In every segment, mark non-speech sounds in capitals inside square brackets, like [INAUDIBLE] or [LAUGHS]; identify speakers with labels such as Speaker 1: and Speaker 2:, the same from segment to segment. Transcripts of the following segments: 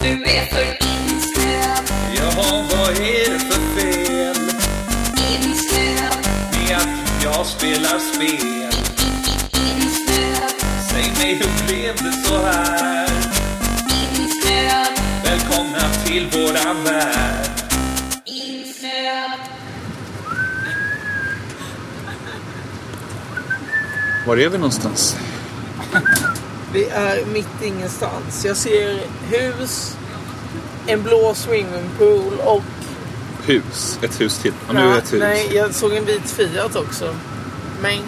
Speaker 1: Du är för insnöad,
Speaker 2: Jaha, vad är det för fel
Speaker 1: insnöad,
Speaker 2: med att jag spelar spel?
Speaker 1: insnöad,
Speaker 2: Säg mig, hur blev det så här?
Speaker 1: insnöad,
Speaker 2: Välkomna till våran värld.
Speaker 1: insnöad.
Speaker 3: Var är vi någonstans?
Speaker 4: Vi är mitt ingenstans. Jag ser hus, en blå swimmingpool och...
Speaker 3: Hus. Ett hus till. Ja, nu är det ett hus.
Speaker 4: Nej, jag såg en vit Fiat också. Men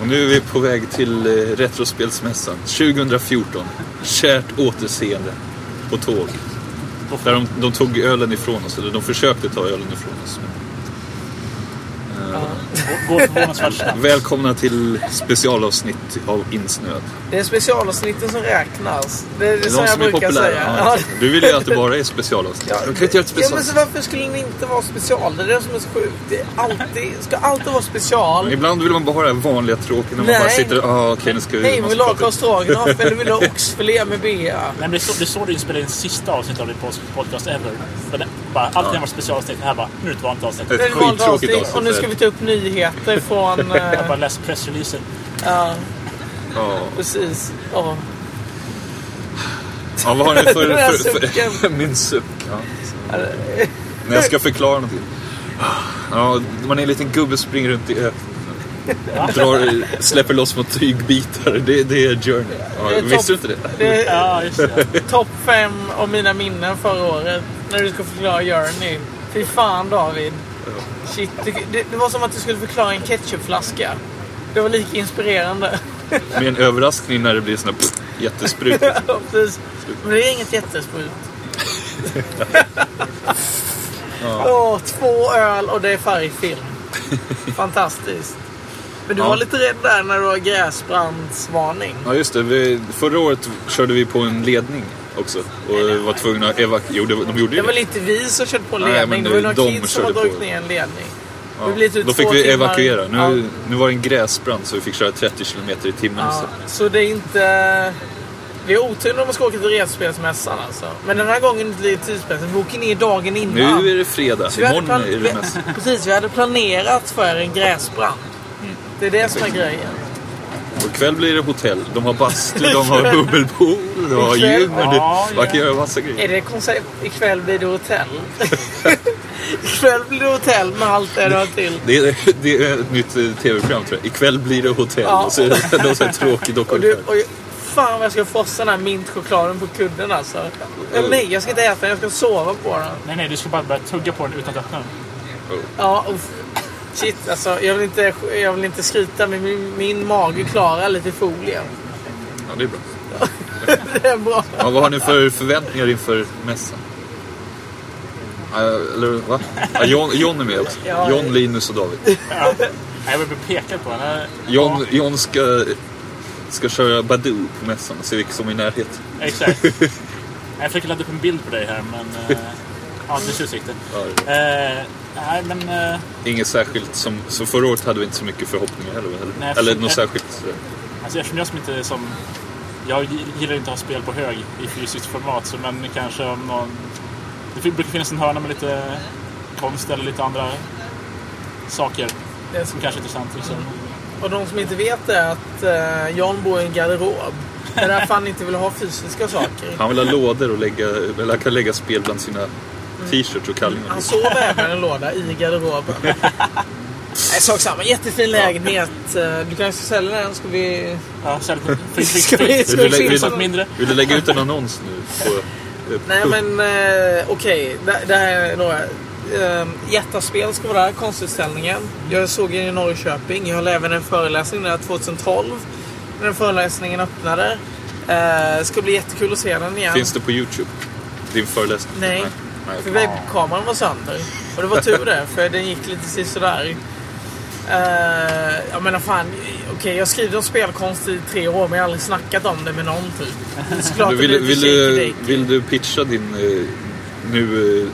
Speaker 3: Och nu är vi på väg till eh, Retrospelsmässan 2014. Kärt återseende på tåg. Där de, de tog ölen ifrån oss, eller de försökte ta ölen ifrån oss.
Speaker 5: Går förvånansvärt snabbt.
Speaker 3: eh, Välkomna till specialavsnitt av Insnöd.
Speaker 4: det är specialavsnitten som räknas. Det är det,
Speaker 3: Det
Speaker 4: som
Speaker 3: är de
Speaker 4: jag
Speaker 3: som är
Speaker 4: brukar säga.
Speaker 3: populära. Ja, du vill ju att det bara är specialavsnitt. De kan ju inte göra ett
Speaker 4: Ja, men
Speaker 3: special.
Speaker 4: så varför skulle den inte vara special? Det är det som är så sjukt. Det är alltid, ska alltid vara special.
Speaker 3: Ibland vill man bara ha det här vanliga tråkiga när man
Speaker 4: Nej.
Speaker 3: bara sitter och ah, okej nu ska vi...
Speaker 4: Hej,
Speaker 3: man
Speaker 4: vill
Speaker 3: ska
Speaker 4: du ha
Speaker 3: prata-
Speaker 4: Karlsdragenhoff eller vill du ha oxfilé med bea?
Speaker 5: Nej, men det står det står du inspelade in sista avsnittet av din post- podcast ever. Men det- bara, allting har varit specialavsnitt. Det här bara, nu är det ett vanligt avsnitt.
Speaker 3: Ett
Speaker 4: Det är ett vanligt
Speaker 3: skittråkigt
Speaker 4: avsnitt
Speaker 3: avsnitt,
Speaker 4: och nu ska vi ta upp nyheter
Speaker 3: [LAUGHS]
Speaker 4: från...
Speaker 5: Jag bara
Speaker 4: Eh,
Speaker 5: läser pressreleasen.
Speaker 4: ja,
Speaker 3: Ja.
Speaker 4: precis. Ja.
Speaker 3: Ja, vad har ni
Speaker 4: [LAUGHS] Den här
Speaker 3: för... för, för
Speaker 4: sucken.
Speaker 3: min suck. Ja. När jag ska förklara någonting. Ja, man är en liten gubbe som springer runt i öknen. Drar, släpper loss mot tygbitar. Det, det är Journey.
Speaker 4: Det
Speaker 3: Ja,
Speaker 4: är
Speaker 3: visste du
Speaker 4: topp-
Speaker 3: inte det?
Speaker 4: Det
Speaker 3: [LAUGHS]
Speaker 4: är
Speaker 5: Ja, just det.
Speaker 4: topp fem av mina minnen förra året. När du ska förklara Journey. Fy fan David. Shit, det, det, det var som att du skulle förklara en ketchupflaska. Det var lika inspirerande. [LAUGHS]
Speaker 3: Med en överraskning när det blir sån här pff, jättesprut.
Speaker 4: Ja, precis. Men det är
Speaker 3: [LAUGHS]
Speaker 4: inget jättesprut. Åh, två öl och det
Speaker 3: [LAUGHS]
Speaker 4: är färgfilm. Fantastiskt. Men du
Speaker 3: Ja.
Speaker 4: var lite rädd där när du var gräsbrandsvarning.
Speaker 3: Ja, just det. Vi, förra året körde vi på en ledning också. Och var tvungna att evakuera. Jo, det, var- de gjorde
Speaker 4: Det
Speaker 3: ju
Speaker 4: var
Speaker 3: det.
Speaker 4: lite vi som körde på en
Speaker 3: Nej,
Speaker 4: ledning.
Speaker 3: men
Speaker 4: det var ju
Speaker 3: det-
Speaker 4: några
Speaker 3: de
Speaker 4: kids som har
Speaker 3: körde
Speaker 4: dragit
Speaker 3: på.
Speaker 4: ner en ledning.
Speaker 3: Ja.
Speaker 4: Det blev typ
Speaker 3: Då fick
Speaker 4: två
Speaker 3: vi
Speaker 4: timmar.
Speaker 3: evakuera. Nu,
Speaker 4: Ja.
Speaker 3: nu var det en gräsbrand så vi fick köra 30 kilometer i timmen
Speaker 4: Ja,
Speaker 3: istället.
Speaker 4: så det är inte... Det är otur när man ska åka till retspelsmässan alltså. Men den här gången blir det tidspressen. Vi åker ner dagen innan.
Speaker 3: Nu är det fredag.
Speaker 4: Så vi hade
Speaker 3: Imorgon
Speaker 4: plan-
Speaker 3: är det mest.
Speaker 4: vi- [LAUGHS] Precis, vi hade planerat för en gräsbrand.
Speaker 3: Mm.
Speaker 4: Det är det som är grejen.
Speaker 3: Och ikväll blir det hotell. De har
Speaker 4: [LAUGHS]
Speaker 3: bastu, de har bubbelpool, de har
Speaker 4: Ikväll?
Speaker 3: gym. och
Speaker 5: Ja,
Speaker 3: det- Man kan
Speaker 5: ja.
Speaker 3: göra massa grejer.
Speaker 4: Är det koncept? Ikväll blir det hotell. [LAUGHS] Ikväll blir det hotell med allt det du har till.
Speaker 3: Det är, det är ett nytt eh, tv-program tror jag. Ikväll blir det hotell.
Speaker 4: Ja.
Speaker 3: Och så är det någon sån här tråkig
Speaker 4: Och du,
Speaker 3: dokumentär.
Speaker 4: och jag- fan vad jag ska frossa den här mintchokladen på kudden alltså. Men nej, jag ska inte äta den. Jag ska sova på den.
Speaker 5: Nej, nej, du ska bara börja tugga på den utan att öppna den.
Speaker 4: Ja, uff. Shit alltså. Jag vill inte, jag vill inte skryta men min, min mage klarar lite folie. [LAUGHS]
Speaker 3: Ja, det är bra.
Speaker 4: Det är bra.
Speaker 3: Ja, vad har ni för förväntningar inför mässan? Ja, Eller va? Ja, John, John är med också.
Speaker 4: Ja.
Speaker 3: John, Linus och David.
Speaker 5: Nej, jag vill bli pekad på den. här.
Speaker 3: John, John ska, ska köra Badoo på mässan och se vilka som är i närheten. [LAUGHS]
Speaker 5: Ja, exakt. Jag försöker ladda upp en bild på dig här, men... eh, Ja, du ser sikten.
Speaker 3: Ja, det-
Speaker 5: Eh, Nej, men... eh,
Speaker 3: Inget särskilt som... Så förra året hade vi inte så mycket förhoppningar heller. Eller,
Speaker 5: Nej,
Speaker 3: eller
Speaker 5: för-
Speaker 3: något särskilt. sådär.
Speaker 5: Alltså eftersom jag som inte är som... Jag gillar inte att ha spel på hög i fysiskt format, så men kanske om någon... Det fin- brukar finnas en hörna med lite konst eller lite andra saker
Speaker 4: Det är så
Speaker 5: som kanske är intressant. Liksom.
Speaker 4: Och de som inte vet är att eh, John bor i en garderob. Det är därför han inte vill ha fysiska saker.
Speaker 3: Han vill ha lådor och lägga, eller han kan lägga spel bland sina
Speaker 4: Mm.
Speaker 3: t-shirts och kallingar.
Speaker 4: Han sover även i en låda i [LAUGHS] garderoben. Nej, sak samma. Jättefin lägenhet. Eh, Du kanske ska sälja den? Ska vi... [LAUGHS]
Speaker 5: Ja, så här, lite- fri- fri-
Speaker 4: Ska vi-
Speaker 5: fri-
Speaker 4: ska
Speaker 5: fri-
Speaker 4: vi
Speaker 5: fri-
Speaker 4: filma?
Speaker 5: något mindre.
Speaker 3: Vill du lägga ut en annons nu? På, eh,
Speaker 4: Nej,
Speaker 3: pub?
Speaker 4: men eh, okej. Det- Det här är några... Eh, Jättaspel ska vara där, konstutställningen. Jag såg den i Norrköping. Jag höll även en föreläsning där 2012. När den föreläsningen öppnade. Eh, ska bli jättekul att se den igen.
Speaker 3: Finns det på Youtube? Din föreläsning?
Speaker 4: Nej.
Speaker 3: Nej.
Speaker 4: För
Speaker 3: okej.
Speaker 4: webbkameran var sönder. Och det var tur det, för den gick lite sisådär. Uh, jag menar fan, okej jag har skrivit om spelkonst i tre år men jag har aldrig snackat om det med någon typ. Det är såklart
Speaker 3: Du,
Speaker 4: det
Speaker 3: vill,
Speaker 4: blir
Speaker 3: vill,
Speaker 4: lite
Speaker 3: du,
Speaker 4: shaky-dick.
Speaker 3: vill du pitcha din eh, nu eh,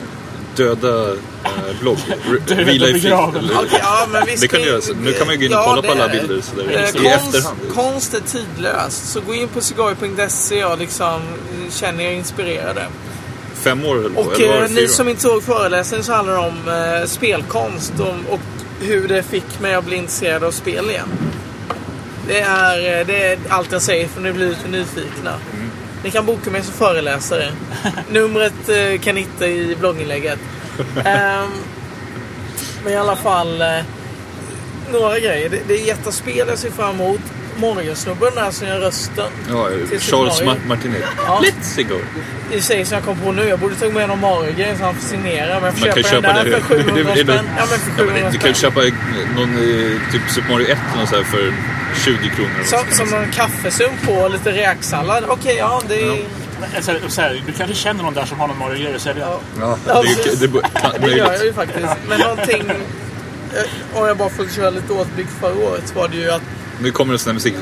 Speaker 3: döda eh,
Speaker 4: [LAUGHS]
Speaker 3: blogg? R-
Speaker 5: Döda
Speaker 3: Vila i frid?
Speaker 5: begraven.
Speaker 3: eller?
Speaker 4: Okej, ja, men visst,
Speaker 3: Det kan du göra. så. Nu kan man ju gå in och
Speaker 4: Ja,
Speaker 3: kolla på
Speaker 4: det
Speaker 3: alla
Speaker 4: är det.
Speaker 3: bilder så där,
Speaker 4: Eh,
Speaker 3: i
Speaker 4: konst,
Speaker 3: efterhand.
Speaker 4: konst är tidlöst, så gå in på cigar.se och liksom eh, känn er inspirerade.
Speaker 3: fem år eller vad?
Speaker 4: Och
Speaker 3: eller var det
Speaker 4: eh, ni
Speaker 3: fyra?
Speaker 4: som inte såg föreläsningen så handlar det om eh, spelkonst och, och hur det fick mig att bli intresserad av spel igen. Det är, eh, det är allt jag säger för nu blir lite nyfikna.
Speaker 3: Mm.
Speaker 4: Ni kan boka mig
Speaker 3: [LAUGHS]
Speaker 4: som föreläsare. Numret eh, kan ni hitta i blogginlägget. Ehm, men i alla fall, eh, några grejer. Det, det är jättespel jag ser fram emot. Morgonsnubben där som gör rösten.
Speaker 3: Ja,
Speaker 4: Till
Speaker 3: Charles
Speaker 4: Super Mario.
Speaker 3: Ma- Martinet.
Speaker 4: Ja.
Speaker 3: Let's go!
Speaker 4: I och för sig som jag kom på nu. Jag borde tagit med någon Mario-grej så han får signera. Men jag får
Speaker 3: Man kan
Speaker 4: köpa,
Speaker 3: köpa
Speaker 4: den
Speaker 3: det.
Speaker 4: där för 700
Speaker 3: [LAUGHS] Det- det-
Speaker 4: spänn. Ja, men för
Speaker 3: Ja, men
Speaker 4: 700
Speaker 3: det- du kan
Speaker 4: spänn.
Speaker 3: ju köpa någon eh, typ Super Mario 1 eller något så här för 20 kronor.
Speaker 4: Som, som en kaffesump på och lite räksallad. Okej, ja det är...
Speaker 5: Men Så här, så här, du kanske känner någon där som har någon Mario-grej att sälja.
Speaker 4: Ja.
Speaker 3: Ja,
Speaker 4: Ja,
Speaker 3: det, är ju-
Speaker 4: precis.
Speaker 3: det, bo- kan-
Speaker 4: Det gör jag
Speaker 3: möjligt.
Speaker 4: ju faktiskt. Men någonting...
Speaker 3: [LAUGHS]
Speaker 4: eh, Om jag bara får köra lite återblick förra året så var det ju att
Speaker 3: Nu kommer det sån här musik.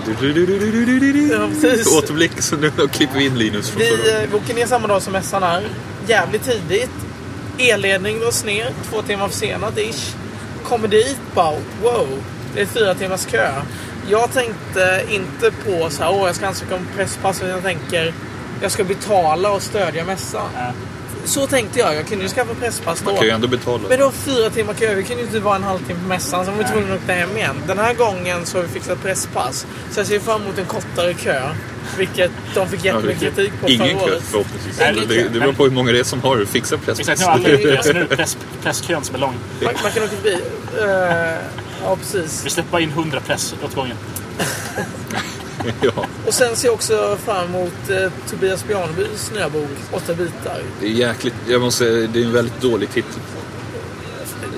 Speaker 4: Ja, precis.
Speaker 3: Återblick, så nu då klipper vi in Linus från förra
Speaker 4: vi
Speaker 3: året.
Speaker 4: eh, vi åker ner samma dag som mässan är. Jävligt tidigt. Elledning dras ner. Två timmar försenat ish. Kommer dit bara wow. Det är fyra timmars kö. Jag tänkte inte på så här, åh jag ska ansöka om presspass. utan Jag tänker jag ska betala och stödja mässan.
Speaker 5: Ja.
Speaker 4: Så tänkte jag. Jag kunde ju skaffa presspass då.
Speaker 3: Man kan ju ändå betala.
Speaker 4: Men det var fyra timmar kö. Vi kunde ju inte vara en halvtimme på mässan. Sen var vi tvungna att åka hem igen. Den här gången så har vi fixat presspass. Så jag ser fram emot en kortare kö. Vilket de
Speaker 3: Ja,
Speaker 4: fick jättemycket
Speaker 3: vilket-
Speaker 4: kritik på
Speaker 3: Ingen
Speaker 4: förra
Speaker 3: kö
Speaker 4: året.
Speaker 3: förhoppningsvis.
Speaker 5: Nej,
Speaker 3: Det,
Speaker 5: det är
Speaker 3: det
Speaker 5: kö.
Speaker 3: beror på hur många det är som har fixat
Speaker 5: Exakt,
Speaker 3: presspass.
Speaker 5: nu har alla
Speaker 4: det-
Speaker 5: alltså, nu är det press, presskön som är lång.
Speaker 4: Man, man kan åka förbi. Uh, ja, precis.
Speaker 5: Vi släpper bara in 100 press åt gången.
Speaker 3: [LAUGHS] ja,
Speaker 4: Och sen ser jag också fram emot eh, Tobias Bjarnebys nya bok Åtta bitar.
Speaker 3: det är jäkligt. Jag måste säga, det är en väldigt dålig titel.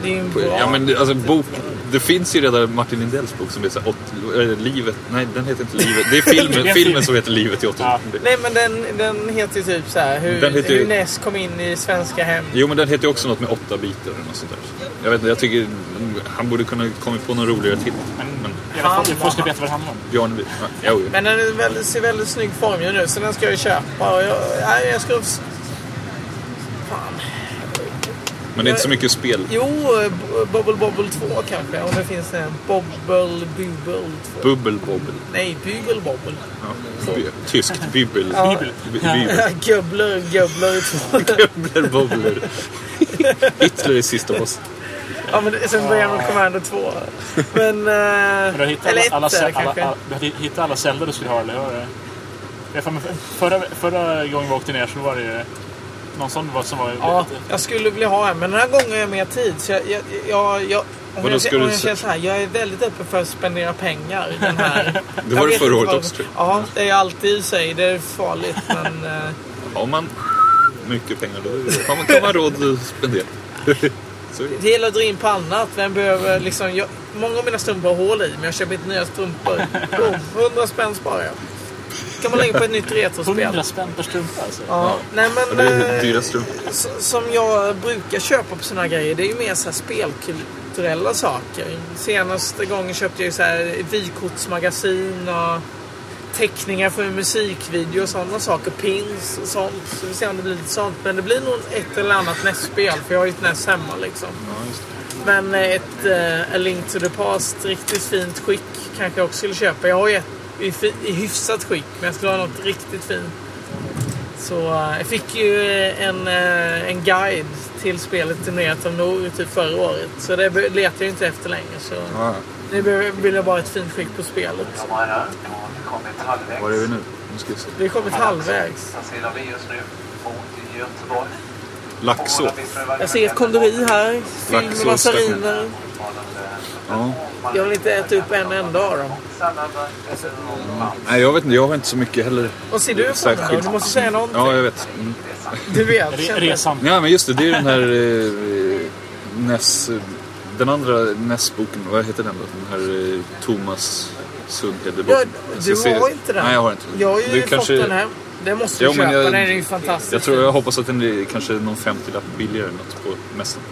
Speaker 4: Det är ju en bra...
Speaker 3: Ja, men det, alltså bok... Det finns ju redan Martin Lindells bok som heter så här, åt, äh, Livet. Nej, den heter inte Livet.
Speaker 5: [LAUGHS]
Speaker 3: Det är
Speaker 5: Det
Speaker 3: filmen,
Speaker 5: är
Speaker 3: filmen
Speaker 5: film.
Speaker 3: som heter Livet i 80
Speaker 5: Ja.
Speaker 4: Nej men den, den heter ju typ så här hur,
Speaker 3: Den heter ju-
Speaker 4: hur Ness kom in i svenska hem.
Speaker 3: Jo, men den heter ju också något med åtta bitar eller något sånt där. Jag vet inte, jag tycker han borde kunna komma på någon roligare titel.
Speaker 5: Men,
Speaker 3: Men
Speaker 5: i alla fall,
Speaker 4: Fan,
Speaker 5: folk ska veta vad det handlar om.
Speaker 3: Bjarneby... Ja, jo, jo.
Speaker 4: Men den är väldigt, ser väldigt snygg form ju nu så den ska jag ju köpa. Och jag, nej, jag ska...
Speaker 3: Men det är inte så mycket spel.
Speaker 4: Jo, eh, B- Bobble Bobble 2 kanske. Om det finns en Bobble Bubble 2.
Speaker 3: Bubbel Bobbel.
Speaker 4: Nej, Bygel Bobble.
Speaker 3: [LAUGHS] Ja. By- Tyskt bybbel.
Speaker 4: Ja.
Speaker 3: By- Bybel.
Speaker 4: Gubbler Gubbler 2.
Speaker 3: Bubbler
Speaker 4: [LAUGHS]
Speaker 3: Bobbler. Hitler är sista boss.
Speaker 4: ja, men det- sen börjar man
Speaker 3: Ah.
Speaker 4: med Commando 2. Men... eh,
Speaker 5: Men du har hittat
Speaker 4: eller
Speaker 5: alla, alla,
Speaker 4: ettor,
Speaker 5: alla, alla,
Speaker 4: kanske.
Speaker 5: alla, du har hittat alla celler du skulle ha, eller hur? Jag får- Förra, förra gången vi åkte ner så var det ju någon sån var- som var...
Speaker 4: Ja,
Speaker 5: lite-
Speaker 4: jag skulle vilja ha en, men den här gången har jag mer tid. Så jag, jag, jag, jag, om
Speaker 3: Vadå,
Speaker 4: jag,
Speaker 3: ska
Speaker 4: om
Speaker 3: du
Speaker 4: jag
Speaker 3: se-
Speaker 4: känner så här, jag är väldigt öppen för att spendera pengar. i Den här.
Speaker 3: [LAUGHS] Det
Speaker 4: Jag
Speaker 3: var det
Speaker 4: vet
Speaker 3: förra
Speaker 4: inte
Speaker 3: året
Speaker 4: vad-
Speaker 3: också, tror
Speaker 4: Ja, det är jag alltid i sig. Det är farligt, men... eh,
Speaker 3: Har man mycket pengar då har man, kan man råd att spendera. Så är det.
Speaker 4: Det gäller att dra in på annat. Vem behöver liksom... Jag, många av mina strumpor har hål i, men jag köper inte nya strumpor. Boom, 100 spänn sparar jag. kan man lägga på ett nytt retrospel.
Speaker 5: 100 spänn per strumpa alltså.
Speaker 4: Ja, nej
Speaker 3: Det
Speaker 4: men...
Speaker 3: är
Speaker 4: Eh,
Speaker 3: dyra strumpor.
Speaker 4: s- som jag brukar köpa på såna grejer, det är ju mer så här spelkulturella saker. Senaste gången köpte jag ju så här vykortsmagasin och teckningar för musikvideo och sådana saker. Pins och sånt. Så vi ser om det blir lite sånt. Men det blir nog ett eller annat NES-spel, för jag har ju ett NES hemma liksom. Men eh, ett eh, A Link to the Past, riktigt fint skick, kanske jag också skulle köpa. Jag har ju ett i, fi- i hyfsat skick, men jag skulle ha något riktigt fint. Så eh, jag fick ju eh, en, eh, en guide till spelet turnerat som Nor typ förra året. Så det be- letar jag ju inte efter längre. Så
Speaker 3: Ja,
Speaker 4: nu be- vill jag bara ha ett fint skick på spelet.
Speaker 6: De har här kommit halvvägs.
Speaker 3: var är vi nu? Nu ska vi se.
Speaker 4: Vi har kommit halvvägs.
Speaker 6: Passerar vi just nu mot Göteborg.
Speaker 3: Laxå.
Speaker 4: Jag ser ett kondori här, fyllt med
Speaker 3: Laxå
Speaker 4: mazariner.
Speaker 3: Ja.
Speaker 4: Jag vill inte äta upp en enda av dem.
Speaker 3: Nej, jag vet inte. Jag har inte så mycket heller.
Speaker 4: Vad ser du på
Speaker 3: Särskilt.
Speaker 4: mig Du måste säga någonting.
Speaker 3: Ja, jag vet. Mm.
Speaker 4: Du vet.
Speaker 5: Re,
Speaker 4: känner jag.
Speaker 5: resan.
Speaker 3: Ja, men just det. Det är den här eh, Ness... eh, Den andra Ness-boken. Vad heter den då? Den här eh, Thomas
Speaker 4: Ja,
Speaker 3: Sundhede-boken. Jag ska
Speaker 4: du
Speaker 3: se-
Speaker 4: har inte den.
Speaker 3: Nej, jag har inte
Speaker 4: Jag har ju
Speaker 3: Det
Speaker 4: fått
Speaker 3: kanske-
Speaker 4: den här. Den måste
Speaker 3: Jo,
Speaker 4: du
Speaker 3: men
Speaker 4: köpa.
Speaker 3: jag-
Speaker 4: den är ju fantastisk.
Speaker 3: Jag tror jag hoppas att den blir kanske någon 50-lapp billigare än något på mässan.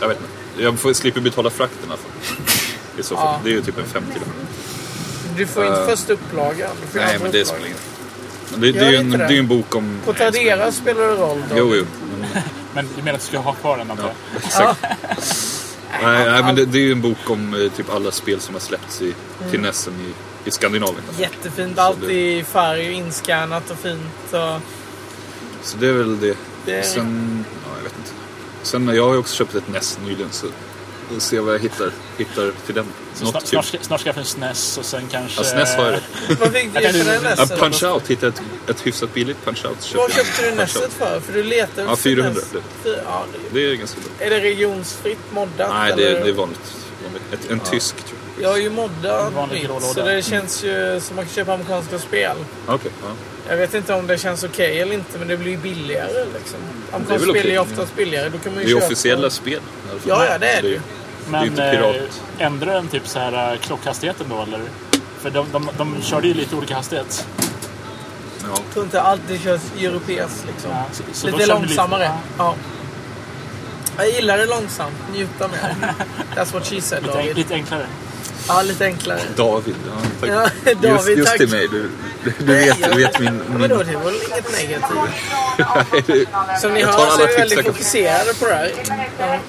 Speaker 3: Jag vet inte. Jag får, slipper betala frakten i alla fall. [LAUGHS] I så fall.
Speaker 4: Ja.
Speaker 3: Det är ju typ en 50-lapp.
Speaker 4: Du får inte första upplagan. Du får
Speaker 3: Nej,
Speaker 4: andra
Speaker 3: men det
Speaker 4: upplagan.
Speaker 3: spelar ingen roll. Det, det är
Speaker 4: Gör
Speaker 3: ju en,
Speaker 4: inte
Speaker 3: det
Speaker 4: det?
Speaker 3: är ju en bok om...
Speaker 4: På Tradera spelar det roll då.
Speaker 3: Jo, jo.
Speaker 5: Men du menar att du ska ha kvar den antar
Speaker 3: Ja,
Speaker 5: jag?
Speaker 3: exakt.
Speaker 4: [LAUGHS]
Speaker 3: Nej, nej, men det, det är ju en bok om eh, typ alla spel som har släppts i,
Speaker 4: Mm.
Speaker 3: till Nessen i, i Skandinavien. [LAUGHS]
Speaker 4: Jättefint. Allt i färg och inskannat och fint. Och...
Speaker 3: Så det är väl det.
Speaker 4: Det är
Speaker 3: Sen, ja, jag vet inte. Sen jag har ju också köpt ett NES nyligen så vi får se vad jag hittar, hittar till den.
Speaker 5: Så
Speaker 3: Något
Speaker 5: snart,
Speaker 3: kul.
Speaker 5: snart, E ska- snart ska jag få en SNES och sen kanske...
Speaker 3: Ja, SNES har jag det.
Speaker 4: Vad fick du
Speaker 5: Jag kan
Speaker 4: för den
Speaker 5: ju-
Speaker 3: Ja,
Speaker 4: nässet?
Speaker 3: punch out hittade jag ett, ett hyfsat billigt punch out.
Speaker 4: Vad köpte du E nässet för? För du letar
Speaker 3: Ja, 400
Speaker 4: efter
Speaker 3: blev
Speaker 4: näs- Fy- Ja,
Speaker 3: Det är ganska bra.
Speaker 4: det- är det regionsfritt moddat?
Speaker 3: Nej, det,
Speaker 4: eller?
Speaker 3: det är vanligt. Ett, en tysk tror jag.
Speaker 4: Jag är ju moddad
Speaker 5: Vanlig grå
Speaker 4: mitt,
Speaker 5: låda.
Speaker 4: så det känns ju som man kan köpa amerikanska spel.
Speaker 3: Okej, ja.
Speaker 4: Jag vet inte om det känns okej eller inte, men det blir ju billigare liksom.
Speaker 5: Mm.
Speaker 4: Amerikanska
Speaker 3: väl
Speaker 4: spel är
Speaker 3: okej,
Speaker 4: ju oftast billigare. Då kan
Speaker 3: Det
Speaker 4: man ju
Speaker 3: är ju
Speaker 4: köpa-
Speaker 3: officiella spel. i alla fall.
Speaker 4: Ja, ja, det är det ju.
Speaker 3: det är ju
Speaker 5: Men
Speaker 3: inte pirat.
Speaker 5: eh, ändrar den typ så här eh, klockhastigheten då eller? För de, de, de körde ju lite olika hastighet.
Speaker 3: Ja.
Speaker 4: Jag tror inte alltid körs europeiskt liksom.
Speaker 5: Ja, så- så då
Speaker 4: Lite
Speaker 5: kör vi
Speaker 4: långsammare.
Speaker 5: lite-
Speaker 4: Ja. Jag gillar det långsamt. Njuta med
Speaker 5: [LAUGHS]
Speaker 4: det. That's what she said,
Speaker 5: Lite, en-
Speaker 4: David.
Speaker 5: lite enklare.
Speaker 4: Ja, lite enklare.
Speaker 3: David, ja, tack.
Speaker 4: Ja, David,
Speaker 3: just, just
Speaker 4: tack.
Speaker 3: till mig. Du, du vet, du vet min...
Speaker 4: Ja,
Speaker 3: min
Speaker 4: men då, det var inget negativt.
Speaker 3: nej, det-
Speaker 4: Som ni
Speaker 3: Jag tar
Speaker 4: hör så
Speaker 3: alla
Speaker 4: är vi
Speaker 3: tips
Speaker 4: väldigt
Speaker 3: jag kan-
Speaker 4: fokuserade på det här.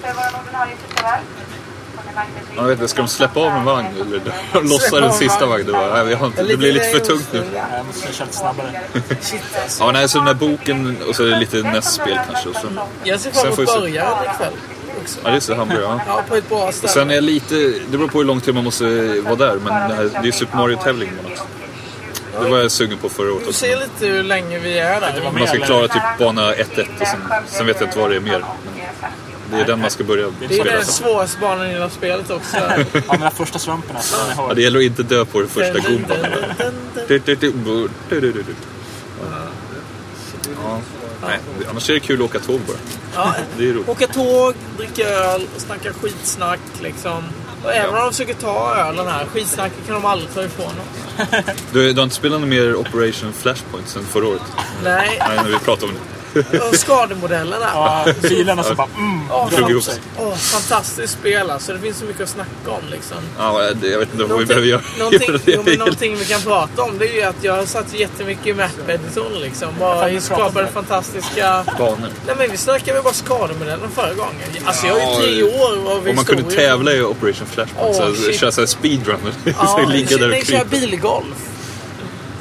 Speaker 7: Jag vet inte, ska de släppa av en vagn eller
Speaker 3: de lossar
Speaker 4: Släpp
Speaker 3: den
Speaker 4: av
Speaker 3: sista
Speaker 4: vagnen.
Speaker 3: vagnen. bara, nej, vi har inte- Det
Speaker 4: Lite
Speaker 3: blir lite för tungt nu.
Speaker 4: regionsfritt.
Speaker 5: Jag måste köra lite snabbare.
Speaker 4: Shit, alltså.
Speaker 3: Ja, nej, så den här boken och så är det lite nästspel kanske. Och så,
Speaker 4: Jag ser
Speaker 3: Sen
Speaker 4: fram
Speaker 3: får
Speaker 4: emot
Speaker 3: vi se.
Speaker 4: början ikväll. Också.
Speaker 3: ja, just det, hamburgare. Ja.
Speaker 4: Ja, på ett bra ställe.
Speaker 3: Sen är jag lite, det beror på hur lång tid man måste vara där, men det, här, det är ju Super Mario-tävling man också. Det var jag sugen på förra året
Speaker 4: Vi får
Speaker 3: också.
Speaker 4: se lite hur länge vi är där.
Speaker 5: var med.
Speaker 3: Man ska
Speaker 5: eller?
Speaker 3: klara typ bana 1-1 och sen, sen vet jag inte vad det är mer. Det är den man ska börja
Speaker 4: Det är
Speaker 3: spela.
Speaker 4: den
Speaker 3: sen.
Speaker 4: svåraste banan i hela
Speaker 3: [LAUGHS]
Speaker 4: spelet också.
Speaker 5: Ja, men den här första svampen alltså, den är
Speaker 3: Ja,
Speaker 5: hård.
Speaker 3: det gäller att inte dö på det första gumban. Du, du, du, bu, du, du, du, du. Ja. Nej, det- annars är det kul att åka tåg bara.
Speaker 4: Ja.
Speaker 3: Det är roligt.
Speaker 4: Åka tåg, dricka öl och snacka skitsnack liksom. Och även om de försöker ta ölen här, skitsnacket kan de aldrig ta ifrån oss.
Speaker 3: Du, du har inte spelat något mer Operation Flashpoint sen förra året?
Speaker 4: Nej,
Speaker 3: Nej, när vi pratade om det.
Speaker 4: och skademodellen här.
Speaker 5: Ja, bilarna som bara mm,
Speaker 4: Åh,
Speaker 5: drar
Speaker 3: ihop
Speaker 5: upp
Speaker 3: sig.
Speaker 5: sig.
Speaker 4: Åh, fantastiskt spel alltså. Det finns så mycket att snacka om liksom.
Speaker 3: Ja, det- jag vet inte vad vi behöver göra.
Speaker 4: någonting,
Speaker 3: göra
Speaker 4: jo,
Speaker 3: [LAUGHS]
Speaker 4: men
Speaker 3: det.
Speaker 4: någonting vi kan prata om det är ju att jag satt jättemycket i map-editorn liksom.
Speaker 5: kan
Speaker 4: Bara
Speaker 5: vi prata om
Speaker 4: skapade
Speaker 5: det?
Speaker 4: fantastiska...
Speaker 3: Banor.
Speaker 4: Nej men vi snackade väl bara skademodellen förra gången. Alltså jag är
Speaker 3: Ja,
Speaker 4: ju tre år av
Speaker 3: Om man kunde
Speaker 4: historia.
Speaker 3: tävla i Operation Flashpoint,
Speaker 4: Åh,
Speaker 3: så
Speaker 4: shit.
Speaker 3: köra såhär speedrun. [LAUGHS]
Speaker 4: Ja,
Speaker 3: så ligga där
Speaker 4: nej,
Speaker 3: och
Speaker 4: köra
Speaker 3: krypa.
Speaker 4: bilgolf.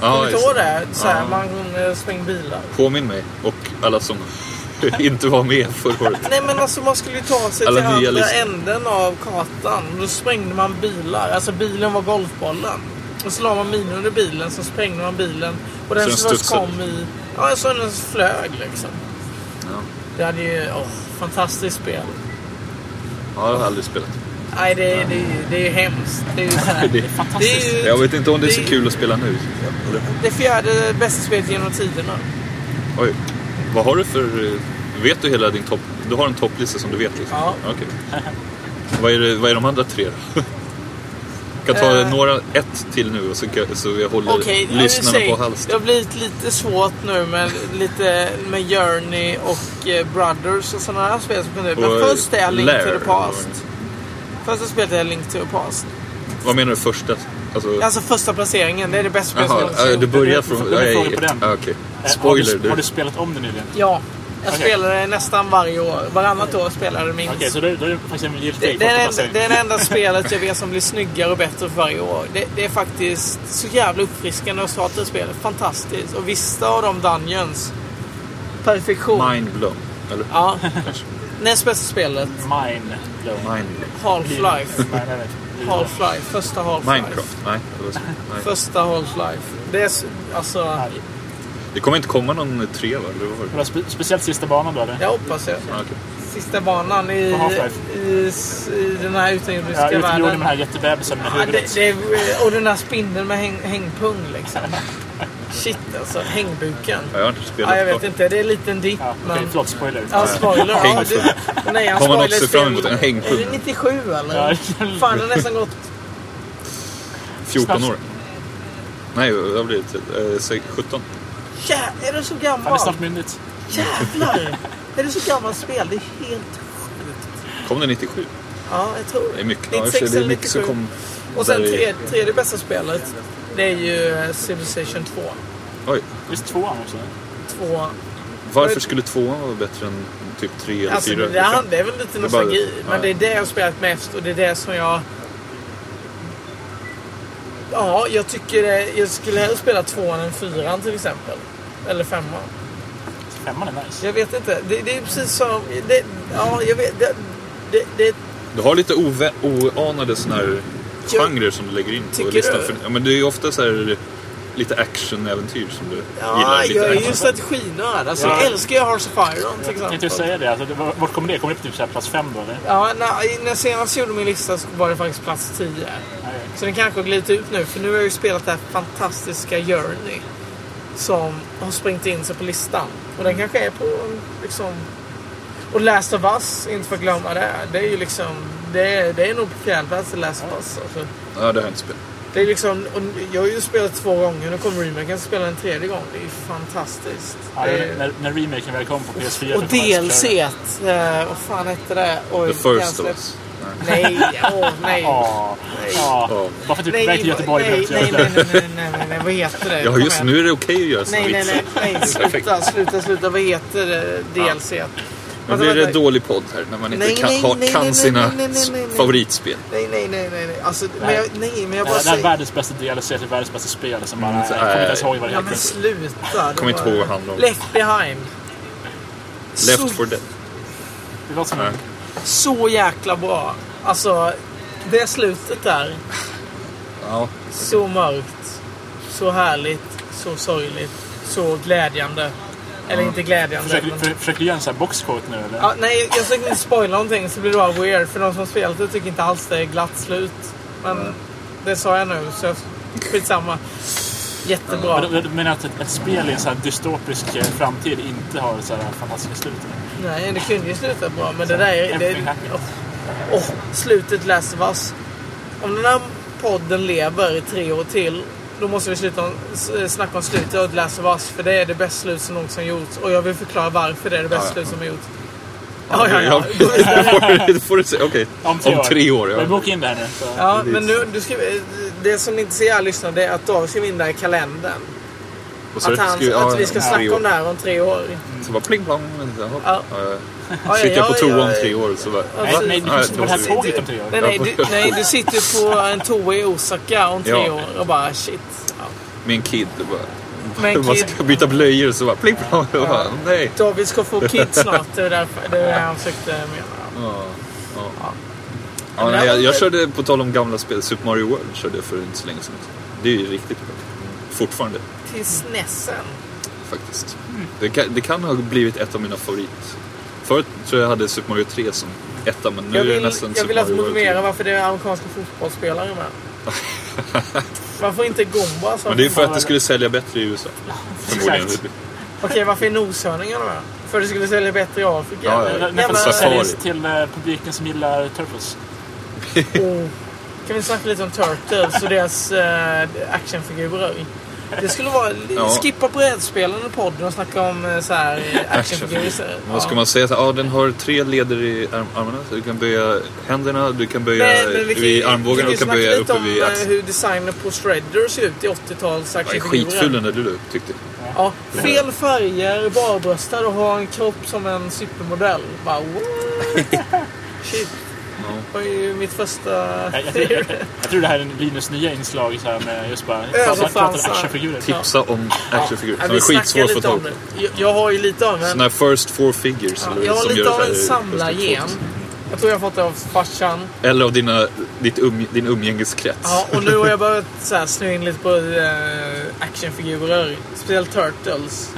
Speaker 3: Ja,
Speaker 4: Kommer du
Speaker 3: just
Speaker 4: ihåg det? Så här,
Speaker 3: Ja.
Speaker 4: Man eh, svänger bilar.
Speaker 3: Påminn mig och alla som [LAUGHS] inte var med förra året.
Speaker 4: Nej men alltså man skulle ju ta sig
Speaker 3: Alla
Speaker 4: till
Speaker 3: nya
Speaker 4: andra
Speaker 3: listor.
Speaker 4: änden av kartan. Då sprängde man bilar. Alltså bilen var golfbollen. Och så la man minor under bilen, så sprängde man bilen. Och den
Speaker 3: Så
Speaker 4: så
Speaker 3: den studsade?
Speaker 4: kom i... Ja, så den flög liksom.
Speaker 3: Ja.
Speaker 4: Det hade ju... Åh, fantastiskt spel.
Speaker 3: Ja, det har jag aldrig spelat.
Speaker 4: Nej, det, är- det, är ju- det är ju hemskt. Det är ju så
Speaker 3: [LAUGHS]
Speaker 4: här-
Speaker 3: Det,
Speaker 4: det är
Speaker 3: jag
Speaker 4: ju
Speaker 3: vet inte om det är så kul att spela nu.
Speaker 4: det fjärde bästa spelet genom tiderna.
Speaker 3: Oj. Vad har du för... eh, Vet du hela din topp... Du har en topplista som du vet liksom?
Speaker 4: Ja.
Speaker 3: Okej. Vad, är det, vad är de andra tre då? Jag kan ta
Speaker 4: Eh.
Speaker 3: några, ett till nu och så, kan- så jag håller
Speaker 4: Okej, jag vill
Speaker 3: lyssnarna
Speaker 4: säga,
Speaker 3: på halsen.
Speaker 4: Det har blivit lite svårt nu med, lite, med Journey och eh, Brothers och sådana här spel som kunde... Men
Speaker 3: Och,
Speaker 4: först är Link
Speaker 3: Lair,
Speaker 4: to the
Speaker 3: eller
Speaker 4: Past. Första spelet är Link to the Past.
Speaker 3: Vad menar du första? Alltså...
Speaker 4: Alltså första placeringen, det är det bästa spelet som
Speaker 3: Jaha,
Speaker 4: jag någonsin
Speaker 3: äh, du
Speaker 4: gjort.
Speaker 3: börjar
Speaker 5: Jag
Speaker 3: från...
Speaker 5: får komma ihåg på den.
Speaker 3: ah, okej.
Speaker 5: Eh,
Speaker 3: Spoiler
Speaker 5: har, du, har
Speaker 3: du.
Speaker 5: du spelat om det nyligen?
Speaker 4: Ja, jag
Speaker 5: Okej.
Speaker 4: spelar det nästan varje år. Varannat år spelar jag det minst.
Speaker 5: Okej, så då, då är det faktiskt en
Speaker 4: Det,
Speaker 5: giltig
Speaker 4: det, är det,
Speaker 5: första
Speaker 4: enda- det är det enda spelet jag vet som blir snyggare och bättre för varje år. Det, det är faktiskt så jävla uppfriskande att starta ett spel. Fantastiskt. Och vissa av de Dungeons. Perfektion.
Speaker 3: Mind blown. Eller?
Speaker 4: Ja.
Speaker 3: Kanske.
Speaker 4: Näst bästa spelet.
Speaker 5: Mine. blown.
Speaker 3: Mind blown.
Speaker 4: Half-Life.
Speaker 5: Nej, nej, nej.
Speaker 4: Half-Life. Första Half-Life.
Speaker 3: Minecraft? Nej. det var så- nej.
Speaker 4: Första Half-Life. Det är s- alltså...
Speaker 5: Nej.
Speaker 3: Det kommer inte komma någon tre va? Eller vad var det?
Speaker 5: Det var spe, speciellt sista banan då eller?
Speaker 4: Jag hoppas det.
Speaker 3: Ah, okej.
Speaker 4: Sista banan i,
Speaker 5: På Half-Life.
Speaker 4: i, s- i den här
Speaker 5: Ja,
Speaker 4: utomjordiska
Speaker 5: utomjorden med den
Speaker 4: världen.
Speaker 5: här jättebebisen med
Speaker 4: Ja,
Speaker 5: huvudet.
Speaker 4: det, det är, och den där spindeln med häng, hängpung liksom. Shit alltså, hängbuken.
Speaker 3: Ja, jag har inte spelat
Speaker 4: Ja, jag vet
Speaker 3: klart.
Speaker 4: inte, det är en liten dipp
Speaker 5: Ja, okej,
Speaker 4: men...
Speaker 5: förlåt. Spoiler.
Speaker 4: Ja, spoiler. Ja,
Speaker 3: Hängpung.
Speaker 4: det, nej, han
Speaker 3: Har man
Speaker 4: spoilar
Speaker 3: något att se
Speaker 4: ett
Speaker 3: fram
Speaker 4: spel-
Speaker 3: emot? En hängpung?
Speaker 4: Är det 97 eller?
Speaker 5: Ja.
Speaker 4: Fan, det har nästan gått...
Speaker 3: 14 år? Nej, jag blir det? Eh, 17?
Speaker 4: Jä, är det så
Speaker 5: Han är
Speaker 4: gammal?
Speaker 5: snart myndigt.
Speaker 4: Jävlar! Är det så gammalt spel? Det är helt sjukt.
Speaker 3: Kom det 97?
Speaker 4: Ja, jag tror
Speaker 3: Det är mycket. Ja, i och för sig, det är mycket som kom
Speaker 4: Och sen
Speaker 3: där i-
Speaker 4: tredje, tredje bästa spelet, det är ju eh, Civilization 2.
Speaker 3: Oj.
Speaker 5: Visst tvåan också?
Speaker 4: 2
Speaker 3: Varför skulle tvåan vara bättre än typ tre eller
Speaker 4: Alltså,
Speaker 3: fyra? liksom.
Speaker 4: det, här, det är väl lite
Speaker 3: är bara-
Speaker 4: nostalgi.
Speaker 3: ja.
Speaker 4: Men det är det jag har spelat mest och det är det som jag... Ja, jag tycker det, Jag skulle hellre spela tvåan än fyran till exempel. Eller femman.
Speaker 5: Femman är nice.
Speaker 4: Jag vet inte. Det, det är precis som... Det, ja, jag vet. Det, det, det
Speaker 3: Du har lite ove, oanade såna här
Speaker 4: Jo.
Speaker 3: genrer som du lägger in på
Speaker 4: Tycker
Speaker 3: listan.
Speaker 4: du?
Speaker 3: För, ja, men det är ju ofta så här lite actionäventyr som du
Speaker 4: ja,
Speaker 3: gillar. Lite
Speaker 4: jag är
Speaker 3: action.
Speaker 4: ju strateginörd. Alltså,
Speaker 5: Ja.
Speaker 4: Jag älskar ju Hearts of Iron till
Speaker 5: Kan
Speaker 4: exempel.
Speaker 5: inte du säga det? Alltså, det- vart kommer det? Kommer det på typ så här plats fem då eller?
Speaker 4: Ja, när, när jag senast gjorde min lista så var det faktiskt plats 10. Så den kanske har glidit ut nu, för nu har jag ju spelat det här fantastiska Journey. Som har sprängt in sig på listan. Och den kanske är på liksom... Och Last of Us, inte för att glömma det. Det är ju liksom... Det är, det är nog på fjärde plats, Last of Us. Alltså.
Speaker 3: Ja, det har jag inte spelat.
Speaker 4: Det är liksom, och jag har ju spelat två gånger, nu kommer remaken spela en tredje gång. Det är ju fantastiskt.
Speaker 5: Ja,
Speaker 4: det
Speaker 5: jag-
Speaker 4: är...
Speaker 5: när, när remaken väl kom på PS4
Speaker 4: Eh. Och
Speaker 5: så kom jag
Speaker 4: DLC,
Speaker 5: köra.
Speaker 4: eh, vad fan hette det? Oj,
Speaker 3: The first
Speaker 4: jävlar.
Speaker 3: of us. Nej.
Speaker 4: Nej, åh nej.
Speaker 5: Ja. Ja. Bara för att du är på väg till Göteborg
Speaker 4: nej,
Speaker 5: behövs
Speaker 4: nej, nej,
Speaker 5: det.
Speaker 4: nej, nej, nej, nej, nej, vad heter det?
Speaker 3: Ja,
Speaker 4: Kom
Speaker 3: just
Speaker 4: igen.
Speaker 3: nu är det okej att göra såna
Speaker 4: Nej, nej, nej,
Speaker 3: vitsar. [LAUGHS]
Speaker 4: nej, sluta, sluta, sluta. Vad heter eh, det? DLC?
Speaker 3: Nu
Speaker 4: Vänta,
Speaker 3: blir det
Speaker 4: vänta.
Speaker 3: dålig podd här när man inte
Speaker 4: Nej,
Speaker 3: kan,
Speaker 4: nej,
Speaker 3: ha,
Speaker 4: nej,
Speaker 3: kan
Speaker 4: nej,
Speaker 3: sina
Speaker 4: nej, nej, nej, nej, nej.
Speaker 3: favoritspel.
Speaker 4: Nej, nej, nej, nej, nej. Alltså, men
Speaker 5: Nej.
Speaker 4: jag, nej, men jag
Speaker 5: Det
Speaker 4: bara
Speaker 5: här- det här är
Speaker 4: säger...
Speaker 5: världens bästa DLC till världens bästa spel. Som bara,
Speaker 3: Mm, så
Speaker 5: jag kommer inte
Speaker 3: är-
Speaker 5: ens ihåg vad det
Speaker 4: Ja, men
Speaker 5: heter.
Speaker 4: sluta.
Speaker 3: Kommer inte
Speaker 4: Det var-
Speaker 3: ihåg vad det handlar om.
Speaker 4: Left behind. Så
Speaker 3: Left 4 Dead.
Speaker 5: Det låter som
Speaker 3: Nej.
Speaker 5: en...
Speaker 4: Så jäkla bra. Alltså, det slutet där.
Speaker 3: Ja.
Speaker 4: Så mörkt. Så härligt. Så sorgligt. Så glädjande. Eller inte glädjande.
Speaker 5: Försöker,
Speaker 4: men-
Speaker 5: för, försöker du göra en sån här boxcoat nu eller?
Speaker 4: Ja, nej, jag ska inte spoila någonting så blir det bara weird. För de som har spelat det tycker inte alls det är glatt slut. Men det sa jag nu, så jag- skitsamma. Jättebra.
Speaker 5: Men, du menar att ett, ett spel i en sån här dystopisk eh, framtid inte har så här fantastiska slut? eller?
Speaker 4: Nej, det kunde ju sluta bra, men det där är... Det,
Speaker 5: Everything happens.
Speaker 4: Åh, slutet Last of Us. Om den här podden lever i tre år till, då måste vi sluta om, s- eh, snacka om slutet av Last of Us. För det är det bästa slut som någonsin gjorts. Och jag vill förklara varför det är det bästa
Speaker 3: Ja, ja.
Speaker 4: slut som har gjorts. Ja, ja, ja.
Speaker 3: Det får- det får du säga. Okej.
Speaker 5: Om tre år. Men
Speaker 3: ja.
Speaker 5: boka in det här nu. Så.
Speaker 4: Ja, men nu, du ska, det som ni inte ser här lyssnare, det är att David skrev in det här i kalendern.
Speaker 3: Och så
Speaker 4: Att, han,
Speaker 3: ska vi- ja,
Speaker 4: att vi ska
Speaker 3: om tre
Speaker 4: snacka
Speaker 3: år.
Speaker 4: om det här om tre år.
Speaker 3: Så bara pling plong. Jaha.
Speaker 4: Ja.
Speaker 3: Ja.
Speaker 4: Ja,
Speaker 3: Kika
Speaker 4: ja,
Speaker 3: på toa
Speaker 4: ja,
Speaker 3: om
Speaker 4: ja.
Speaker 3: tre år så bara...
Speaker 5: Nej, nej, du
Speaker 3: Nej,
Speaker 5: kan sitta på det
Speaker 3: det
Speaker 5: här
Speaker 3: måste
Speaker 5: tåget om tre år.
Speaker 4: Nej, nej, du, nej, du sitter ju på en toa i Osaka om tre
Speaker 3: Ja.
Speaker 4: år och bara shit. Ja.
Speaker 3: Min kid. det Bara, [LAUGHS]
Speaker 4: Men
Speaker 3: man
Speaker 4: kid,
Speaker 3: ska byta blöjor så bara pling plong. Jag bara, Nej.
Speaker 4: David ska få kid snart. Det är därför- det är det han försökte mena.
Speaker 3: Ja, ja. Ja, nej, jag, jag körde, på tal om gamla spel, Super Mario World körde jag för inte så länge sedan. Det är ju riktigt bra.
Speaker 4: Mm.
Speaker 3: Fortfarande,
Speaker 4: Till snessen.
Speaker 3: faktiskt. Det, kan, det kan ha blivit ett av mina favorit... Förut tror jag jag hade Super Mario 3 som etta, men nu
Speaker 4: Jag
Speaker 3: är det
Speaker 4: vill,
Speaker 3: nästan
Speaker 4: jag
Speaker 3: Super
Speaker 4: vill att
Speaker 3: Mario
Speaker 4: motivera
Speaker 3: World.
Speaker 4: varför det är amerikanska fotbollsspelare med. Varför inte Gomba? som-
Speaker 3: Men det är för att det skulle sälja bättre i USA. Förmodligen.
Speaker 5: Exakt.
Speaker 4: Okej, varför är noshörningarna med? För att det skulle sälja bättre i Afrika?
Speaker 3: Ja, ja.
Speaker 4: eller?
Speaker 5: Nej,
Speaker 4: Ja,
Speaker 5: för att det
Speaker 4: men-
Speaker 3: Safari.
Speaker 5: säljs till eh, publiken som gillar Turtles.
Speaker 4: Oh. Kan vi snacka lite om Turtles och deras eh, actionfigurer? Det skulle vara...
Speaker 3: Ja.
Speaker 4: Skippa brädspelen i podden och snacka om eh, så här,
Speaker 3: [LAUGHS]
Speaker 4: eh, actionfigurer istället.
Speaker 3: Vad ska man säga? Så, Ja, den har tre leder i arm- armarna. Så du kan böja händerna, du kan böja
Speaker 4: Men, men vi kan,
Speaker 3: vid armbågarna
Speaker 4: kan
Speaker 3: och
Speaker 4: vi
Speaker 3: du kan
Speaker 4: snacka
Speaker 3: böja
Speaker 4: lite
Speaker 3: uppe
Speaker 4: om
Speaker 3: vid
Speaker 4: eh,
Speaker 3: axeln.
Speaker 4: hur designen på Shredder ser ut i 80-tals
Speaker 3: Ja, det är
Speaker 4: actionfigurer?
Speaker 3: Skitful den där du du tyckte.
Speaker 4: Ja, fel färger, barbröstad och ha en kropp som en supermodell. Bara
Speaker 3: [LAUGHS]
Speaker 4: what? Shit. Det var ju mitt
Speaker 5: [LAUGHS]
Speaker 4: första...
Speaker 5: Jag, jag, tror- jag, jag tror det här är Linus nya inslag så här med just bara...
Speaker 4: Överfransar.
Speaker 5: prata om actionfigurer.
Speaker 3: Tipsa om actionfigurer.
Speaker 4: Ja,
Speaker 3: Som Alltså, är
Speaker 4: vi
Speaker 3: skitsvår
Speaker 4: snackar
Speaker 3: att få
Speaker 4: lite om
Speaker 3: tag på.
Speaker 4: det. Jag, jag har ju lite av en...
Speaker 3: Sådana här first four figures.
Speaker 4: Ja,
Speaker 3: eller
Speaker 4: jag har
Speaker 3: som
Speaker 4: lite
Speaker 3: gör
Speaker 4: av
Speaker 3: så här-
Speaker 4: en samlargen. Jag tror jag har fått det av farsan.
Speaker 3: Eller av dina, ditt um, din umgängeskrets.
Speaker 4: Ja, och nu har jag börjat så här, snöa in lite på eh, actionfigurer. Speciellt Turtles.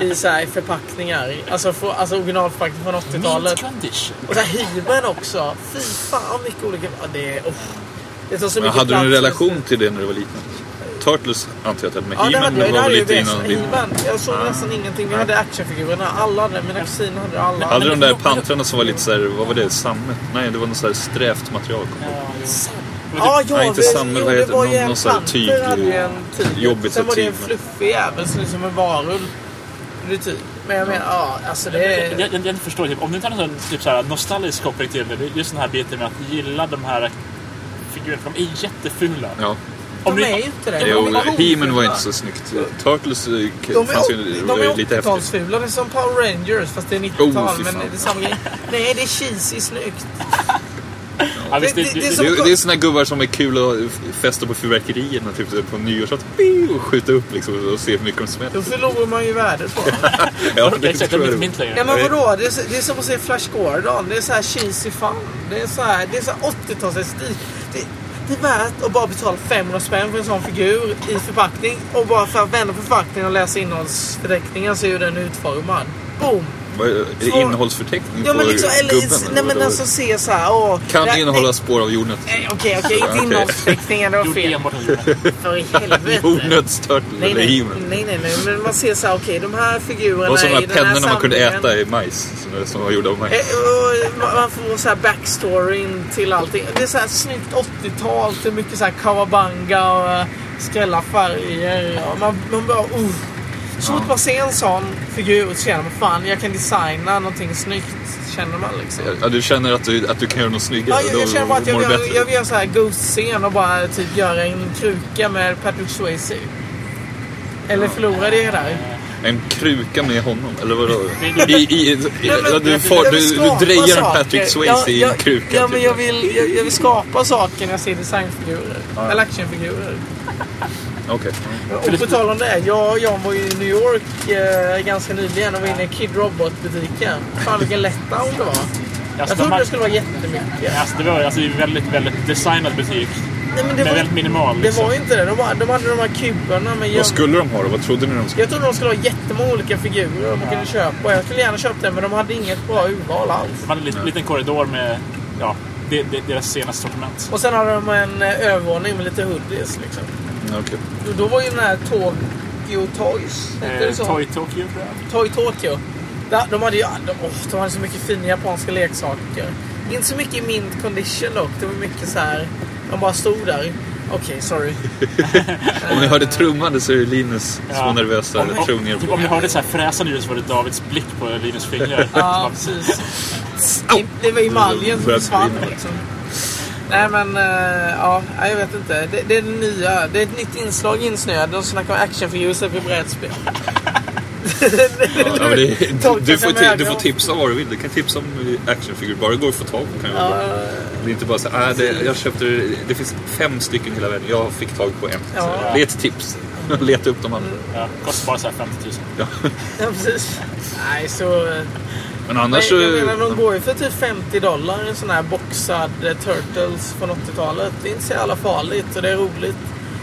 Speaker 4: I så här, förpackningar. Alltså, för, alltså originalförpackning från 80-talet.
Speaker 5: Meat condition.
Speaker 4: Och så här hybern också. Fy fan vilka olika... Ja, det, är- uff. det tar så
Speaker 3: Men
Speaker 4: mycket
Speaker 3: hade du en
Speaker 4: plats.
Speaker 3: relation till det när du var liten? Turtles antar jag att du
Speaker 4: Ja,
Speaker 3: hade,
Speaker 4: det
Speaker 3: men
Speaker 4: hade
Speaker 3: He-Man
Speaker 4: jag.
Speaker 3: var väl lite
Speaker 4: Det hade jag ju bäst.
Speaker 3: innan din...
Speaker 4: He-Man. Jag såg nästan ingenting. Vi hade actionfigurerna. Alla hade Mina kusiner hade alla.
Speaker 3: Hade de där pantrarna som var lite såhär, vad var det, sammet? Nej, det var något såhär strävt material.
Speaker 4: Ja, ja,
Speaker 3: Nej, inte
Speaker 4: vi-
Speaker 3: samma,
Speaker 4: jo,
Speaker 3: vad
Speaker 4: det
Speaker 3: heter det?
Speaker 4: var ju
Speaker 3: Någon-
Speaker 4: en
Speaker 3: någon sån här
Speaker 4: panter
Speaker 3: tyg-
Speaker 4: hade ju en tyg.
Speaker 3: jobbigt
Speaker 4: Sen
Speaker 3: så
Speaker 4: var det en
Speaker 3: tyg, men-
Speaker 4: fluffig jävel som liksom en varulv. Det är tyg. Men jag menar, ja, alltså det
Speaker 5: Jag,
Speaker 4: är...
Speaker 5: jag, jag förstår, typ, om du inte hade någon typ, så här, nostalgisk koppling till det, det är just den här biten med att gilla de här figurerna, för de är jättefula.
Speaker 3: Ja.
Speaker 5: Om
Speaker 4: De
Speaker 5: du-
Speaker 4: är ju inte det.
Speaker 3: Jo, eh,
Speaker 4: De är
Speaker 3: He-Man var
Speaker 4: coola.
Speaker 3: inte så snyggt. Turtles eh,
Speaker 4: De är,
Speaker 3: fanns ju, var ju
Speaker 4: de
Speaker 3: lite
Speaker 4: är
Speaker 3: häftigt.
Speaker 4: 80-talsfula. Det är som Power Rangers fast det är 90-tal.
Speaker 3: Oh, fy
Speaker 4: men
Speaker 3: fan.
Speaker 4: det är samma grej. Nej, det är cheesy snyggt.
Speaker 5: Ja, visst, det,
Speaker 4: Det- det-
Speaker 5: det,
Speaker 4: det är
Speaker 5: det,
Speaker 4: så-
Speaker 3: Det är, det är såna gubbar som är kul att f- festa på fyrverkerierna typ så här på nyårsafton. Biu, Och skjuta upp liksom och se hur mycket de
Speaker 4: Då
Speaker 3: smäller.
Speaker 4: förlorar man ju värdet på dem.
Speaker 3: Ja,
Speaker 5: exakt, det
Speaker 3: tror
Speaker 5: är inte
Speaker 3: jag.
Speaker 5: mitt längre.
Speaker 4: Nej men vadå? Det är, så- det är som att se Flash Gordon. Det är så här cheesy fun. Det är så här, det är så här 80-talsestetik. Det, det är värt att bara betala 500 spänn för en sån figur i förpackning. Och bara för att vända förpackningen och läsa innehållsförteckningen så är ju den utformad. Boom!
Speaker 3: Vad är det? Är det innehållsförteckning
Speaker 4: Ja
Speaker 3: på
Speaker 4: men liksom, eller,
Speaker 3: gubben?
Speaker 4: nej men
Speaker 3: vadå?
Speaker 4: alltså se så här, åh.
Speaker 3: kan
Speaker 4: det här-
Speaker 3: innehålla spår av jordnöt.
Speaker 4: nej, Okej, okej,
Speaker 3: [LAUGHS] Okej.
Speaker 4: inte innehållsförteckningen. Det var
Speaker 5: Gjort
Speaker 4: fel.
Speaker 5: enbart av djuren.
Speaker 4: För i
Speaker 3: [LAUGHS]
Speaker 4: helvete.
Speaker 3: Jordnötstörtel
Speaker 4: Nej
Speaker 3: eller
Speaker 4: nej,
Speaker 3: himmel.
Speaker 4: nej, nej, nej, men man ser så här, okej, de här figurerna
Speaker 3: Det var sådana
Speaker 4: i den här
Speaker 3: pennor man kunde
Speaker 4: samlingen-
Speaker 3: äta i majs. som- Som var gjorda av
Speaker 4: Eh,
Speaker 3: majs.
Speaker 4: och ma- Man får så här backstoryn till allting. Det är så här snyggt 80-tal. Det är mycket så här kawabanga och eh, skrälla färger. Och man, man bara uh. Så fort man ser en sån figur så känner man fan jag kan designa någonting snyggt. Känner man liksom.
Speaker 3: Ja, du känner att du, att du kan göra något snyggare.
Speaker 4: Ja, jag, jag
Speaker 3: då
Speaker 4: känner bara att jag
Speaker 3: mår
Speaker 4: vill,
Speaker 3: du
Speaker 4: göra-
Speaker 3: bättre.
Speaker 4: jag vill göra så här Ghost-scen och bara typ göra en kruka med Patrick Swayze. Eller förlora det där.
Speaker 3: En kruka med honom, eller vadå? I, i, i,
Speaker 4: Nej, men-
Speaker 3: ja, du, får,
Speaker 4: jag
Speaker 3: du,
Speaker 4: vill skapa
Speaker 3: du drejar en
Speaker 4: saker.
Speaker 3: Patrick Swayze i
Speaker 4: Ja,
Speaker 3: en
Speaker 4: ja,
Speaker 3: kruka.
Speaker 4: Ja,
Speaker 3: typ.
Speaker 4: men jag vill, jag, jag vill skapa saker när jag ser designfigurer. Eller actionfigurer.
Speaker 3: Okej.
Speaker 4: Och på tal om det, jag och John var ju i New York eh, ganska nyligen och var inne i Kid Robot-butiken. Fan vilken letdown det var. Jag
Speaker 5: Alltså,
Speaker 4: trodde
Speaker 5: man-
Speaker 4: det skulle vara jättemycket.
Speaker 5: Alltså, det var alltså, det är en väldigt, väldigt designad butik.
Speaker 4: Nej, men det
Speaker 5: Men
Speaker 4: var,
Speaker 5: väldigt minimal.
Speaker 4: det var
Speaker 5: liksom.
Speaker 4: ju inte det. De, hade- de hade de här kuberna med göm-
Speaker 3: Vad skulle de ha då? Vad trodde ni de skulle
Speaker 4: Jag trodde de skulle ha jättemånga olika figurer man kunde köpa. Jag skulle gärna köpt den men de hade inget bra urval alls.
Speaker 5: De hade en lit- liten korridor med ja, de, de, deras senaste sortiment.
Speaker 4: Och sen hade de en eh, övervåning med lite hoodies liksom.
Speaker 3: ha? Okej.
Speaker 4: Och Då var ju den här Tokyo Toys, hette det
Speaker 5: Eh,
Speaker 4: så?
Speaker 5: Toy Tokyo tror jag.
Speaker 4: Toy Tokyo. Där, de, hade ju, ah, de, åh, de hade så mycket fina japanska leksaker. Inte så mycket i mint condition dock. Det var mycket så här. De bara stod där. Okej, sorry.
Speaker 3: Om ni hörde trummande så är det Linus små
Speaker 5: Ja.
Speaker 3: nervösa
Speaker 5: Om- om-
Speaker 3: reaktioner.
Speaker 5: Typ om ni hörde så här fräsande ljud så var det Davids blick på Linus fingrar.
Speaker 4: Ja, precis. Det, det var emaljen som
Speaker 3: Började
Speaker 4: försvann
Speaker 3: brinna.
Speaker 4: liksom. Nej men, eh, ja, nej, jag vet inte. Det, det är det nya. Det är ett nytt inslag i Insnöad. De snackar om actionfigurer istället för brädspel.
Speaker 3: Ja, men det, du,
Speaker 4: Tolka
Speaker 3: du, får,
Speaker 4: sig
Speaker 3: ti-
Speaker 4: med
Speaker 3: du får
Speaker 4: ögon.
Speaker 3: tipsa vad du vill. Du kan tipsa om actionfigurer. Bara det går att få tag på kan jag Det är inte bara så här, "Ah, det, jag köpte, det finns fem stycken i hela världen. Jag fick tag på en.
Speaker 4: Ja. Mm.
Speaker 3: Så, det är ett tips. [LAUGHS] Leta upp de andra.
Speaker 5: Ja, kostar bara så här 50 000.
Speaker 4: Ja, precis. Nej, så... eh,
Speaker 3: Men annars
Speaker 4: Nej, jag
Speaker 3: så-
Speaker 4: menar, de går ju för typ 50 dollar en sån här boxad eh, Turtles från 80-talet. Det är inte så jävla farligt och det är roligt.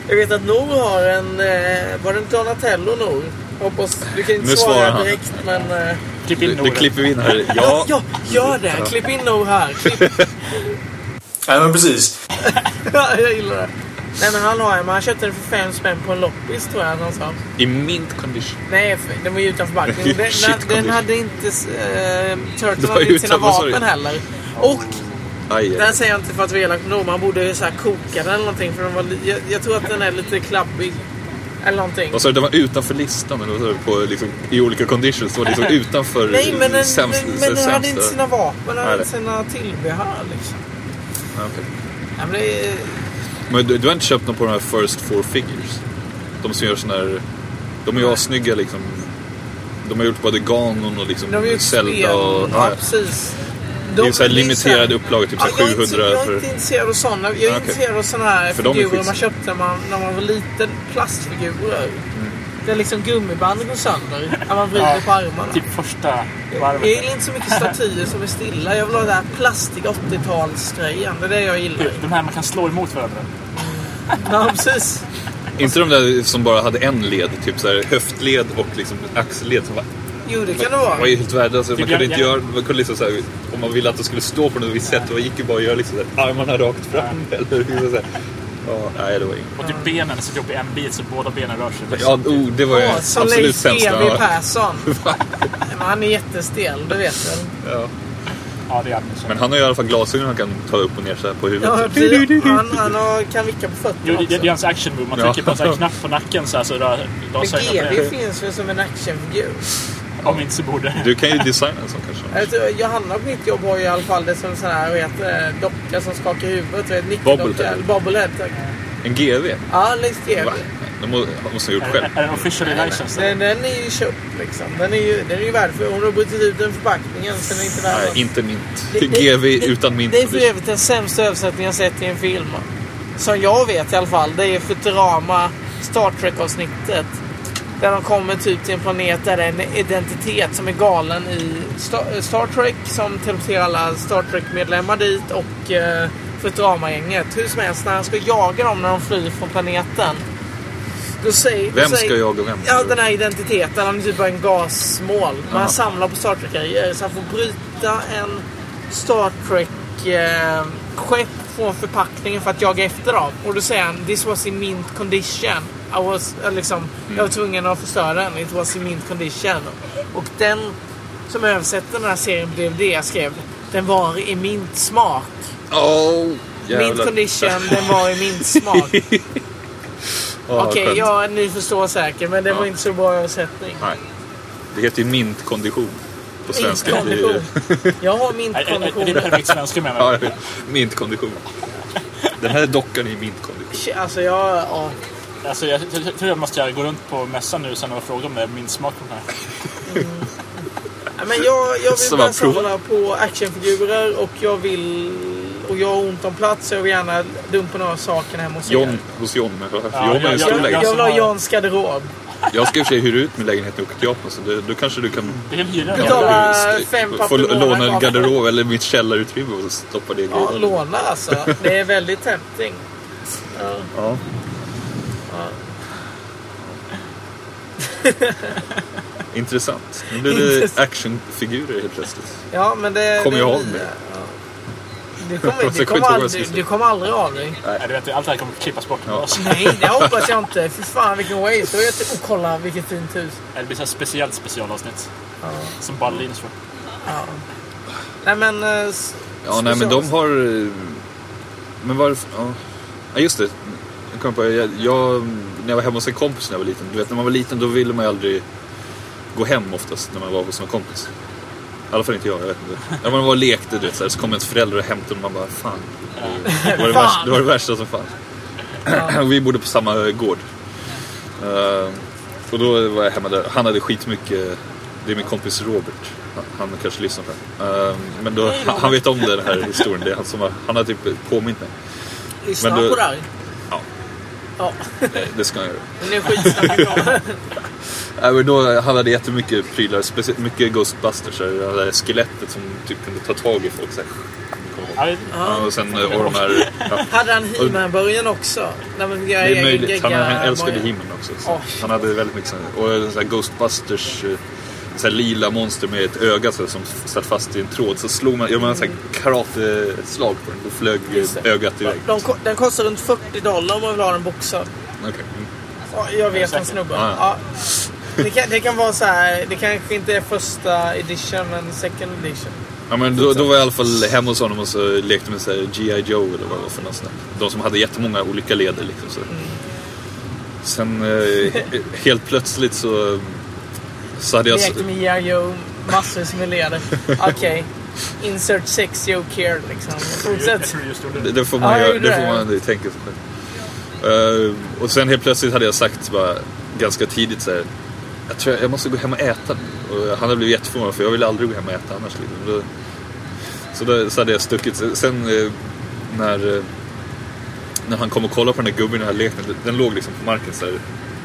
Speaker 4: Jag vet att Nor har en... Eh, var det en Donatello Nor? Hoppas... Du kan inte
Speaker 3: Nu
Speaker 4: svara
Speaker 3: svarar han.
Speaker 4: direkt men... Eh,
Speaker 5: Klipp
Speaker 3: Nu,
Speaker 5: in
Speaker 3: nu
Speaker 5: Norden.
Speaker 3: klipper vi in här.
Speaker 4: [LAUGHS] ja.
Speaker 3: Ja,
Speaker 4: ja, gör det! Klipp in
Speaker 3: [LAUGHS]
Speaker 4: Nor här. Klipp.
Speaker 8: Nej men precis.
Speaker 4: [LAUGHS] Ja, jag gillar det. Nej men han har en, men han köpte den för fem spänn på en loppis tror jag att han sa.
Speaker 3: i mint condition.
Speaker 4: Nej, för- den var ju utanför backen.
Speaker 3: [LAUGHS]
Speaker 4: Den,
Speaker 3: Shit,
Speaker 4: den, den
Speaker 3: Anders.
Speaker 4: hade inte... Eh, Turtles
Speaker 3: Det var
Speaker 4: hade inte sina
Speaker 3: utanför, sorry.
Speaker 4: vapen heller. Och
Speaker 3: Aj,
Speaker 4: Den
Speaker 3: aj.
Speaker 4: säger jag inte för att vi är elak mot någon. Man borde så här koka den eller någonting. För den var, li- jag, jag tror att den är lite klabbig. Eller någonting.
Speaker 3: Vad sa du? Den var utanför listan? Eller vad sa du? På, liksom, I olika conditions? Den var liksom utanför
Speaker 4: [LAUGHS] Nej, men den,
Speaker 3: sämst,
Speaker 4: men den hade
Speaker 3: sämsta-
Speaker 4: inte sina vapen. Den hade
Speaker 3: Nej.
Speaker 4: inte sina tillbehör liksom.
Speaker 3: Ja, okej.
Speaker 4: Nej, men det är,
Speaker 3: Men du, du har inte köpt någon på de här First Four Figures? De som gör såna här... De är ju assnygga liksom. De har gjort både Ganon och liksom
Speaker 4: de har ju ett spel.
Speaker 3: Zelda och...
Speaker 4: ja,
Speaker 3: Ja,
Speaker 4: precis.
Speaker 3: det är ju så här
Speaker 4: De-
Speaker 3: limiterad upplaga, typ så
Speaker 4: Ja, jag, är
Speaker 3: 700
Speaker 4: inte, så- jag är
Speaker 3: för... Ah,
Speaker 4: inte intresserad av sådana. Jag är
Speaker 3: okej.
Speaker 4: intresserad av sådana här
Speaker 3: För de är
Speaker 4: figurer
Speaker 3: skits-
Speaker 4: man köpte när man, när man var liten. Plastfigurer.
Speaker 3: Mm.
Speaker 4: Där liksom gummibandet går sönder. När man vrider
Speaker 5: Ja.
Speaker 4: på armarna.
Speaker 5: Typ första
Speaker 4: Jag
Speaker 5: varvet.
Speaker 4: gillar inte så mycket statyer som är stilla. Jag vill ha den här plastiga 80-talsgrejen. Det är det jag gillar.
Speaker 5: Typ, de här man kan slå emot varandra.
Speaker 4: Ja, precis.
Speaker 3: Inte de där som bara hade en led, typ så här höftled och liksom axelled som var
Speaker 4: Jo, det kan det
Speaker 3: Det var
Speaker 4: vara.
Speaker 3: ju helt värdelöst. Man
Speaker 5: Typ
Speaker 3: kunde
Speaker 5: jag-
Speaker 3: inte
Speaker 5: jag-
Speaker 3: göra... Man kunde liksom så här, om man ville att det skulle stå på något visst sätt, då gick ju bara att göra liksom så här, armarna rakt fram. Eller liksom så här. Ja, nej, det var inget.
Speaker 5: Och typ benen sitter ihop i en bit så båda benen rör sig.
Speaker 3: Ja, oh, det var ju
Speaker 4: Åh, som
Speaker 3: absolut
Speaker 4: Leif
Speaker 3: sämsta.
Speaker 4: GW
Speaker 3: Ja. [LAUGHS]
Speaker 4: Persson. Men han är jättestel, det vet jag.
Speaker 3: Ja.
Speaker 5: Ja, det är Anders.
Speaker 3: Men han har ju i alla fall glasögon han kan ta upp och ner så här på huvudet.
Speaker 4: Ja, precis. han han har, kan vicka på
Speaker 5: Jo,
Speaker 4: fötterna
Speaker 5: det, det är
Speaker 4: också.
Speaker 5: hans action move. Man
Speaker 3: Ja.
Speaker 5: trycker på en sån här knapp på nacken så här så rör
Speaker 4: Men
Speaker 5: glasögonen på
Speaker 4: GW
Speaker 5: det.
Speaker 4: finns väl som en actionfigur?
Speaker 5: Om inte så borde.
Speaker 3: Du kan ju designa en sån kanske.
Speaker 4: Jag tror, Alltså, Johanna på mitt jobb har ju i alla fall det som sån här eh, vad heter det, docka som skakar huvudet. Vet, Nicky-docka,
Speaker 3: Bobblehead.
Speaker 4: eller Bobblehead. tack.
Speaker 3: En GV?
Speaker 4: Ja, Leif GW.
Speaker 3: Va? Det må- måste han ha gjort själv.
Speaker 5: Är den officially licensed?
Speaker 4: Den, den är ju köpt liksom. Den är ju, den är ju värd för... Hon har brutit ut den förpackningen så den är inte värd
Speaker 3: Nej,
Speaker 4: något.
Speaker 3: inte mint.
Speaker 4: Det- det-
Speaker 3: GV
Speaker 4: det-
Speaker 3: utan mint.
Speaker 4: Det är för övrigt den sämsta översättningen jag sett i en film. Som jag vet i alla fall. Det är Futurama Star Trek-avsnittet. Där de kommer typ till en planet där det är en identitet som är galen i Star, eh, Star Trek. Som teleporterar alla Star Trek-medlemmar dit och eh, Futurama-gänget. Hur som helst, när han ska jaga dem när de flyr från planeten. Då säger,
Speaker 3: Vem
Speaker 4: då säger,
Speaker 3: ska jaga vem?
Speaker 4: alltså, Ja, den här identiteten. Han är typ bara en gasmål. Men
Speaker 3: Jaha.
Speaker 4: han samlar på Star Trek-grejer. Så han får bryta en Star Trek-skepp från förpackningen för att jaga efter dem. Och då säger han “This was in mint condition”. I was, eh, liksom, Jag var tvungen att förstöra den. “It was in mint condition”. Och den som översätter den här serien blev det jag skrev. Den var i mint smak.
Speaker 3: Oh,
Speaker 4: Mint condition, den var i mint smak.
Speaker 3: [LAUGHS] Ja,
Speaker 4: Okej,
Speaker 3: skönt.
Speaker 4: ja, ni förstår säkert. Men det
Speaker 3: Ja.
Speaker 4: var inte så bra översättning.
Speaker 3: Nej. Det heter ju mintkondition på svenska. Det är ju-
Speaker 4: Mintkondition. Jag har
Speaker 5: Är, är, är
Speaker 4: mintkondition.
Speaker 5: det perfekt svenska
Speaker 3: [LAUGHS]
Speaker 5: menar
Speaker 3: Ja,
Speaker 5: du?
Speaker 3: jag vet. mintkondition. Den här dockan är i mintkondition.
Speaker 4: Shit, Alltså jag... Ja.
Speaker 5: Alltså, jag t- t- tror jag måste gå runt på mässan nu sen och fråga om det är min smak på den här.
Speaker 4: Nej, Men jag, jag vill
Speaker 3: Så
Speaker 4: bara
Speaker 3: man provar.
Speaker 4: samla på actionfigurer och jag vill... Och jag har ont om plats så jag vill gärna dumpa några saker hemma hos
Speaker 3: John,
Speaker 4: er.
Speaker 3: hos John. men John
Speaker 5: Ja,
Speaker 3: är en
Speaker 5: jag-
Speaker 3: stor
Speaker 4: Jag, jag
Speaker 3: lägenhet.
Speaker 4: vill ha Johns garderob.
Speaker 3: Jag ska i och för sig hyra ut min lägenhet när jag åker till Japan. Så det, då kanske du kan
Speaker 5: Du kan hyra den.
Speaker 4: Betala.
Speaker 5: Ja.
Speaker 4: Betala fem papp i
Speaker 3: få
Speaker 4: månaden
Speaker 3: låna en
Speaker 4: bara.
Speaker 3: garderob eller mitt källarutrymme och stoppa det i
Speaker 4: Ja,
Speaker 3: garderoben.
Speaker 4: låna alltså. Det är väldigt tempting.
Speaker 3: Ja. [LAUGHS] Intressant. Nu blir det actionfigurer helt plötsligt.
Speaker 4: Ja, men det...
Speaker 3: Kommer
Speaker 4: det
Speaker 3: jag
Speaker 4: är
Speaker 3: ihåg
Speaker 4: nya.
Speaker 3: det?
Speaker 4: Ja. Du
Speaker 3: Jag
Speaker 4: kommer,
Speaker 3: ska
Speaker 4: du
Speaker 3: inte
Speaker 4: kommer,
Speaker 3: ihåg
Speaker 4: aldrig,
Speaker 3: vad
Speaker 4: du kommer aldrig av dig.
Speaker 5: Nej, du vet, allt det här kommer klippas bort.
Speaker 3: Ja.
Speaker 4: Nej, det hoppas jag inte. Fy fan vilken waste. Och jag tycker- och kolla vilket fint hus.
Speaker 5: Det blir ett speciellt specialavsnitt. Som bara Linus får.
Speaker 4: Nej men... eh, s-
Speaker 3: Ja, nej men de har... eh, Men varför... Ja, ja just det. Jag, kom på, jag, jag, när jag var hemma hos en kompis när jag var liten. Du vet, när man var liten då ville man ju aldrig gå hem oftast när man var hos någon kompis. I alla fall inte jag, jag vet inte. När man var och lekte du vet, så, här, så kom ens föräldrar och hämtade och man bara fan. Det var det, värsta, det, var det värsta som fanns. Och [CLEARS THROAT] Vi bodde på samma gård. Eh, och då var jag hemma där. Han hade skitmycket... Det är min kompis Robert. Han- Han kanske lyssnar på det här. Eh, Men då, han- han vet om den här historien. Det är han, som har, han har typ påmint mig.
Speaker 4: Lyssna
Speaker 3: men du-
Speaker 4: på det här.
Speaker 3: Ja.
Speaker 4: Ja,
Speaker 3: Nej, Det ska han göra.
Speaker 4: nu skitsnackar jag.
Speaker 3: Nej, men då, eh, han hade jättemycket prylar. Speciellt mycket Ghostbusters. så Det där skelettet som typ kunde ta tag i folk. Så här. Kommer ihåg.
Speaker 5: Ja, det-
Speaker 3: Ja, och sen eh, och de här... Ja.
Speaker 4: Hade han He-Man-början också? [LAUGHS] Nej, men jag,
Speaker 3: Det är
Speaker 4: jag-
Speaker 3: möjligt. Han,
Speaker 4: jag-
Speaker 3: han
Speaker 4: jag-
Speaker 3: älskade
Speaker 4: jag-
Speaker 3: himlen också. Så.
Speaker 4: Åh.
Speaker 3: Han hade väldigt mycket sånt. Och en sån här Ghostbusters eh, så här lila monster med ett öga så här, som satt fast i en tråd. Så slog man, gjorde man en sån här karateslag på den. Då flög eh,
Speaker 4: Just det.
Speaker 3: ögat iväg.
Speaker 4: De, ko- den kostar runt 40 dollar om man vill ha den boxad.
Speaker 3: Okej. Mm.
Speaker 4: Ja, Jag vet en snubbe.
Speaker 3: Ja,
Speaker 4: Ja. Det, kan, det kan vara så här. Det kanske inte är första edition men second edition.
Speaker 3: Ja, men då, då var jag i alla fall hemma hos honom och så lekte med så här G.I. Joe eller vad det var för något sånt där. De som hade jättemånga olika leder liksom. Så.
Speaker 4: Mm.
Speaker 3: Sen eh, helt plötsligt så, så hade jag...
Speaker 4: Lekte med Yayo, massvis med leder. Okej. Insert sex joke here liksom.
Speaker 5: Jag
Speaker 4: Fortsätt.
Speaker 5: tror du just gjorde
Speaker 3: Det,
Speaker 5: det.
Speaker 3: det får
Speaker 4: Ja,
Speaker 3: man,
Speaker 4: jag
Speaker 3: göra,
Speaker 4: gjorde
Speaker 3: det
Speaker 4: det.
Speaker 3: får man det, tänka sig själv. Eh, och sen helt plötsligt hade jag sagt bara, ganska tidigt så här, jag tror jag, jag måste gå hem och äta nu. Och han hade blivit jätteförvånad för jag ville aldrig gå hem och äta annars. Liksom. Då, så, då, så hade jag stuckit. Sen eh, när, eh, när han kom och kollade på den där gubben i den här leken, den låg liksom på marken så här,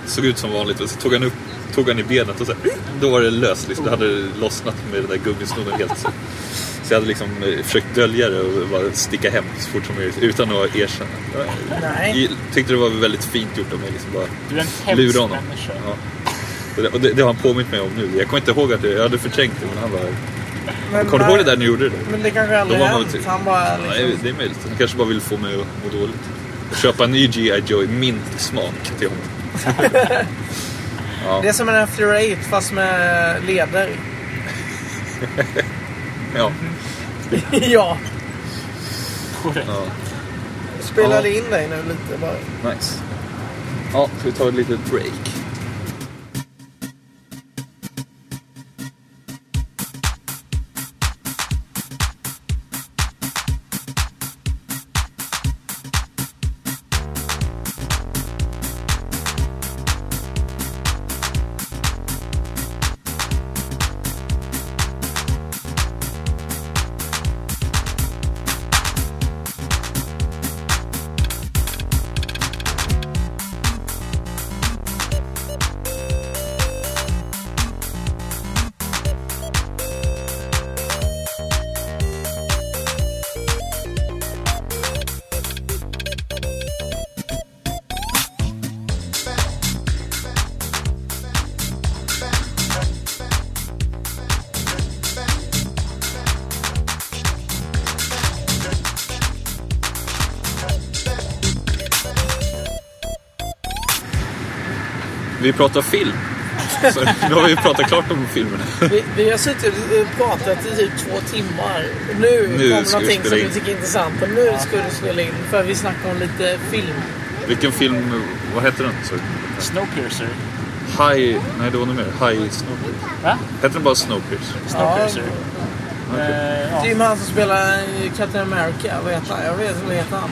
Speaker 3: såg ut som vanligt och så tog han upp tog han i benet och så här, då var det löst liksom. Det hade lossnat med den där gummisnodden helt. Så. Så jag hade liksom eh, försökt dölja det och bara sticka hem så fort som möjligt utan att erkänna. Jag
Speaker 4: Nej.
Speaker 3: gi- tyckte det var väldigt fint gjort av mig. Liksom bara
Speaker 5: Du är en hemsk
Speaker 3: lura honom.
Speaker 5: människa.
Speaker 3: Ja. Så det- Och det, det har han påmint mig om nu. Jag kommer inte ihåg att jag, jag hade förträngt det men han bara...
Speaker 4: Men eh,
Speaker 3: Kommer du ihåg det där när du gjorde det?
Speaker 4: Men det kanske aldrig
Speaker 3: Då var man
Speaker 4: hänt.
Speaker 3: typ-
Speaker 4: Han bara
Speaker 3: Ja, det
Speaker 4: liksom,
Speaker 3: är- det är möjligt. Han kanske bara vill få mig att må dåligt. Köpa en ny G.I. Joe i min smak till honom.
Speaker 4: Det är som en After Eight fast med eh, leder. [LAUGHS]
Speaker 3: Ja.
Speaker 5: Mhm.
Speaker 4: ja.
Speaker 3: ja.
Speaker 4: Spelade in dig nu lite bara.
Speaker 3: Nice. Ja, ska vi ta ett litet break? Vi pratar film. [LAUGHS] Så, nu har vi pratat klart om filmerna.
Speaker 4: Vi, vi har suttit och eh, pratat i typ två timmar. Nu,
Speaker 3: Nu
Speaker 4: kom
Speaker 3: ska vi
Speaker 4: någonting
Speaker 3: spela
Speaker 4: som vi
Speaker 3: in.
Speaker 4: tycker är intressant och nu ska du spela in. För vi snackar om lite film.
Speaker 3: Vilken film, vad hette den? Så,
Speaker 5: Snowpiercer.
Speaker 3: high, nej det var nog mer. High Snowpiercer.
Speaker 5: Va?
Speaker 3: Hette den bara Snowpiercer?
Speaker 5: Snowpiercer.
Speaker 3: Okej.
Speaker 5: Eh,
Speaker 4: Det är
Speaker 5: ja.
Speaker 4: ju han som spelar eh, Captain America. Vad heter han? Jag vet inte vad heter han.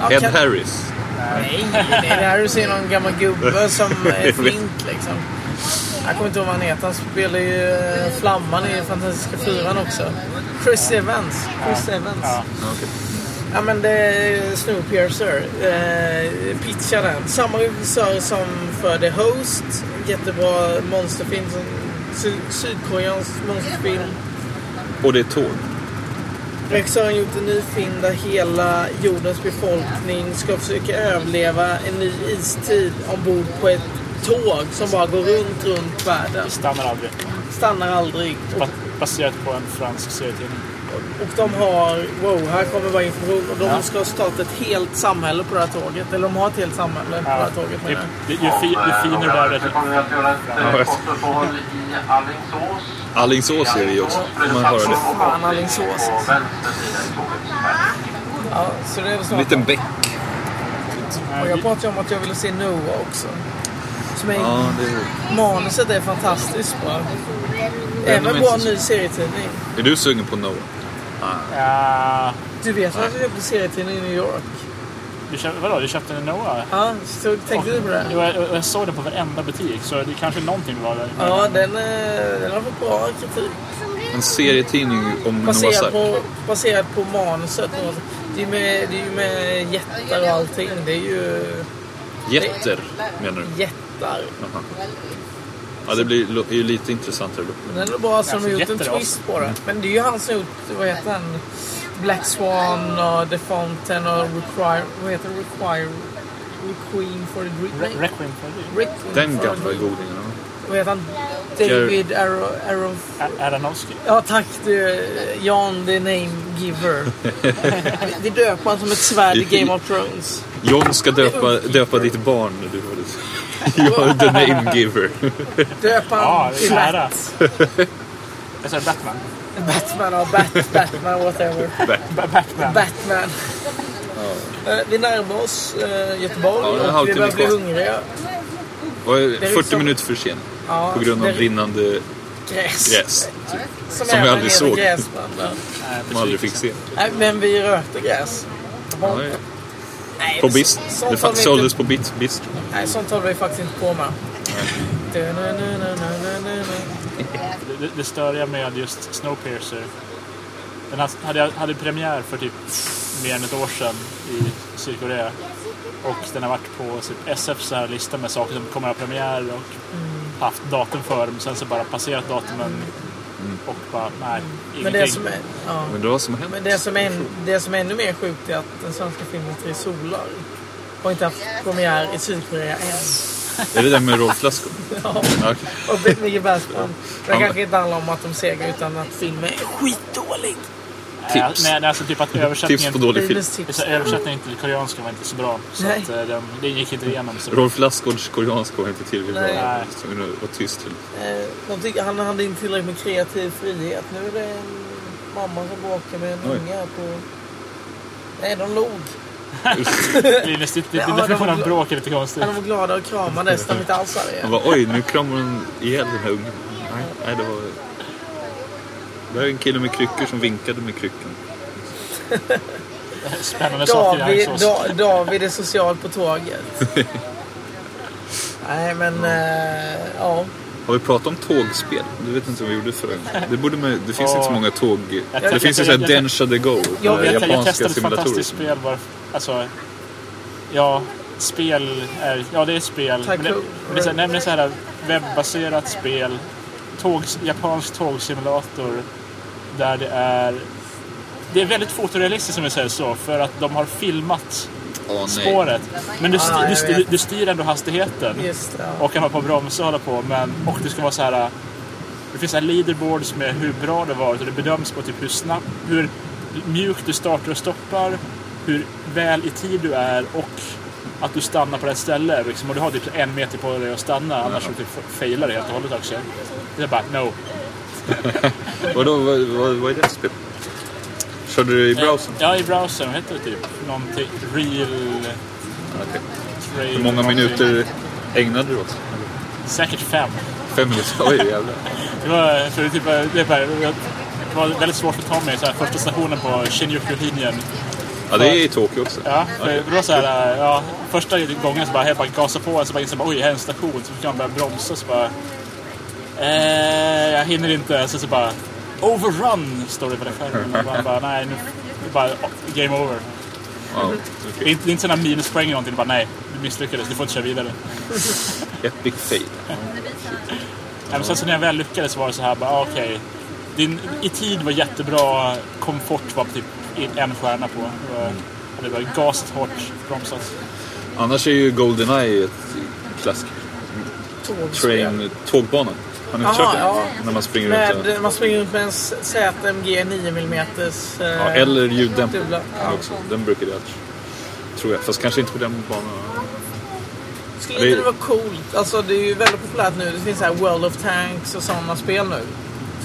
Speaker 4: Ja,
Speaker 3: Ed
Speaker 4: Cap-
Speaker 3: Harris.
Speaker 4: Nej, det är där du ser någon gammal gubbe [LAUGHS] som är
Speaker 3: Jag vet.
Speaker 4: flint liksom. Jag kommer inte ihåg vad han heter. Han spelar ju eh, Flamman i Fantastiska Fyran också. Chris Evans. Chris Evans. Ja.
Speaker 3: okej.
Speaker 4: men det är Snowpiercer. Eh, pitcha den. Samma regissör som för The Host. Jättebra monsterfilm. Som, sy- sydkoreansk monsterfilm.
Speaker 3: Och det är tåg.
Speaker 4: Rex har gjort en ny film där hela jordens befolkning ska försöka överleva en ny istid ombord på ett tåg som bara går runt, runt världen.
Speaker 5: Det stannar aldrig.
Speaker 4: Stannar aldrig. Och,
Speaker 5: Ba- Baserat på en fransk serietidning.
Speaker 4: och de har, wow, här kommer bara information. Och de ska starta ett helt samhälle på det här tåget. Eller de har ett helt samhälle på det här tåget
Speaker 5: ju,
Speaker 4: menar jag.
Speaker 5: ju, ju, fi, ju finare världen...
Speaker 6: Vi kommer att göra ett eh,
Speaker 3: Ja.
Speaker 6: kort uppehåll i Alingsås.
Speaker 3: Alingsås är vi ju också. Om man har det.
Speaker 4: Fan, Alingsås.
Speaker 6: På vänster sida i tåget.
Speaker 4: Ja, så det är väl
Speaker 3: En
Speaker 4: snart.
Speaker 3: liten bäck.
Speaker 4: Och jag
Speaker 5: Nej,
Speaker 4: pratade om att jag ville se Noah också. Som är
Speaker 3: Ja, det är...
Speaker 4: Manuset är fantastiskt bra. Även
Speaker 3: men-
Speaker 4: bra ny serietidning.
Speaker 3: är du sugen på Noah?
Speaker 5: ja,
Speaker 4: Du vet att jag köpte serietidning i New York?
Speaker 5: du köpte, vadå, du köpte en Noah?
Speaker 4: Ja, så tänkte du på det?
Speaker 5: Jo, jag, jag- jag såg den på varenda butik, så det kanske någonting var där.
Speaker 4: Ja, den, eh, den har fått bra kritik.
Speaker 3: En serietidning om Noahs
Speaker 4: Baserad
Speaker 3: ark.
Speaker 4: på, baserad på manuset. och- Det är, med, det är ju med jättar och allting. Det är ju
Speaker 3: Jätter, menar du?
Speaker 4: jättar.
Speaker 3: Jaha. Ja, det blir lo- är ju lite intressantare då.
Speaker 4: Men den är bra som har
Speaker 5: Alltså,
Speaker 4: gjort en
Speaker 5: jätter,
Speaker 4: twist på det. Men det är ju han som har gjort, vad heter han? Black Swan och The Fountain och Require... Vad heter det? Require... Requiem for the Dream?
Speaker 5: Re- Requiem for a Dream.
Speaker 4: Requiem
Speaker 3: Den
Speaker 4: for a
Speaker 3: gamla
Speaker 4: Dream.
Speaker 3: godingen. ja.
Speaker 4: Vad heter han? David Aaron... Aaron
Speaker 5: A- Aronofsky.
Speaker 4: Ja tack du, Jan the name giver. [LAUGHS] Det döper man som ett svärd i Game of Thrones.
Speaker 3: John ska döpa, döpa ditt barn. när Du har [LAUGHS] You're the name
Speaker 4: [LAUGHS]
Speaker 3: giver.
Speaker 4: Döper
Speaker 5: Ja,
Speaker 4: han
Speaker 5: det är
Speaker 4: till
Speaker 5: nära.
Speaker 4: Bat-
Speaker 5: Jag sa Batman.
Speaker 4: Batman och Bat, Batman whatever.
Speaker 5: Ba- Batman.
Speaker 4: Batman. Eh, Vi närmar oss eh,
Speaker 3: Ja,
Speaker 4: Göteborg
Speaker 3: en
Speaker 4: och vi
Speaker 3: halvtimme
Speaker 4: börjar bli
Speaker 3: kvar.
Speaker 4: hungriga.
Speaker 3: Och är
Speaker 4: är
Speaker 3: 40
Speaker 4: liksom-
Speaker 3: minuter för sen
Speaker 4: Ja,
Speaker 3: på grund
Speaker 4: det
Speaker 3: av
Speaker 4: är
Speaker 3: brinnande
Speaker 4: gräs.
Speaker 3: gräs.
Speaker 4: Som,
Speaker 3: vi
Speaker 4: även
Speaker 3: aldrig
Speaker 4: är
Speaker 3: såg.
Speaker 4: gräsbandar.
Speaker 5: Nej,
Speaker 3: Man aldrig fick se.
Speaker 4: Nej, men vi rökte gräs.
Speaker 3: Ja, ja.
Speaker 4: Nej,
Speaker 3: På
Speaker 4: det-
Speaker 3: bist.
Speaker 4: sånt
Speaker 3: Det
Speaker 4: har vi
Speaker 3: fa-
Speaker 4: inte-
Speaker 3: såldes på bit- bistro.
Speaker 4: Nej, sånt håller vi faktiskt inte på med. Du-nu-nu-nu-nu-nu-nu.
Speaker 5: Det, det, det störiga med just Snowpiercer. Den has- hade, hade premiär för typ mer än ett år sedan i Sydkorea. Och den har varit på typ SFs så här lista med saker som kommer att ha premiär och haft datum för dem. Sen så bara passerat datumen och bara, nej,
Speaker 4: Men det
Speaker 5: ingenting.
Speaker 4: som är... Ja.
Speaker 3: Men det var som hände.
Speaker 4: Men det som, är, en- det som är ännu mer sjukt är att den svenska filmen Tre solar har inte haft premiär i Sydkorea än.
Speaker 3: Är det den med rollflaskor?
Speaker 4: Ja.
Speaker 3: [LAUGHS] Ja.
Speaker 4: Och det är mycket Bergström. Det
Speaker 3: Ja, men-
Speaker 4: kanske inte handlar om att de segrar utan att filmen är skitdålig.
Speaker 5: Nej,
Speaker 3: Tips.
Speaker 5: nej, nej, alltså typ att
Speaker 3: Tips
Speaker 5: översättningen,
Speaker 3: på dålig film.
Speaker 4: Bibelns tips.
Speaker 5: så översättningen till koreanska var inte så bra. Så
Speaker 4: Nej.
Speaker 5: att, eh, den, det gick inte igenom. Så
Speaker 3: Rolf Lassgårds koreanska var inte tillräckligt bra.
Speaker 4: Nej.
Speaker 3: Och tyst. till.
Speaker 4: Eh, De tycker han hade inte tillräckligt med kreativ frihet. Nu är det en mamma som bråkar med en
Speaker 3: Oj.
Speaker 4: unge här på... Nej, de log.
Speaker 5: Linus, din,
Speaker 4: Ja,
Speaker 5: din
Speaker 4: de-
Speaker 5: definition av bråk är lite konstig.
Speaker 4: Men de var glada och kramades. De är inte alls
Speaker 3: Han
Speaker 4: arga.
Speaker 3: bara, oj, nu kramar hon ihjäl den här ungen. Nej, nej det var... Det här är en kille med kryckor som vinkade med kryckan.
Speaker 5: Spännande saker i
Speaker 4: David,
Speaker 5: Alingsås.
Speaker 4: da, David är social på tåget.
Speaker 3: [LAUGHS]
Speaker 4: Nej, men... Eh, ja.
Speaker 3: Har vi pratat om tågspel? Du vet inte vad vi gjorde förut. Det, borde man, det finns
Speaker 5: Ja.
Speaker 3: inte så många tåg...
Speaker 5: Jag-
Speaker 3: Det
Speaker 5: jag-
Speaker 3: finns ju
Speaker 5: jag-
Speaker 3: såhär
Speaker 5: jag-
Speaker 3: Densha the Go.
Speaker 4: Jag
Speaker 3: eh,
Speaker 4: vet,
Speaker 5: Jag, jag
Speaker 3: japanska
Speaker 5: testade ett fantastiskt
Speaker 3: simulatorer.
Speaker 5: spel. Var, alltså, ja, spel är... Ja, det är spel. Men det,
Speaker 4: Tycoon.
Speaker 5: men det är så här, nej, men det är så här webbaserat spel. Tågs, japansk tågsimulator. Där det är... Det är väldigt fotorealistiskt om vi säger så. För att de har filmat
Speaker 3: Åh nej.
Speaker 5: spåret. Men du,
Speaker 4: Ah,
Speaker 5: styr,
Speaker 4: jag
Speaker 5: du, styr,
Speaker 4: vet.
Speaker 5: du styr ändå hastigheten.
Speaker 4: Just det. Ja.
Speaker 5: Och kan vara på bromsa och hålla på. Men, och det ska vara så här. Det finns så här leaderboards med hur bra det varit och det bedöms på typ hur snabbt, hur mjukt du startar och stoppar, hur väl i tid du är och att du stannar på rätt ställe. Liksom, och du har typ en meter på dig att stanna, annars så typ failar det helt och hållet också. Det är bara no.
Speaker 3: Vadå, vad, vad, vad är det för spel? Körde du i browsern?
Speaker 5: Ja, i browsern. Vad heter det typ? Någonting. Real...
Speaker 3: Okej.
Speaker 5: real
Speaker 3: Hur många
Speaker 5: någonting.
Speaker 3: minuter ägnade du åt?
Speaker 5: Säkert fem.
Speaker 3: Fem minuter? Oj jävlar.
Speaker 5: Det var, för det, typ, det, var, det var väldigt svårt för Tommy, så här, första stationen på Shinjuku-linjen.
Speaker 3: Ja, det är i Tokyo också.
Speaker 5: Ja, för det var så här, äh, ja, första gången så bara, jag bara gasade på och så bara insåg jag bara, oj, här är en station. Så fick man börja bromsa så bara... Eh, jag hinner inte. Så, så bara... Overrun står det på den skärmen. Och man bara, nej, nu... det är Bara, oh, game over.
Speaker 3: Ja.
Speaker 5: Det är inte, det är inte sådana minuspoäng eller någonting. Bara, nej, du misslyckades. Du får inte köra vidare.
Speaker 3: Epic fail.
Speaker 5: Nej, men sen så när jag väl lyckades var det så här, bara ah, okej. Din, I tid var jättebra, komfort var typ en stjärna på. Det var, det var gaset hårt, bromsat.
Speaker 3: Annars är ju Goldeneye ett klassiskt train, tågbanan. Har ni
Speaker 4: Aha,
Speaker 3: kört den?
Speaker 4: ja.
Speaker 3: När man springer runt där.
Speaker 4: Med, man springer runt med en S- ZMG 9 mm.
Speaker 3: Ja, eller ljuddämpare
Speaker 4: Dubbla, ja.
Speaker 3: också. Den brukar det alltid. Tror jag. Fast kanske inte på den banan.
Speaker 4: Skulle
Speaker 3: det-
Speaker 4: inte det vara coolt? Alltså det är ju väldigt populärt nu. Det finns så här World of Tanks och sådana spel nu.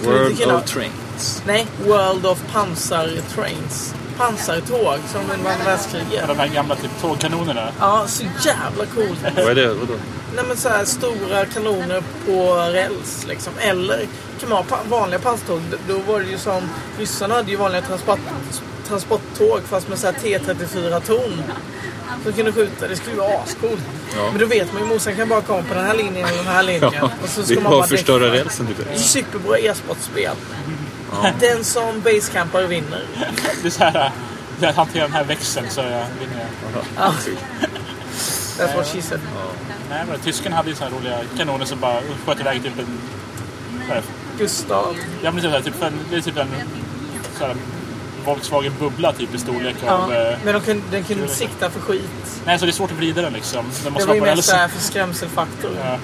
Speaker 4: Skulle inte
Speaker 3: World
Speaker 4: killar-
Speaker 3: of Trains.
Speaker 4: Nej, World of Pansartrains. Pansartåg som under andra världskriget.
Speaker 5: De här gamla typ, tågkanonerna.
Speaker 4: Ja, så jävla coolt.
Speaker 3: Vad är det? Vadå?
Speaker 4: Nej men så här stora kanoner på räls liksom. Eller kan man ha pa- vanliga pansertåg. D- Då var det ju som ryssarna hade ju vanliga transport, transporttåg fast med så här T34 torn. Som kunde skjuta. Det skulle ju vara ascoolt.
Speaker 3: Ja.
Speaker 4: Men då vet man ju morsan kan bara komma på den här linjen eller den här linjen.
Speaker 3: Ja, [LAUGHS]
Speaker 4: och så
Speaker 3: det
Speaker 4: ska
Speaker 3: är
Speaker 4: man
Speaker 3: bara
Speaker 4: bara
Speaker 3: att förstöra
Speaker 4: däcka.
Speaker 3: rälsen typ.
Speaker 4: Superbra e-sportspel. Den som basecampar vinner.
Speaker 5: Det är så här, jag hanterar den här växeln så jag vinner. jag.
Speaker 4: Ja. That's what she said.
Speaker 5: Nej, men tysken hade ju så här roliga kanoner som bara sköt iväg typ en... vad är det?
Speaker 4: Gustav.
Speaker 5: Ja, men det är så här, typ en, det är typ en så här, Volkswagen Bubbla typ i storlek
Speaker 4: Ja.
Speaker 5: av... eh,
Speaker 4: Men de kunde, den kunde inte sikta för skit.
Speaker 5: Nej, så det är svårt att vrida den liksom. Den
Speaker 4: Det
Speaker 5: måste
Speaker 4: var
Speaker 5: vara
Speaker 4: ju
Speaker 5: på
Speaker 4: mest
Speaker 5: rälsen.
Speaker 4: såhär för skrämselfaktor.
Speaker 5: Ja.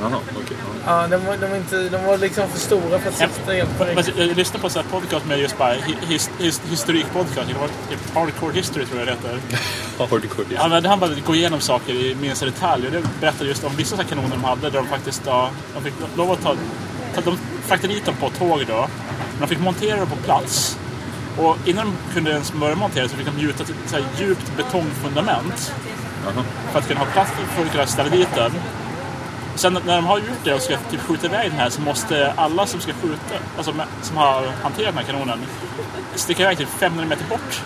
Speaker 3: Jaha, okej. Ja.
Speaker 4: Ja, de var, de var, inte, de var liksom för stora för att
Speaker 5: Ja,
Speaker 4: sikta helt
Speaker 5: men
Speaker 4: korrekt.
Speaker 5: Jag lyssnade på så här podcast med just bara hi- his, his, historikpodcast. Det var typ Hardcore History tror jag det heter.
Speaker 3: Hardcore liksom. disc.
Speaker 5: Han, han bara gå igenom saker i minsta detalj och det berättade just om vissa så här kanoner de hade där de faktiskt ja, de fick lov att ta, ta de fraktade dit dem på tåg då. Men de fick montera dem på plats. Och innan de kunde ens börja montera så fick de gjuta ett så här djupt betongfundament
Speaker 3: Jaha.
Speaker 5: för att kunna ha plats för att kunna ställa dit den. Sen när de har gjort det och ska typ skjuta iväg den här så måste alla som ska skjuta, alltså med- som har hanterat den här kanonen, sticka iväg typ 500 meter bort.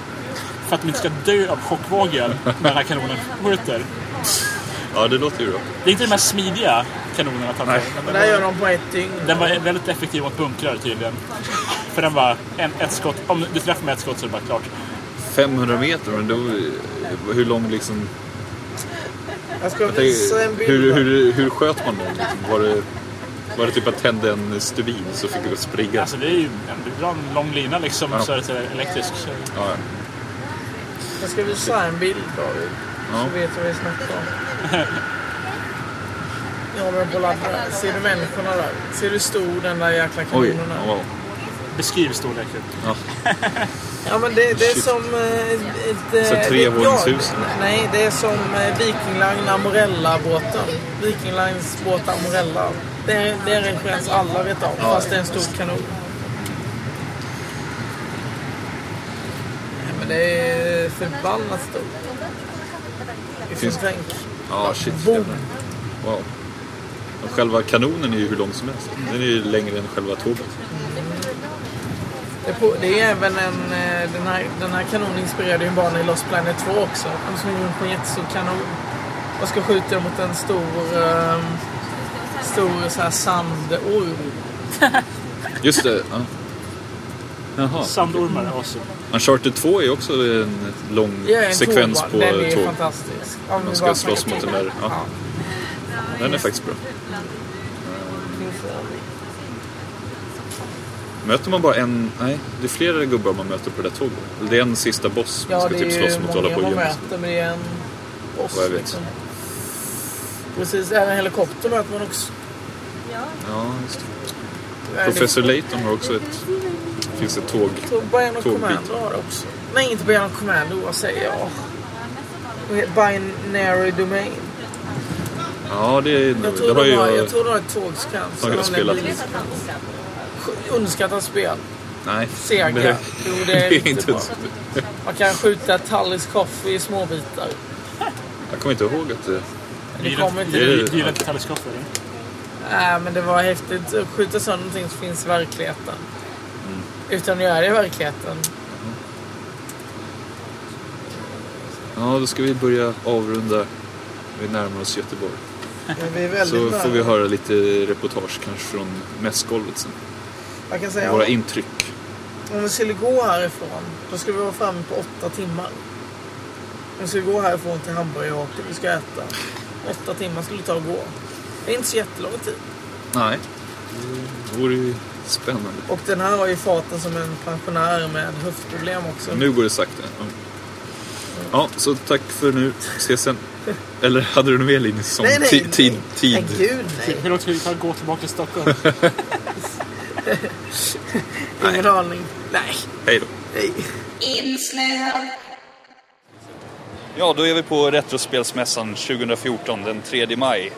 Speaker 5: För att de inte ska dö av chockvågen när den här kanonen skjuter.
Speaker 3: Ja, det låter ju bra.
Speaker 5: Det är inte de mest smidiga kanonerna att hantera. men
Speaker 4: Det
Speaker 5: den
Speaker 4: där gör
Speaker 5: var-
Speaker 4: de på ett dygn.
Speaker 5: Den var väldigt effektiv mot bunkrar tydligen. För den var en, ett skott, om du träffar med ett skott så är det bara klart.
Speaker 3: 500 meter, men då... Hur lång liksom...
Speaker 4: Jag ska
Speaker 3: Jag tänker,
Speaker 4: visa en bild.
Speaker 3: hur, hur, hur sköt man den? Liksom? Var, det, var det typ att tända en stubin så fick du springa?
Speaker 5: Alltså det är ju en, det är en lång lina liksom,
Speaker 3: Ja.
Speaker 5: så är det så här elektrisk. Så
Speaker 3: Ja, ja.
Speaker 4: Jag ska visa en bild David.
Speaker 3: Ja.
Speaker 4: Så vet du vad vi snackar om. Jag har den på laddaren. Ser du människorna där? Ser du hur stor den där jäkla
Speaker 3: Oj,
Speaker 4: kanonen är?
Speaker 3: wow.
Speaker 5: beskriv storleken.
Speaker 3: Ja.
Speaker 4: Ja men det, det är
Speaker 3: Shit.
Speaker 4: som eh, ett... eh,
Speaker 3: Så
Speaker 4: ett
Speaker 3: trevåningshus.
Speaker 4: jag- Nej, det är som eh, Viking Line Amorella-båten. Viking Lines båt Amorella. Det, det är en gräns alla vet om, fast det är en stor kanon. Nej men det är förbannat stort.
Speaker 3: Finns-
Speaker 4: Finns... Tänk.
Speaker 3: Ja, shit. jävlar. Wow. Och Själva kanonen är ju hur lång som helst. Den är ju längre än själva tåget.
Speaker 4: Det, är på, det är även en... eh, Den här, den här kanonen inspirerade ju en bana i Lost Planet 2 också. De smyger runt på en jättestor kanon. Och ska skjuta mot en stor... ehm, stor så här sandorm.
Speaker 3: Just det. Ja. Jaha.
Speaker 5: Sandormar är awesome.
Speaker 3: Uncharted 2 är också en lång
Speaker 4: Ja, en
Speaker 3: sekvens
Speaker 4: tågba-
Speaker 3: på
Speaker 4: Den är ju
Speaker 3: tåg.
Speaker 4: fantastisk. Om
Speaker 3: Man
Speaker 4: vi bara
Speaker 3: ska slåss
Speaker 4: snackar
Speaker 3: mot den
Speaker 4: tåg.
Speaker 3: där. Ja.
Speaker 4: Ja.
Speaker 3: Den är faktiskt bra.
Speaker 4: det finns en-
Speaker 3: Möter man bara en... Nej, det är flera gubbar man möter på det där tåget. Eller Det är en sista boss man
Speaker 4: Ja,
Speaker 3: ska
Speaker 4: det
Speaker 3: typ
Speaker 4: är
Speaker 3: slåss
Speaker 4: ju
Speaker 3: mot och hålla
Speaker 4: många
Speaker 3: på och
Speaker 4: man
Speaker 3: gömma sig.
Speaker 4: möter, men det är en boss.
Speaker 3: Vad jag vet.
Speaker 4: liksom. Precis, även helikopter möter man också.
Speaker 3: Ja, just det.
Speaker 4: Nej,
Speaker 3: Professor Layton har också ett... Det finns ett tåg.
Speaker 4: det- Bion och
Speaker 3: Tågbit.
Speaker 4: Commando har det också. Nej, inte Bion och Commando. Vad säger jag? Binary Domain.
Speaker 3: Ja, det är nog...
Speaker 4: Jag
Speaker 3: Det
Speaker 4: tror
Speaker 3: har
Speaker 4: de
Speaker 3: ju
Speaker 4: har, jag
Speaker 3: jag...
Speaker 4: tror de har ett tågskrams.
Speaker 3: har jag spelat.
Speaker 4: Underskattat spel.
Speaker 3: Nej.
Speaker 4: Sega.
Speaker 3: Det,
Speaker 4: Jo, det
Speaker 3: [LAUGHS] det
Speaker 4: är
Speaker 3: är
Speaker 4: riktigt
Speaker 3: inte
Speaker 4: bra.
Speaker 3: ens...
Speaker 4: Man kan skjuta Tallis kaffe i små bitar.
Speaker 3: Jag kommer inte ihåg att det...
Speaker 5: Du
Speaker 4: Det
Speaker 5: gillar
Speaker 4: kommer
Speaker 5: inte-
Speaker 4: inte...
Speaker 3: Det är-
Speaker 5: du gillar inte Talliskoffer? eller?
Speaker 4: Nej, Äh, men det var häftigt att skjuta sönder någonting som finns i verkligheten. Mm. Utan att göra det i verkligheten.
Speaker 3: Ja, då ska vi börja avrunda. Vi närmar oss Göteborg.
Speaker 4: Men vi är
Speaker 3: Så
Speaker 4: väldigt
Speaker 3: får vi höra lite reportage kanske från mässgolvet sen.
Speaker 4: Jag kan säga,
Speaker 3: Våra intryck.
Speaker 4: om vi skulle gå härifrån, då skulle vi vara framme på åtta timmar. Om vi skulle gå härifrån till hamburgerhaken vi ska äta. Åtta timmar skulle det ta att gå. Det är inte så jättelång tid.
Speaker 3: Nej. Det vore ju spännande.
Speaker 4: Och den här har ju farten som en pensionär med höftproblem också.
Speaker 3: Nu går det sakta. Ja. Ja, så tack för nu. Ses sen. Eller hade du något mer Linus? Som
Speaker 4: Nej, nej,
Speaker 3: ti-
Speaker 4: nej.
Speaker 3: tid, tid.
Speaker 4: Nej, gud
Speaker 5: [LAUGHS]
Speaker 4: nej.
Speaker 5: Hur långt ska det ta att gå tillbaka till Stockholm?
Speaker 4: Ingen aning. Nej.
Speaker 3: Hej då.
Speaker 4: nej.
Speaker 1: Inspelad.
Speaker 3: Ja, då är vi på Retrospelsmässan 2014 den 3 maj.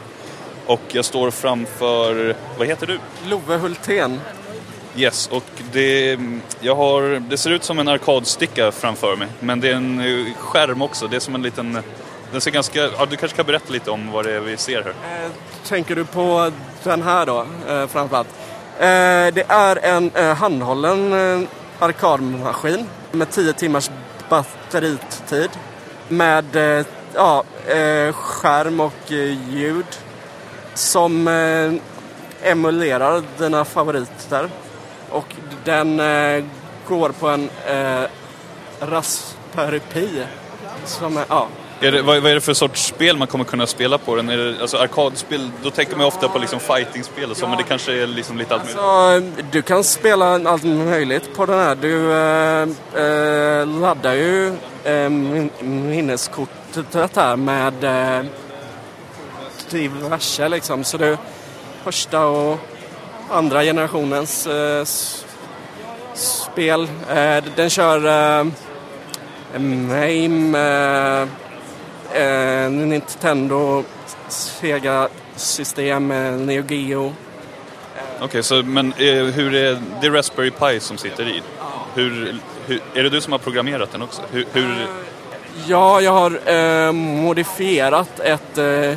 Speaker 3: Och jag står framför, vad heter du?
Speaker 9: Love Hultén.
Speaker 3: Yes, och det, jag har, det ser ut som en arkadsticka framför mig. Men det är en eh, skärm också. Det är som en liten... Den ser ganska, ja, du kanske kan berätta lite om vad det är vi ser här.
Speaker 9: Eh, tänker du på den här då, eh, framförallt? Eh, det är en eh, handhållen eh, arkadmaskin med 10 timmars batteritid. Med eh, ja, eh, skärm och eh, ljud. Som eh, emulerar dina favoriter. Och den eh, går på en eh, Raspberry Pi. Som är, ja,
Speaker 3: Är det, vad, vad är det för sorts spel man kommer kunna spela på den? Är det, alltså arkadspel, då tänker man ju ofta på liksom fightingspel och så, men det kanske är liksom lite allt möjligt.
Speaker 9: Ja, Alltså, du kan spela allt möjligt på den här. Du eh, eh, laddar ju eh, min- minneskortet här med eh, diverse liksom. Så du första och andra generationens eh, s- spel. Eh, den kör eh, MAME, eh, eh, Nintendo, Sega-system, eh, Neo Geo.
Speaker 3: Okej, så, men eh, hur är det är Raspberry Pi som sitter i? Hur, hur, är det du som har programmerat den också? Hur, hur,
Speaker 9: Ja, jag har eh, modifierat ett eh,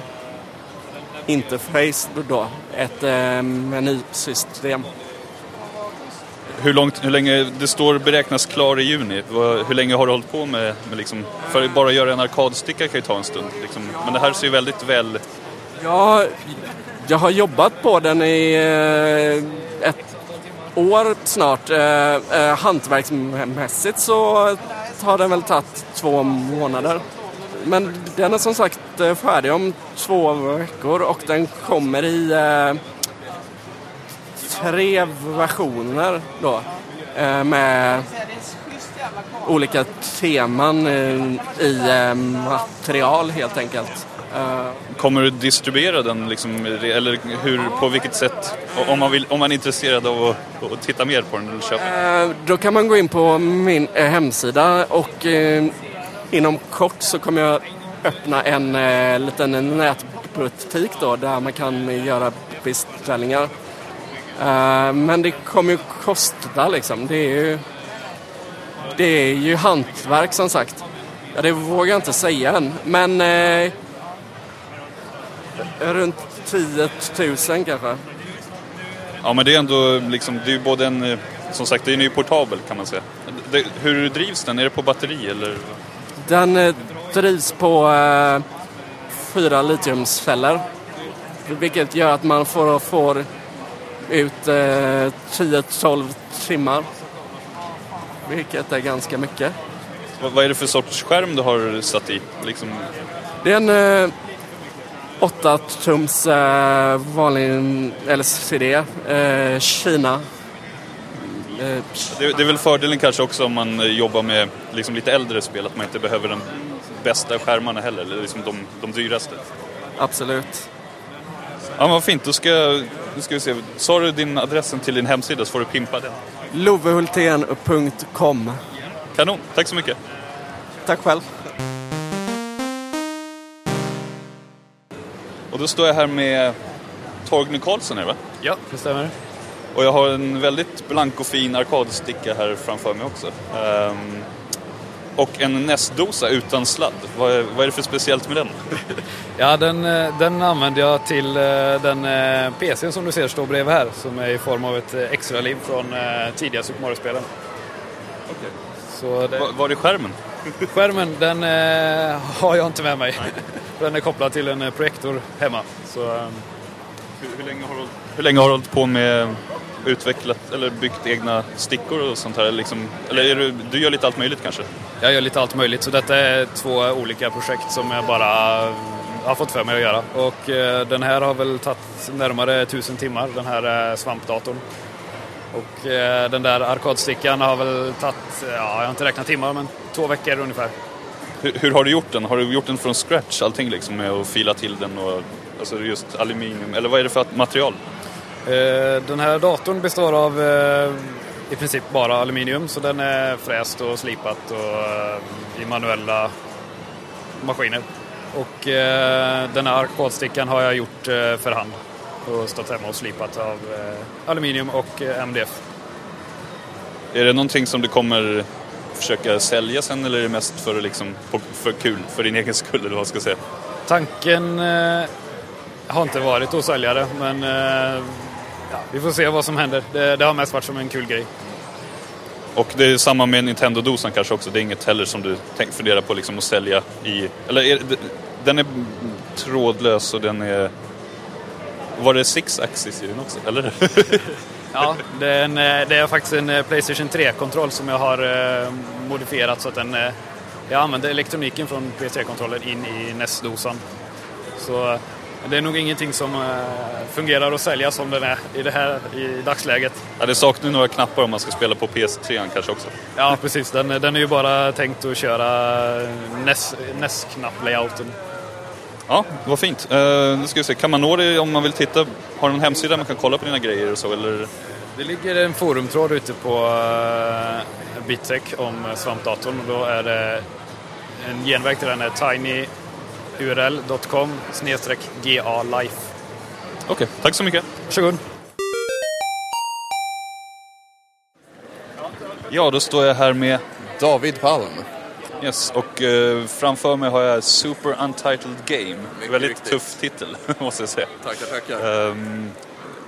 Speaker 9: interface då, ett eh, menysystem.
Speaker 3: hur, långt, hur länge, det står beräknas klar i juni. Vad- Hur länge har du hållit på med, med liksom, för att bara göra en arkadsticka kan ju ta en stund. Liksom. Men det här ser ju väldigt väl,
Speaker 9: Jag, jag har jobbat på den i eh, ett år snart. Eh, eh, hantverksmässigt så har den väl tagit två månader. Men den är som sagt eh, färdig om två veckor och den kommer i eh, tre versioner då. Eh, med olika teman eh, i eh, material helt enkelt. Eh,
Speaker 3: kommer du distribuera den liksom, eller hur, på vilket sätt? O- Om man, vill, om man är intresserad av att, att titta mer på den eller köpa den.
Speaker 9: Eh, Då kan man gå in på min eh, hemsida och eh, inom kort så kommer jag öppna en eh, liten nätbutik då där man kan göra beställningar. Eh, men det kommer ju kosta liksom. Det är ju, det är ju hantverk som sagt. Ja, det vågar jag inte säga än. Men eh, runt 10 000 kanske.
Speaker 3: Ja men det är ändå liksom, det är ju både en, eh, som sagt det är ju portabel kan man säga. Det, hur drivs den? Är det på batteri eller?
Speaker 9: Den eh, drivs på eh, fyra litiumceller. Vilket gör att man får, får ut eh, 10-12 timmar. Vilket är ganska mycket.
Speaker 3: Vad, vad är det för sorts skärm du har satt i? Liksom,
Speaker 9: Det är en eh, 8-tums eh, vanlig LCD. Eh, Kina. Eh,
Speaker 3: det, det är väl fördelen kanske också om man eh, jobbar med liksom, lite äldre spel, att man inte behöver de bästa skärmarna heller, eller liksom de, de dyraste.
Speaker 9: absolut.
Speaker 3: Ja men vad fint, då ska, nu ska vi se. Sa du din adressen till din hemsida så får du pimpa den.
Speaker 9: Lovehultén.com
Speaker 3: Kanon, tack så mycket.
Speaker 9: Tack själv.
Speaker 3: Och då står jag här med Torgny Karlsson är det va?
Speaker 5: Ja, det stämmer.
Speaker 3: Och jag har en väldigt blank och fin arkadsticka här framför mig också. Ehm, och en näsdosa utan sladd. Vad är, vad är det för speciellt med den?
Speaker 10: Ja, den, eh, den använder jag till eh, den eh, PCn som du ser står bredvid här som är i form av ett eh, extra liv från eh, tidiga Super Mario-spelen. Så det,
Speaker 3: Va- Var är skärmen?
Speaker 10: skärmen, den eh, har jag inte med mig. [LAUGHS] den är kopplad till en eh, projektor hemma. Så, eh,
Speaker 3: Hur, hur länge har du, hur länge har du hållit på med utvecklat eller byggt egna stickor och sånt här? Liksom, eller är du, du gör lite allt möjligt kanske?
Speaker 10: jag gör lite allt möjligt, så detta är två olika projekt som jag bara eh, har fått för mig att göra. Och eh, den här har väl tagit närmare tusen timmar, den här eh, svampdatorn. Och eh, den där arkadstickan har väl tagit, ja jag har inte räknat timmar, men två veckor ungefär.
Speaker 3: Hur, hur har du gjort den? Har du gjort den från scratch allting liksom med att fila till den och alltså just aluminium? Eller vad är det för material?
Speaker 10: Eh, Den här datorn består av eh, i princip bara aluminium så den är fräst och slipat och eh, i manuella maskiner. Och eh, den här arkadstickan har jag gjort eh, för hand och stått hemma och slipat av eh, aluminium och eh, MDF.
Speaker 3: Är det någonting som du kommer försöka sälja sen eller är det mest för, att liksom, på- för kul, för din egen skull eller vad jag ska säga?
Speaker 10: Tanken eh, har inte varit att sälja det men eh, ja, vi får se vad som händer. Det, det har mest varit som en kul grej.
Speaker 3: Och det är samma med Nintendo-dosan kanske också, det är inget heller som du tänk, funderar på liksom att sälja i... Eller är, det- den är trådlös och den är... Var det six axis i den också? Eller? [LAUGHS]
Speaker 10: Ja, det är, en, eh, det är faktiskt en eh, Playstation 3-kontroll som jag har eh, modifierat så att den... eh, Jag använder elektroniken från PS3-kontrollen in i NES-dosan. Så eh, det är nog ingenting som eh, fungerar att sälja som den är i det här i dagsläget.
Speaker 3: ja, det saknar några knappar om man ska spela på PS3 kanske också.
Speaker 10: Ja, [LAUGHS] precis. Den, eh, den är ju bara tänkt att köra eh, E NES- NES-knapp-layouten.
Speaker 3: Ja, vad fint. Uh, nu ska vi se, kan man nå dig om man vill titta? Har du någon hemsida man kan kolla på dina grejer och så eller?
Speaker 10: Det ligger en forumtråd ute på eh, Bitec om eh, svampdatorn och då är det en genväg till den är tinyurl.com GA-life.
Speaker 3: Okej, tack så mycket.
Speaker 10: Varsågod.
Speaker 3: Ja, då står jag här med
Speaker 11: David Palm.
Speaker 3: Yes, och eh, framför mig har jag Super Untitled Game.
Speaker 11: Mycket
Speaker 3: Väldigt
Speaker 11: riktigt.
Speaker 3: tuff titel, [LAUGHS] måste jag säga.
Speaker 11: Tackar, tackar.
Speaker 3: Ehm,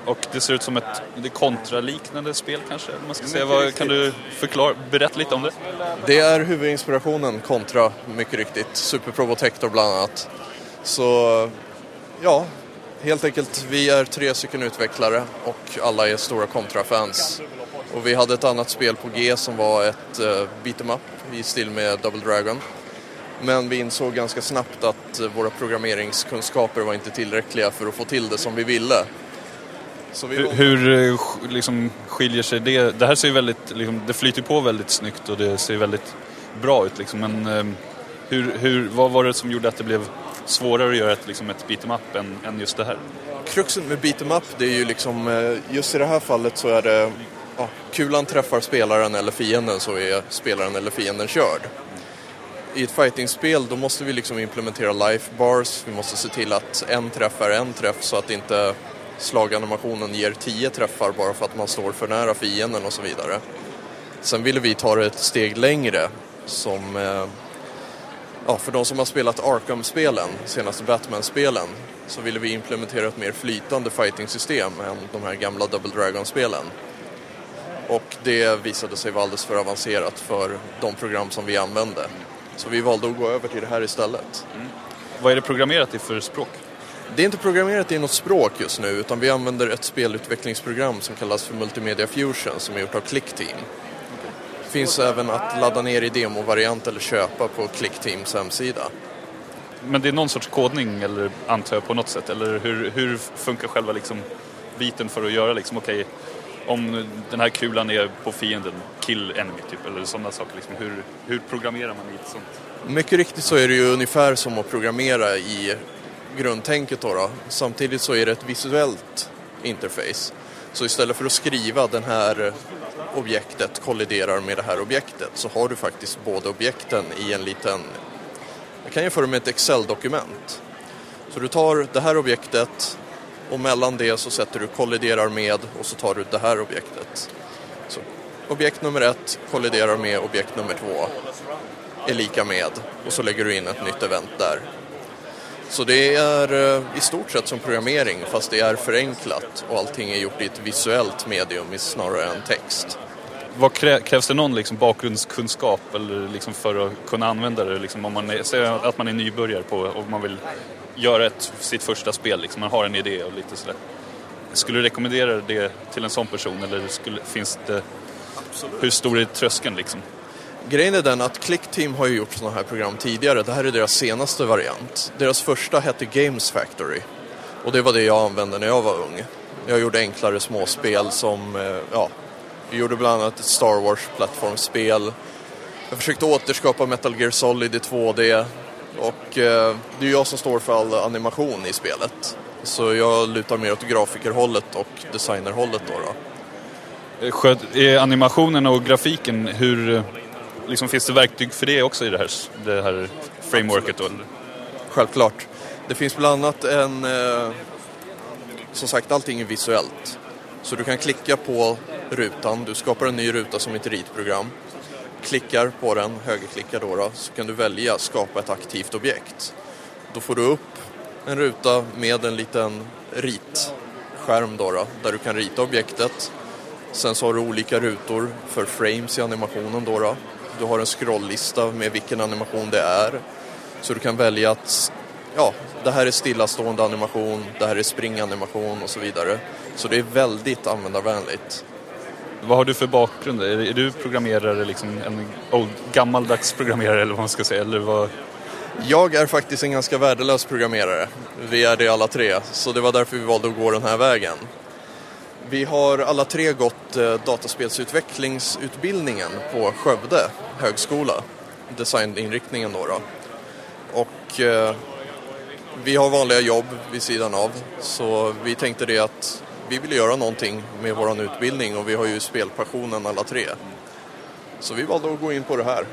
Speaker 3: och det ser ut som ett det är kontraliknande spel kanske, om man ska säga.
Speaker 11: Mycket
Speaker 3: Vad,
Speaker 11: riktigt.
Speaker 3: kan du förklara, berätta lite om det?
Speaker 11: Det är huvudinspirationen kontra, mycket riktigt, Super Probotector bland annat. Så, ja, helt enkelt, vi är tre stycken utvecklare och alla är stora kontrafans. Och vi hade ett annat spel på G som var ett uh, beat em up i stil med Double Dragon. Men vi insåg ganska snabbt att eh, våra programmeringskunskaper var inte tillräckliga för att få till det som vi ville. Så vi
Speaker 3: Hur, hur eh, sk- liksom, skiljer sig det? Det här ser ju väldigt, liksom, det flyter på väldigt snyggt och det ser väldigt bra ut liksom. Men ehm, hur, hur, vad var det som gjorde att det blev svårare att göra ett, liksom, ett beat em up än, än just det här?
Speaker 11: Kruxen med beat em up det är ju liksom, eh, just i det här fallet så är det, ja, kulan träffar spelaren eller fienden så är spelaren eller fienden körd. I ett fightingspel då måste vi liksom implementera life bars, vi måste se till att en träff är en träff så att inte slaganimationen ger tio träffar bara för att man står för nära fienden och så vidare. Sen ville vi ta det ett steg längre som eh, ja, för de som har spelat Arkham-spelen, senaste Batman-spelen, så ville vi implementera ett mer flytande fighting-system än de här gamla Double Dragon-spelen. Och det visade sig vara alldeles för avancerat för de program som vi använde. Så vi valde att gå över till det här istället.
Speaker 3: Vad är det programmerat i för språk?
Speaker 11: Det är inte programmerat i något språk just nu utan vi använder ett spelutvecklingsprogram som kallas för Multimedia Fusion som är gjort av Clickteam. Finns även att ladda ner i demovariant eller köpa på Clickteams hemsida.
Speaker 3: Men det är någon sorts kodning eller antar jag på något sätt? Eller hur, hur funkar själva liksom biten för att göra liksom, okej, om den här kulan är på fienden, kill enemy typ, eller sådana saker. Liksom. Hur, hur programmerar man i ett sånt?
Speaker 11: Mycket riktigt så är det ju ungefär som att programmera i grundtänket då, då. Samtidigt så är det ett visuellt interface. Så istället för att skriva den här objektet kolliderar med det här objektet så har du faktiskt båda objekten i en liten, jag kan jämföra med ett Excel-dokument. Så du tar det här objektet och mellan det så sätter du kolliderar med och så tar du det här objektet. Så objekt nummer ett kolliderar med objekt nummer två är lika med och så lägger du in ett nytt event där. Så det är eh, i stort sett som programmering fast det är förenklat och allting är gjort i ett visuellt medium i- snarare än text.
Speaker 3: Vad krä- krävs det någon liksom bakgrundskunskap eller liksom för att kunna använda det? Liksom om man är, säg att man är nybörjare på och man vill göra ett, sitt första spel, liksom, man har en idé och lite sådär. Skulle du rekommendera det till en sån person eller skulle, finns det... Hur stor är tröskeln liksom?
Speaker 11: Grejen är den att Click Team har ju gjort sådana här program tidigare. Det här är deras senaste variant. Deras första hette Games Factory. Och det var det jag använde när jag var ung. Jag gjorde enklare småspel som, eh, ja, jag gjorde bland annat ett Star Wars-plattformsspel. Jag försökte återskapa Metal Gear Solid i 2D. Och eh, det är jag som står för all animation i spelet. Så jag lutar mer åt grafikerhållet och designerhållet då. då.
Speaker 3: Eh, Sköt, är animationerna och grafiken, hur... eh, Liksom, finns det verktyg för det också i det här, det här frameworket då? eller?
Speaker 11: Självklart. Det finns bland annat en... Eh, som sagt, allting är visuellt. Så du kan klicka på rutan, du skapar en ny ruta som ett ritprogram. Klickar på den, högerklickar då, då, så kan du välja skapa ett aktivt objekt. Då får du upp en ruta med en liten ritskärm då, då, där du kan rita objektet. Sen så har du olika rutor för frames i animationen då. då. Du har en scrolllista med vilken animation det är. Så du kan välja att ja, det här är stillastående animation, det här är springanimation och så vidare. Så det är väldigt användarvänligt.
Speaker 3: Vad har du för bakgrund? Är, är du programmerare, liksom en old, gammaldags programmerare eller vad man ska säga? Eller vad...
Speaker 11: Jag är faktiskt en ganska värdelös programmerare. Vi är det alla tre, så det var därför vi valde att gå den här vägen. Vi har alla tre gått eh, dataspelsutvecklingsutbildningen på Skövde högskola, designinriktningen då. då. Och eh, vi har vanliga jobb vid sidan av, så vi tänkte det att vi ville göra någonting med vår utbildning och vi har ju spelpassionen alla tre. Så vi valde att gå in på det här.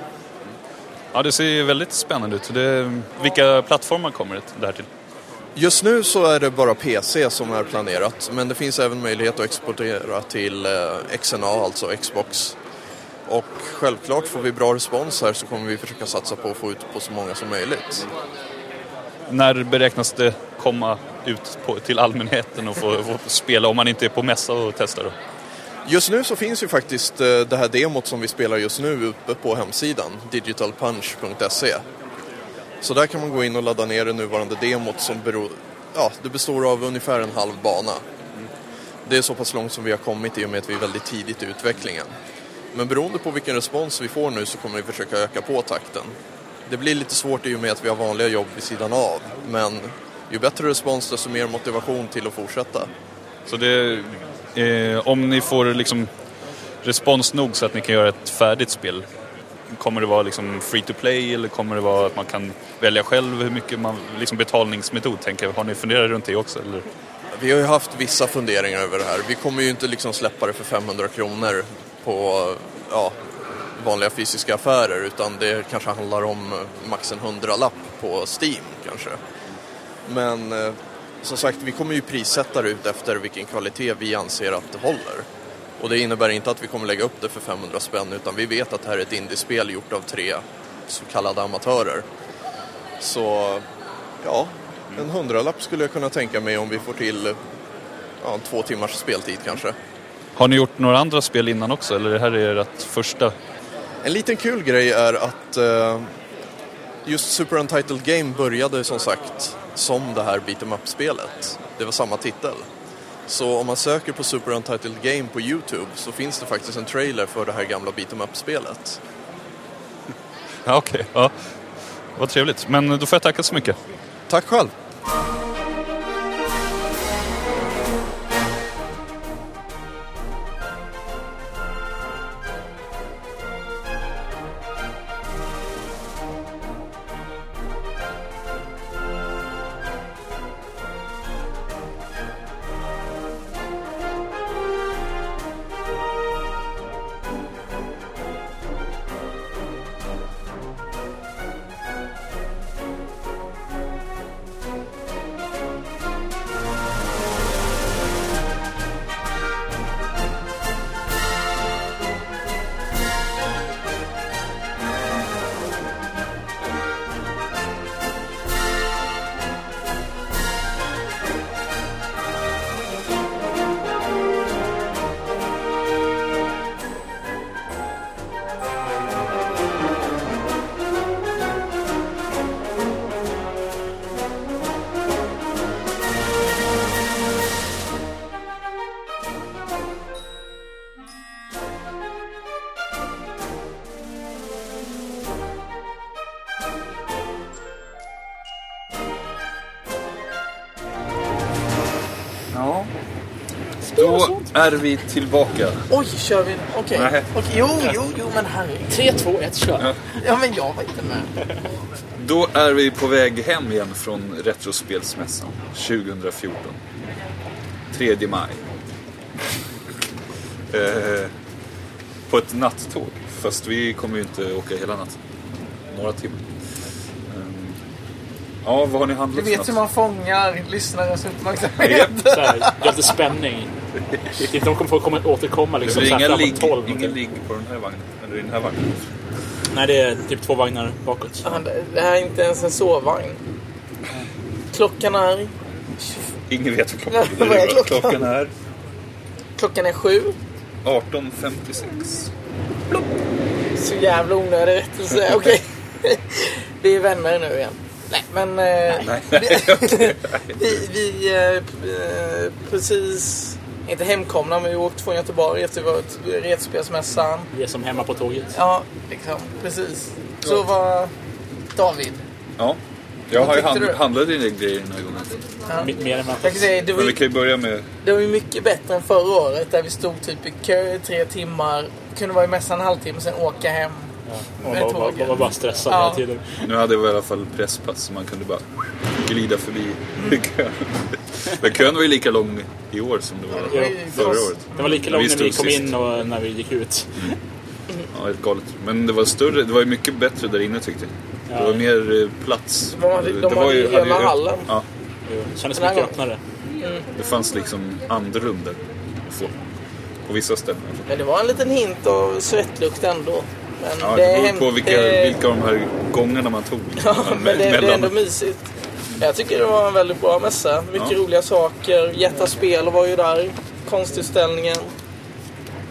Speaker 3: Ja, det ser ju väldigt spännande ut. Det, vilka plattformar kommer det det här till?
Speaker 11: Just nu så är det bara PC som är planerat, men det finns även möjlighet att exportera till eh, XNA, alltså Xbox. Och självklart får vi bra respons här så kommer vi försöka satsa på att få ut på så många som möjligt.
Speaker 3: När beräknas det komma ut på, till allmänheten och få, få spela om man inte är på mässa och testar? Då?
Speaker 11: Just nu så finns ju faktiskt eh, det här demot som vi spelar just nu uppe på hemsidan, digitalpunch.se. Så där kan man gå in och ladda ner det nuvarande demot som beror, ja, det består av ungefär en halv bana. Det är så pass långt som vi har kommit i och med att vi är väldigt tidigt i utvecklingen. Men beroende på vilken respons vi får nu så kommer vi försöka öka på takten. Det blir lite svårt i och med att vi har vanliga jobb vid sidan av, men ju bättre respons desto mer motivation till att fortsätta.
Speaker 3: Så det, eh, om ni får liksom respons nog så att ni kan göra ett färdigt spel, kommer det vara liksom free to play eller kommer det vara att man kan välja själv hur mycket man, liksom betalningsmetod tänker jag. Har ni funderat runt det också? Eller?
Speaker 11: Vi har ju haft vissa funderingar över det här. Vi kommer ju inte liksom släppa det för 500 kronor på ja, vanliga fysiska affärer utan det kanske handlar om eh, max en hundralapp på Steam kanske. Men eh, som sagt, vi kommer ju prissätta det ut efter vilken kvalitet vi anser att det håller. Och det innebär inte att vi kommer lägga upp det för 500 spänn utan vi vet att det här är ett indiespel gjort av tre så kallade amatörer. Så ja, en hundralapp skulle jag kunna tänka mig om vi får till ja, två timmars speltid kanske.
Speaker 3: Har ni gjort några andra spel innan också eller det här är ert första?
Speaker 11: En liten kul grej är att eh, just Super Untitled Game började som sagt som det här beat em up-spelet. Det var samma titel. Så om man söker på Super Untitled Game på Youtube så finns det faktiskt en trailer för det här gamla beat em up-spelet.
Speaker 3: Ja, okej. Ja. Vad trevligt. Men då får jag tacka så mycket.
Speaker 11: Tack själv.
Speaker 3: Då är vi tillbaka.
Speaker 4: Oj, kör vi? Okej.
Speaker 3: Nej.
Speaker 4: Okej, Jo, jo, jo, men herregud. 3, 2, 1, kör. Ja, men jag var inte med.
Speaker 3: Då är vi på väg hem igen från Retrospelsmässan 2014. 3 maj. Eh, på ett nattåg. Fast vi kommer ju inte åka hela natten. Några timmar. Ehm, ja, vad har ni
Speaker 4: Du
Speaker 3: handlat för
Speaker 4: vet
Speaker 3: något?
Speaker 4: hur man fångar lyssnarnas uppmärksamhet.
Speaker 3: Japp.
Speaker 5: Så här, jag har lite spänning. Inte de kommer få komma, återkomma liksom.
Speaker 3: det
Speaker 5: så här
Speaker 3: blir inga
Speaker 5: framåt
Speaker 3: ligg,
Speaker 5: 12.
Speaker 3: ingen ligg på den här vagnen. Eller i den här vagnen.
Speaker 5: Nej, det är typ två vagnar bakåt.
Speaker 4: Fan, det- Det här är inte ens en sovvagn. Klockan är...
Speaker 3: Ingen vet hur klockan
Speaker 4: [LAUGHS] Vad är
Speaker 3: är.
Speaker 4: klockan?
Speaker 3: Klockan är
Speaker 4: Klockan är sju.
Speaker 3: 18.56.
Speaker 4: Så jävla onödig rättelse. Okej. Vi är vänner nu igen. Nej, men... eh, vi, vi eh, p- eh, precis... Inte hemkomna, men vi åkte från Göteborg efter vi var till retspelsmässan.
Speaker 5: Vi är som hemma på tåget.
Speaker 4: Ja, liksom. Precis. Så var David.
Speaker 3: Ja. Jag
Speaker 4: Vad
Speaker 3: har ju
Speaker 4: tyckte
Speaker 3: hand,
Speaker 4: du?
Speaker 3: handlat dina grejer den här gången.
Speaker 4: Ja.
Speaker 5: Mitt mer än att...
Speaker 4: Jag kan säga, det var
Speaker 3: Men
Speaker 4: ju
Speaker 3: vi kan ju börja med...
Speaker 4: Det var ju mycket bättre än förra året där vi stod typ i kö i tre timmar, kunde vara i mässan en halvtimme sen åka hem.
Speaker 5: Man
Speaker 4: Med
Speaker 5: var, var,
Speaker 4: tåget.
Speaker 5: var, var bara stressad
Speaker 4: Ja.
Speaker 5: hela tiden.
Speaker 3: Nu hade vi i alla fall presspass så man kunde bara glida förbi
Speaker 4: Mm.
Speaker 3: kön. Men kön var ju lika lång i år som det var
Speaker 5: Ja.
Speaker 3: förra året.
Speaker 5: Det var lika långt när vi
Speaker 3: stod
Speaker 5: kom
Speaker 3: sist.
Speaker 5: in och när vi gick ut.
Speaker 3: Ja, helt galet. Men det var större. Det var ju mycket bättre där inne tyckte jag. Det var mer eh, plats.
Speaker 4: De hade- de
Speaker 3: det var
Speaker 4: hade ju hela
Speaker 3: ö-
Speaker 4: hallen.
Speaker 3: Ja,
Speaker 5: Det kändes
Speaker 4: Den här
Speaker 5: mycket
Speaker 4: gången.
Speaker 5: öppnare.
Speaker 4: Mm.
Speaker 3: det fanns liksom andrum där. att få. På vissa ställen. i alla fall.
Speaker 4: Men det var en liten hint av svettlukt ändå. Men
Speaker 3: Ja,
Speaker 4: det,
Speaker 3: det
Speaker 4: är
Speaker 3: beror på
Speaker 4: hem-
Speaker 3: vilka,
Speaker 4: det-
Speaker 3: vilka av de här gångerna man tog.
Speaker 4: [LAUGHS] Ja, men det, det är ändå mysigt. Jag tycker det var en väldigt bra mässa. Mycket
Speaker 3: Ja.
Speaker 4: roliga saker. Jätta spel var ju där. Konstutställningen.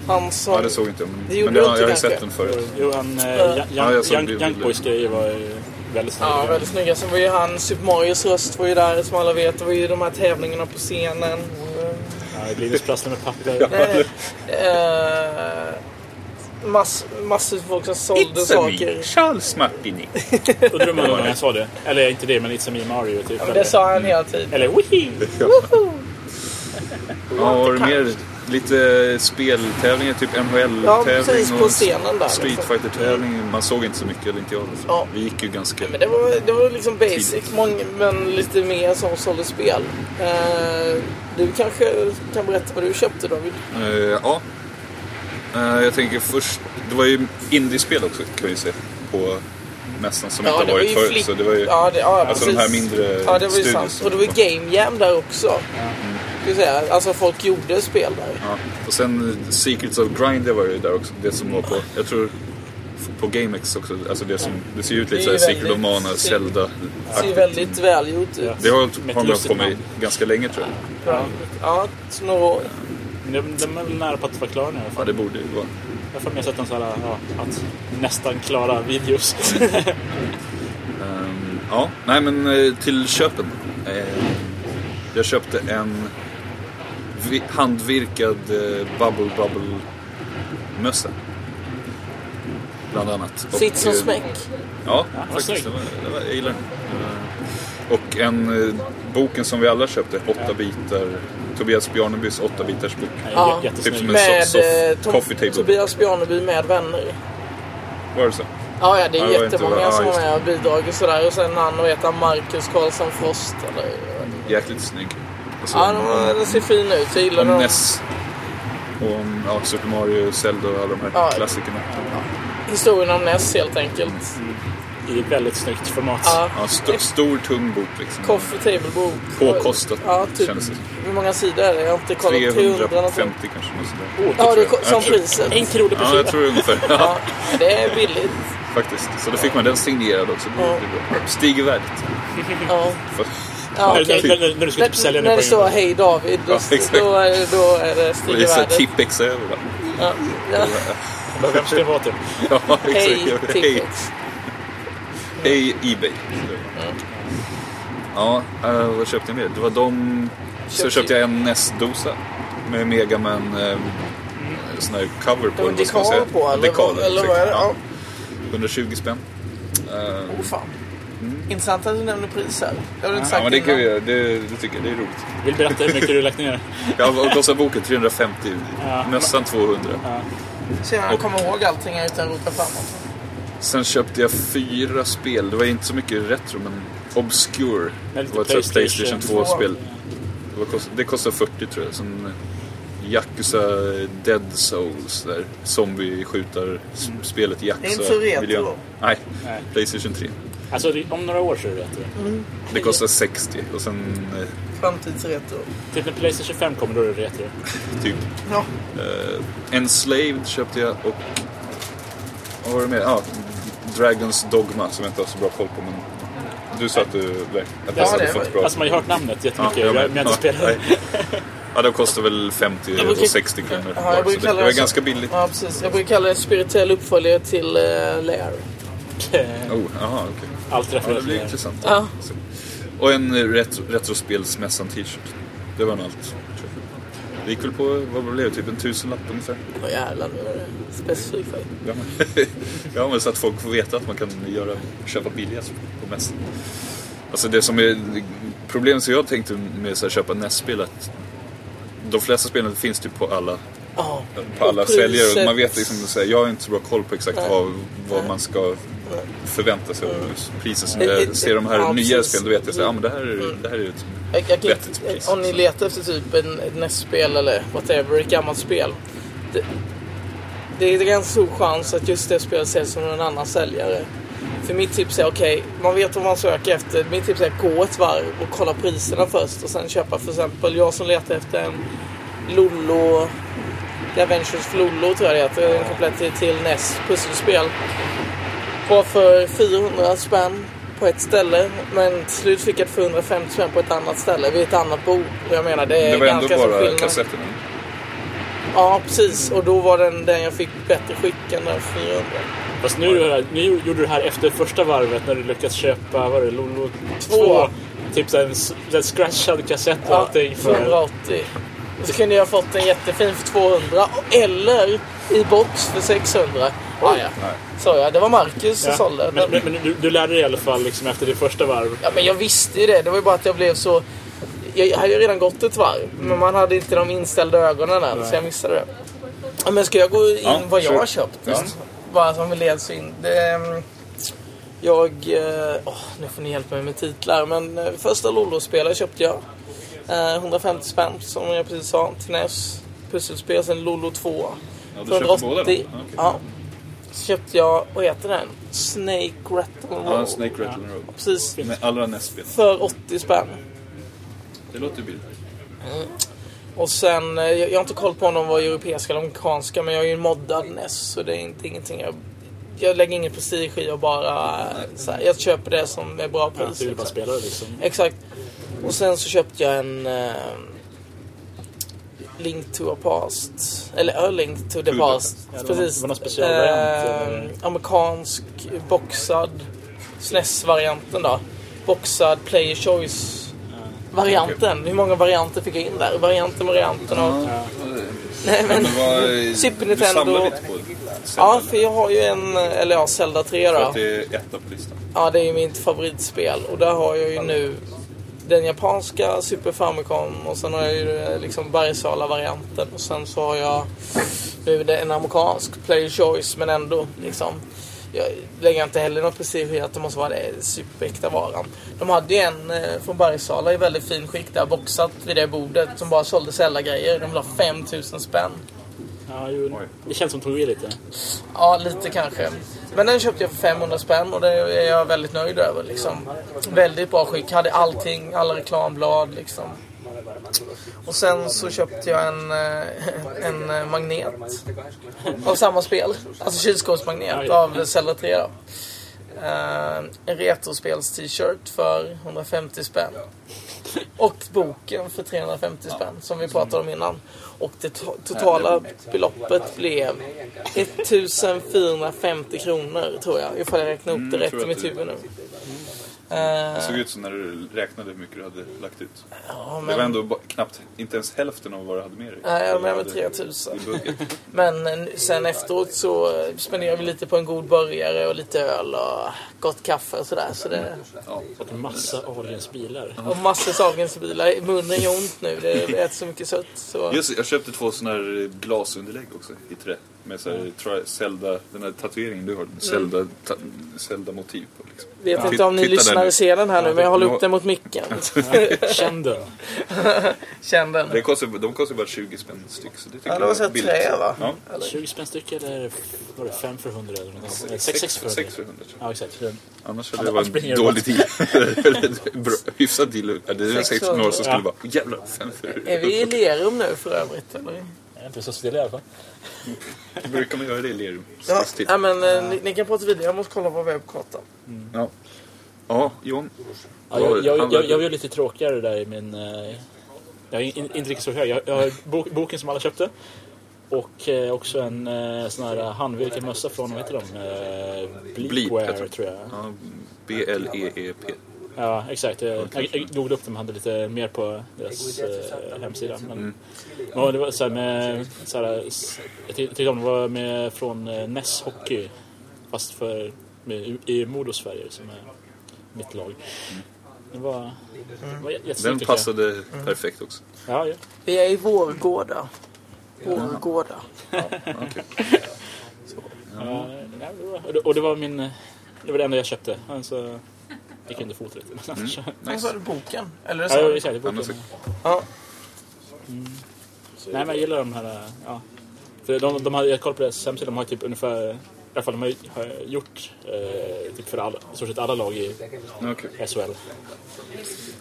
Speaker 4: Han som...
Speaker 3: Ja, det såg inte jag. Men,
Speaker 4: Det gjorde
Speaker 3: men det,
Speaker 4: du
Speaker 3: har-
Speaker 4: inte
Speaker 3: jag har ju
Speaker 4: kanske.
Speaker 3: sett den förut.
Speaker 5: Jo, en eh,
Speaker 4: Ja.
Speaker 5: Young-
Speaker 3: Ja, jag såg
Speaker 5: Young-
Speaker 3: bilder.
Speaker 5: Young Boys grejer var ju väldigt snygg.
Speaker 4: Ja, väldigt snygga. Sen var ju han, Super Marios röst var ju där som alla vet. Det var ju de här tävlingarna på scenen.
Speaker 5: Ja, Linus prasslade med papper.
Speaker 4: Nej, nej. Eh, mass, massor av folk som sålde saker.
Speaker 3: Charles
Speaker 4: [LAUGHS]
Speaker 3: Martini.
Speaker 5: Undrar om han sa det. Eller inte det, men It's a me Mario. Typ.
Speaker 4: Det sa han hela tiden.
Speaker 5: Eller woohee!
Speaker 3: Ja, och mer lite eh, speltävlingar, typ NHL-tävling
Speaker 4: Ja, precis, på
Speaker 3: och
Speaker 4: scenen där,
Speaker 3: Street
Speaker 4: liksom.
Speaker 3: Fighter-tävling. Man såg inte så mycket, eller inte jag. Liksom.
Speaker 4: Ja.
Speaker 3: Vi gick ju ganska...
Speaker 4: Men det var, det var liksom basic,
Speaker 3: Tidigt.
Speaker 4: många, men lite mer som sålde spel. Eh, du kanske kan berätta vad du köpte David?
Speaker 3: Eh, ja. Eh, jag tänker först... Det var ju indiespel också, kan vi se, på mässan som inte har varit förut.
Speaker 4: flipp-
Speaker 3: Så det var ju...
Speaker 4: ja, det, ja,
Speaker 3: alltså de här
Speaker 4: precis.
Speaker 3: mindre
Speaker 4: Ja, det var ju
Speaker 3: studios
Speaker 4: sant.
Speaker 3: som-
Speaker 4: Och det var ju Game Jam där också. Ska vi säga. Alltså folk gjorde spel där.
Speaker 3: Ja. Och sen eh, Secrets of Grind det var ju där också. Det som var på, jag tror, på GameX också. Alltså det som, det ser ju ut lite
Speaker 4: Det är
Speaker 3: såhär
Speaker 4: ju
Speaker 3: Secret of
Speaker 4: väldigt-
Speaker 3: Mana,
Speaker 4: se-
Speaker 3: Zelda.
Speaker 4: Det ser ju väldigt välgjort ut.
Speaker 3: Det har
Speaker 5: Med
Speaker 3: har de
Speaker 5: ett
Speaker 3: haft på
Speaker 5: lustigt
Speaker 3: mig
Speaker 5: namn.
Speaker 3: ganska länge tror jag.
Speaker 4: Ja, ja några år.
Speaker 5: De, de är väl nära på att vara klara nu. Jag
Speaker 3: Ja, det borde ju vara.
Speaker 5: har för mig sett en sån här, ja, att nästan klara videos.
Speaker 3: Ehm, ja, nej men eh, till köpen. Eh, jag köpte en vi- handvirkad eh, Bubble Bubble mössa. Bland annat. Och,
Speaker 4: Sitt som
Speaker 3: eh,
Speaker 4: smäck.
Speaker 3: Ja,
Speaker 5: Ja, vad
Speaker 3: faktiskt. Det
Speaker 5: snygg.
Speaker 3: var, det var, jag gillar den. Eh, Och en eh, boken som vi alla köpte, åtta bitar. Tobias Bjarnebys åtta bitars bok.
Speaker 4: Ja.
Speaker 5: [LAUGHS] ja.
Speaker 3: Typ som
Speaker 5: Jättesnygg.
Speaker 3: en soft, soft
Speaker 4: eh, Tom-
Speaker 3: coffee table.
Speaker 4: Tobias Bjarneby med vänner.
Speaker 3: Var det så?
Speaker 4: Ja, ja det
Speaker 3: Ja,
Speaker 4: är
Speaker 3: det var
Speaker 4: jättemånga
Speaker 3: inte- ja,
Speaker 4: som
Speaker 3: just
Speaker 4: har
Speaker 3: det.
Speaker 4: med och bidragit och sådär. Och sen han och heter Marcus Karlsson Frost. Eller,
Speaker 3: Jäkligt snygg. Alltså,
Speaker 4: ja, den, den ser fin ut. Jag gillar
Speaker 3: om
Speaker 4: den.
Speaker 3: NES. Och om ja, Super Mario, Zelda och alla de här
Speaker 4: Ja.
Speaker 3: klassikerna.
Speaker 4: Historien om Ness helt enkelt.
Speaker 5: I ett väldigt snyggt format.
Speaker 4: Ja.
Speaker 3: Ja, st- stor, tung bok liksom.
Speaker 4: Coffee Table Book.
Speaker 3: Påkostat,
Speaker 4: Ja, typ.
Speaker 3: kändes det.
Speaker 4: Hur många sidor är det? Jag har inte kollat. 300 någonting.
Speaker 3: 350 kanske. Något sådär.
Speaker 4: Ja, Oh, det
Speaker 3: tror
Speaker 4: är
Speaker 3: jag.
Speaker 4: som
Speaker 3: Jag tror-
Speaker 4: priset.
Speaker 5: En krona per
Speaker 3: Ja, jag
Speaker 5: sida.
Speaker 3: tror ungefär. Ja,
Speaker 4: [LAUGHS] Ja, det är billigt.
Speaker 3: faktiskt. Så då fick man den signerad också. Det är bra. Stiger värdet.
Speaker 4: Ja.
Speaker 3: För-
Speaker 4: Ja,
Speaker 5: [LAUGHS] När-
Speaker 4: okej.
Speaker 5: när, när, när du ska typ sälja
Speaker 4: När,
Speaker 5: nu
Speaker 4: när
Speaker 5: på
Speaker 4: det står
Speaker 5: en
Speaker 4: Hej David, då,
Speaker 3: Ja, exakt.
Speaker 4: då, är- då är det
Speaker 3: Det är
Speaker 4: stiger
Speaker 3: så här
Speaker 4: värdet.
Speaker 3: Tippex över va?
Speaker 4: Ja, ja.
Speaker 5: Vem ska det vara typ? till?
Speaker 3: Ja, exakt.
Speaker 4: Hej
Speaker 3: Hej,
Speaker 4: Tippex.
Speaker 3: hej Ebay. Ja, eh, vad köpte jag mer? Det var de... Så
Speaker 4: Köpte-
Speaker 3: köpte jag en NES-dosa med Mega Man eh, sån här cover på.
Speaker 4: Det var
Speaker 3: eller vad ska man säga?
Speaker 4: dekal på eller?
Speaker 3: Dekaler,
Speaker 4: eller vad
Speaker 3: exakt.
Speaker 4: är det? Ja.
Speaker 3: Ja. 120 spänn. Eh,
Speaker 4: Oh, fan. Intressant att du nämner priser. Det har du inte
Speaker 3: Ja,
Speaker 4: sagt
Speaker 3: men det kan
Speaker 4: innan.
Speaker 3: vi göra. Det, det tycker jag. Det är roligt.
Speaker 5: Vill berätta hur mycket du lagt ner?
Speaker 3: Ja, och Gossaboken 350.
Speaker 4: Ja.
Speaker 3: Nästan 200.
Speaker 4: Så jag
Speaker 3: Och-
Speaker 4: kommer ihåg allting här utan att rota framåt.
Speaker 3: Sen köpte jag fyra spel. Det var inte så mycket retro, men Obscure.
Speaker 4: Ja,
Speaker 3: Det
Speaker 4: lite
Speaker 3: var ett sånt här
Speaker 4: PlayStation
Speaker 3: Playstation 2-spel.
Speaker 4: 2.
Speaker 3: Det, var kost- det kostade 40 tror jag. Sen eh, Yakuza Dead Souls, där zombie-skjutar-spelet Yakuza.
Speaker 5: Det är inte så retro.
Speaker 3: vill jag- Nej,
Speaker 5: Nej.
Speaker 3: Playstation 3.
Speaker 5: Alltså det- om några år så är det retro.
Speaker 3: Det kostar 60 och sen eh,
Speaker 4: Framtidsretro.
Speaker 5: Typ när Playstation 5 kommer då är det retro.
Speaker 3: typ
Speaker 4: Ja.
Speaker 3: Uh, Enslaved köpte jag och... Vad var det mer? Ja, Dragons Dogma som jag inte har så bra koll på. Men du sa att du verk- att
Speaker 5: Ja,
Speaker 3: det hade
Speaker 5: det-
Speaker 3: fått bra...
Speaker 5: alltså, man har ju hört namnet jättemycket,
Speaker 3: jag
Speaker 5: men
Speaker 3: med.
Speaker 5: jag har inte
Speaker 3: Ja,
Speaker 5: spelat.
Speaker 3: nej. Ja, de kostar väl 50
Speaker 4: Jag brukar-
Speaker 3: och 60 kronor.
Speaker 4: typ- Ja, jag
Speaker 3: var, så
Speaker 4: brukar
Speaker 3: det,
Speaker 4: kalla
Speaker 3: det var
Speaker 4: så-
Speaker 3: ganska billigt.
Speaker 4: Ja, precis. Jag brukar kalla det en spirituell uppföljare till uh, Lair.
Speaker 3: Oh, aha, okej.
Speaker 5: [LAUGHS] Allt
Speaker 3: ja,
Speaker 5: refererar
Speaker 3: det blir
Speaker 5: till-
Speaker 3: intressant.
Speaker 4: Ja.
Speaker 3: Och en eh, retro, Retrospelsmässan-t-shirt. Det var en allt. tror jag. Det gick väl på, vad blev det, typ en tusenlapp ungefär?
Speaker 4: Åh jävlar, det var specifik faktiskt.
Speaker 3: Ja, men, [LAUGHS] ja, men så att folk får veta att man kan göra, köpa billigast på mässan. Alltså det som är problemet som jag tänkte med att köpa NES-spel att de flesta spelen finns typ på alla,
Speaker 4: Ja.
Speaker 3: på alla
Speaker 4: Och priset.
Speaker 3: säljare. Och Man vet liksom, så här, jag har inte så bra koll på exakt
Speaker 4: Nej.
Speaker 3: vad, vad man ska förvänta sig av priset. Så när
Speaker 4: Eh, eh,
Speaker 3: jag ser de här
Speaker 4: ja,
Speaker 3: nya
Speaker 4: precis. Mm.
Speaker 3: spelen då vet jag att ja, men det här är, det här är ett
Speaker 4: Jag, jag kan,
Speaker 3: vettigt
Speaker 4: inte- om ni letar efter typ en, ett NES-spel eller whatever, ett gammalt spel. Det, det är en ganska stor chans att just det spelet säljs som någon annan säljare. För mitt tips är okej, man vet vad man söker efter. Mitt tips är att gå ett varv och kolla priserna först och sen köpa för exempel, jag som letar efter en Lollo The Adventures of Lollo tror jag det heter. En komplett till NES pusselspel. Var för 400 spänn på ett ställe. Men till slut fick jag 450 spänn på ett annat ställe. Vid ett annat bord. Och Jag menar det är
Speaker 3: Det var ändå
Speaker 4: ganska stor
Speaker 3: bara
Speaker 4: skillnad.
Speaker 3: kassetterna.
Speaker 4: Ja precis. Och då var den, den jag fick bättre skick än den 400.
Speaker 5: Fast nu, är det- nu gjorde du det här efter första varvet när du lyckats köpa, vad var det, Lolo 2? Typ så här en, s- en scratchad kassett och allting. För...
Speaker 4: 480. Och så kunde jag ha fått en jättefin för 200. Eller i box för 600. Ah, ja. Sa jag. Det var Marcus som
Speaker 5: Ja.
Speaker 4: sålde.
Speaker 5: Men, men, men du, du lärde dig i alla fall liksom efter ditt första varv.
Speaker 4: Ja, men jag visste ju det. Det var ju bara att jag blev så... Jag hade ju redan gått ett varv, men man hade inte de inställda ögonen än,
Speaker 5: Nej.
Speaker 4: så jag missade det. Ja, men ska jag gå in
Speaker 5: Ja,
Speaker 4: vad jag
Speaker 5: kör.
Speaker 4: har köpt?
Speaker 5: Ja.
Speaker 4: Visst? Bara som vi leds in. Det, ehm, jag... eh, Åh, nu får ni hjälpa mig med titlar, men eh, första Lolo-spelare köpte jag. Eh, 150 spänn, som jag precis sa, till NES. Pusselspel, sen Lolo 2.
Speaker 3: Ja, du köpte båda då? Ja, okej.
Speaker 4: Ja. Så köpte jag, vad heter den? Snake Rattle Roll.
Speaker 3: Ja, Snake Rattle and Roll.
Speaker 4: Precis.
Speaker 3: Med alla NES-spel.
Speaker 4: För 80 spänn.
Speaker 3: Det låter ju billigt.
Speaker 4: Mm. Och sen, eh, jag jag har inte koll på om de var europeiska eller amerikanska, men jag är ju en moddad NES, så det är inte ingenting jag... Jag lägger ingen prestige i och bara... eh, Så här, jag köper det som är bra
Speaker 5: Ja,
Speaker 4: pris.
Speaker 5: du vill bara
Speaker 4: liksom.
Speaker 5: spela det liksom.
Speaker 4: Exakt. Och sen så köpte jag en... eh, Link to a past. Eller A Link to the
Speaker 5: To the
Speaker 4: past.
Speaker 5: Past. Ja, det var någon-
Speaker 4: Precis.
Speaker 5: det var någon speciell variant,
Speaker 4: Eh,
Speaker 5: eller?
Speaker 4: Amerikansk boxad. SNES-varianten då. Boxad player choice. Varianten. Hur många varianter fick jag in där? Varianten, varianten och... Nej men... Super
Speaker 3: Du samlar
Speaker 4: Nintendo.
Speaker 3: lite på
Speaker 4: Ja, för jag har ju en... eh, Eller ja, Zelda 3 då.
Speaker 3: För att det är etta på listan.
Speaker 4: Ja, det är ju mitt favoritspel. Och där har jag ju nu den japanska Super Famicom och sen har jag ju eh, liksom Bergsala-varianten. Och sen så har jag nu är det en amerikansk Player Choice, men ändå liksom. Jag lägger inte heller något prestige i att det måste vara det superäkta varan. De hade ju en eh, från Bergsala i väldigt fin skick där, boxat vid det bordet, som bara sålde Zelda-grejer. De la 5000 spänn.
Speaker 5: Ja, ju, det känns som tog i lite.
Speaker 4: Ja, lite kanske. Men den köpte jag för 500 spänn och det är jag väldigt nöjd över. Liksom. Väldigt bra skick. Hade allting, alla reklamblad liksom. Och sen så köpte jag en, eh, en eh, magnet av samma spel. Alltså kylskåpsmagnet av Zelda 3 då. Eh, en retrospels-t-shirt för 150 spänn. Och boken för 350 spänn som vi pratade om innan. Och det to- totala beloppet blev 1450 kronor tror jag. Ifall jag räknar upp det
Speaker 3: Mm,
Speaker 4: rätt
Speaker 3: tror
Speaker 4: i
Speaker 3: jag
Speaker 4: mitt Eh,
Speaker 3: att det-
Speaker 4: huvud nu.
Speaker 3: Det såg ut som när du räknade hur mycket du hade lagt ut.
Speaker 4: Ja, men-
Speaker 3: Det var ändå ba- knappt, inte ens hälften av vad du hade med dig.
Speaker 4: Nej, jag
Speaker 3: Eller
Speaker 4: med mig
Speaker 3: hade
Speaker 4: 3000.
Speaker 3: I budget.
Speaker 4: Men eh, sen efteråt så eh, spenderade vi lite på en god burgare och lite öl och gott kaffe och sådär. Så det...
Speaker 5: Och en massa Ahlgrens bilar.
Speaker 4: Och massor av Sahlgrens bilar. Munnen gör ont nu. Det är- vi äter så mycket sött. Så...
Speaker 3: Just det, jag köpte två sådana här eh, glasunderlägg också i trä. Med så här, tri- Zelda, den här tatueringen du har. Zelda, ta, Zelda-motiv på liksom.
Speaker 4: Mm. Vet
Speaker 3: Ja.
Speaker 4: inte om ni
Speaker 3: Titta där
Speaker 4: lyssnare
Speaker 3: nu.
Speaker 4: ser den här nu, men jag håller
Speaker 3: Ja.
Speaker 4: upp den
Speaker 3: [LAUGHS]
Speaker 4: mot micken.
Speaker 3: Känn den.
Speaker 4: Känn den.
Speaker 3: Det kostar, de kostar bara 20 spänn styck. Så det tycker
Speaker 4: Ja, det var
Speaker 3: jag
Speaker 4: så här
Speaker 3: är billigt.
Speaker 4: trä, va?
Speaker 3: Ja.
Speaker 5: 20 spänn styck eller var det 5 för 100 eller något?
Speaker 3: Sex-
Speaker 5: Eller 6 6 för 100.
Speaker 3: sex för 100, tror
Speaker 5: Ja, exakt. Så-
Speaker 3: Annars hade det varit
Speaker 5: springer
Speaker 3: en
Speaker 5: det
Speaker 3: dålig
Speaker 5: bara.
Speaker 3: tid. Eller en [LAUGHS] bra- Hyfsat deal. Ja, Det är 16 år som
Speaker 5: Ja.
Speaker 3: skulle bara, "Åh, jävlar, fem för
Speaker 4: Är vi i Lerum nu för övrigt? Eller?
Speaker 5: Jag är inte så stilig i alla fall.
Speaker 3: Brukar man göra det i Lerum?
Speaker 4: Ja,
Speaker 3: Sist tid.
Speaker 4: ja, men eh, ni, ni kan prata vidare. Jag måste kolla på webbkartan.
Speaker 3: Ja. Ja, John.
Speaker 5: Ja, jag, jag, jag, jag var ju lite tråkigare där i min... eh, Jag är in- inte riktigt så hög. Jag, jag har bok, boken som alla köpte. Och eh, också en eh, sån här handvirkad mössa från, vad heter de? Eh,
Speaker 3: Bleep,
Speaker 5: Bleepware
Speaker 3: heter de.
Speaker 5: tror jag.
Speaker 3: Ja, E B-L-E-E-P.
Speaker 5: Ja, exakt. Jag, jag, jag googlade upp dem hade lite mer på deras eh, hemsida. Men,
Speaker 3: Mm.
Speaker 5: men det var så här med... Så här, s- jag tyck- tyckte om det var med från eh, Ness Hockey. Fast för, med, i Modo Sverige som är mitt lag. Det var, det var jättesnyggt
Speaker 3: Den
Speaker 5: tycker jag.
Speaker 3: passade
Speaker 4: Mm.
Speaker 3: perfekt också.
Speaker 5: Ja, ja.
Speaker 4: Vi är i Vårgårda. Vårgårda.
Speaker 5: Ja,
Speaker 3: Mm.
Speaker 5: nej, det var- och det- Och det var min... Det var det enda jag köpte. Alltså, jag kunde få det. Men
Speaker 3: Mm.
Speaker 5: annars...
Speaker 4: Och så är det boken. Eller
Speaker 5: Ja,
Speaker 4: så
Speaker 5: ja, exakt. Det är boken.
Speaker 4: Ja.
Speaker 5: Nej, men jag gillar de här... äh, Ja. För de, de har, jag kollade på deras hemsida, de har ju typ ungefär... I alla fall de har, ju- har gjort eh, typ för alla, i stort sett alla lag i SHL.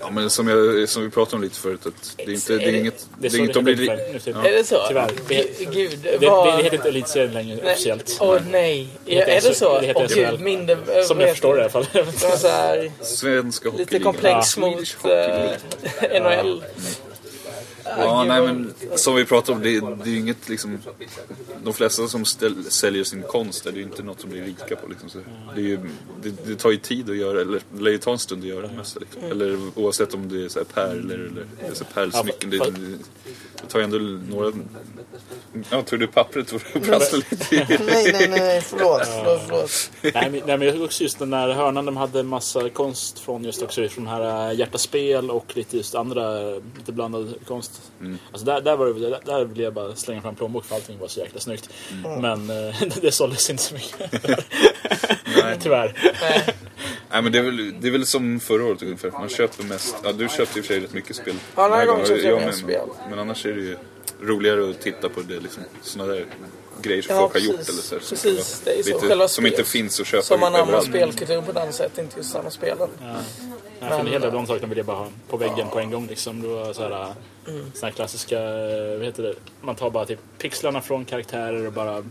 Speaker 3: Ja, men som, jag, som vi pratade om lite förut, att det är inte... Det är inget...
Speaker 5: Det är
Speaker 3: Det
Speaker 5: så
Speaker 3: är inget de blir...
Speaker 5: heter nu, typ.
Speaker 3: Ja.
Speaker 4: Är det så?
Speaker 5: Tyvärr.
Speaker 4: G- gud,
Speaker 5: det,
Speaker 4: vad-
Speaker 5: det, det heter inte Elitserien längre
Speaker 4: Nej.
Speaker 5: officiellt.
Speaker 4: Åh nej.
Speaker 5: Det
Speaker 4: Ja,
Speaker 5: heter
Speaker 4: är det
Speaker 5: SHL.
Speaker 4: så?
Speaker 5: Det
Speaker 4: Åh
Speaker 5: heter
Speaker 4: gud,
Speaker 5: SHL.
Speaker 4: mindre... vad
Speaker 5: Som
Speaker 4: heter
Speaker 5: jag förstår det i alla fall.
Speaker 4: det? Det var så här,
Speaker 3: Svenska
Speaker 4: lite
Speaker 3: hockeyligan.
Speaker 4: komplex
Speaker 3: Ja.
Speaker 4: mot eh, NHL.
Speaker 3: Ja,
Speaker 4: gud,
Speaker 3: nej,
Speaker 4: vad-
Speaker 3: men som vi pratade om, det, det är ju inget liksom... De flesta som ställ, säljer sin konst är det ju inte något som blir rika på. Liksom, så. Det, är ju, det, det tar ju tid att göra, eller det lär ju ta en stund att göra det mesta. Liksom.
Speaker 5: Mm.
Speaker 3: Eller oavsett om det är så här pärlor eller alltså pärlsmycken. Det,
Speaker 5: Ja, fa-
Speaker 3: det, det tar ju ändå några... Ja, tog du pappret och brassade lite? i-
Speaker 4: Nej, nej, nej. Förlåt, förlåt, förlåt.
Speaker 5: nej, men, nej, men jag såg också just den där hörnan de hade en massa konst från just också från de här äh, hjärtaspel och lite just andra äh, lite blandad konst.
Speaker 3: Mm.
Speaker 5: Alltså där, där, var det, där, där ville jag bara slänga fram plånbok för allting var så jäkla snyggt.
Speaker 3: Mm.
Speaker 5: Men eh, [LAUGHS] det såldes inte så mycket. [LAUGHS] Tyvärr.
Speaker 3: Nej, men det är, väl, det är väl som förra året ungefär. Man köper mest... Ja, du köpte i och för sig rätt mycket spel.
Speaker 4: Ja, den här
Speaker 3: Nej,
Speaker 4: gången köpte jag
Speaker 3: men,
Speaker 4: mer spel.
Speaker 3: Men annars är det ju roligare att titta på det liksom. Sådana där grejer som
Speaker 4: Ja,
Speaker 3: folk
Speaker 4: precis.
Speaker 3: har gjort eller så. här. Som-
Speaker 4: Precis, det är så.
Speaker 3: Lite,
Speaker 4: Själva
Speaker 3: Som
Speaker 4: spel-
Speaker 3: inte finns att köpa
Speaker 4: Som man använder
Speaker 3: överallt.
Speaker 4: spelkultur på den sätt, inte just samma spelen.
Speaker 5: Nej, för en
Speaker 4: Men-
Speaker 5: hel del av de sakerna vill jag bara ha på väggen på en gång. Liksom. Det var så här,
Speaker 4: Mm.
Speaker 5: såna här klassiska, eh, vad heter det? Man tar bara typ pixlarna från karaktärer och bara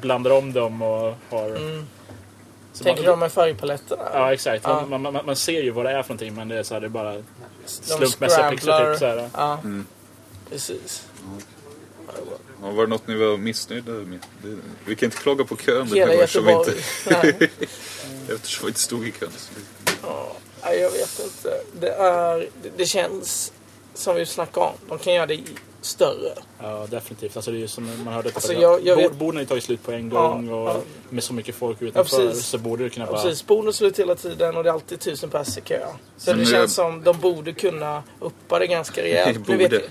Speaker 5: blandar om dem och har...
Speaker 4: Mm.
Speaker 5: Så
Speaker 4: Tänker
Speaker 5: bara-
Speaker 4: du med färgpaletterna?
Speaker 5: Ja, exakt.
Speaker 4: Ja.
Speaker 5: Man, man, man, man ser ju vad det är för någonting men det är, så här, det är bara
Speaker 4: scramblar.
Speaker 5: slumpmässiga pixlar. Typ, så här.
Speaker 4: Ja.
Speaker 3: Mm.
Speaker 4: Precis.
Speaker 3: Ja, var det något ni var missnöjda med? Det, vi kan inte klaga på kön den
Speaker 4: Hela
Speaker 3: här gången eftersom vi inte,
Speaker 4: Göteborg. [LAUGHS] Nej.
Speaker 3: eftersom vi inte [LAUGHS] stod i kön. så det-
Speaker 4: Ja, nej, jag vet inte. Det, är, det, det känns som vi snackade om. De kan göra det större.
Speaker 5: Ja, definitivt. Alltså, det är ju som man hörde
Speaker 4: Alltså, jag- jag
Speaker 5: bord-
Speaker 4: vet-
Speaker 5: Borden har ju tagit slut på en
Speaker 4: Ja,
Speaker 5: gång och
Speaker 4: ja.
Speaker 5: med så mycket folk utanför
Speaker 4: precis.
Speaker 5: så borde det kunna
Speaker 4: Ja,
Speaker 5: bara...
Speaker 4: Precis, bonus ut hela tiden och det är alltid tusen pers i kö. Så
Speaker 5: Men
Speaker 4: det
Speaker 5: nu-
Speaker 4: känns som de borde kunna uppa det ganska rejält. Nu
Speaker 3: Borde.
Speaker 4: vet jag,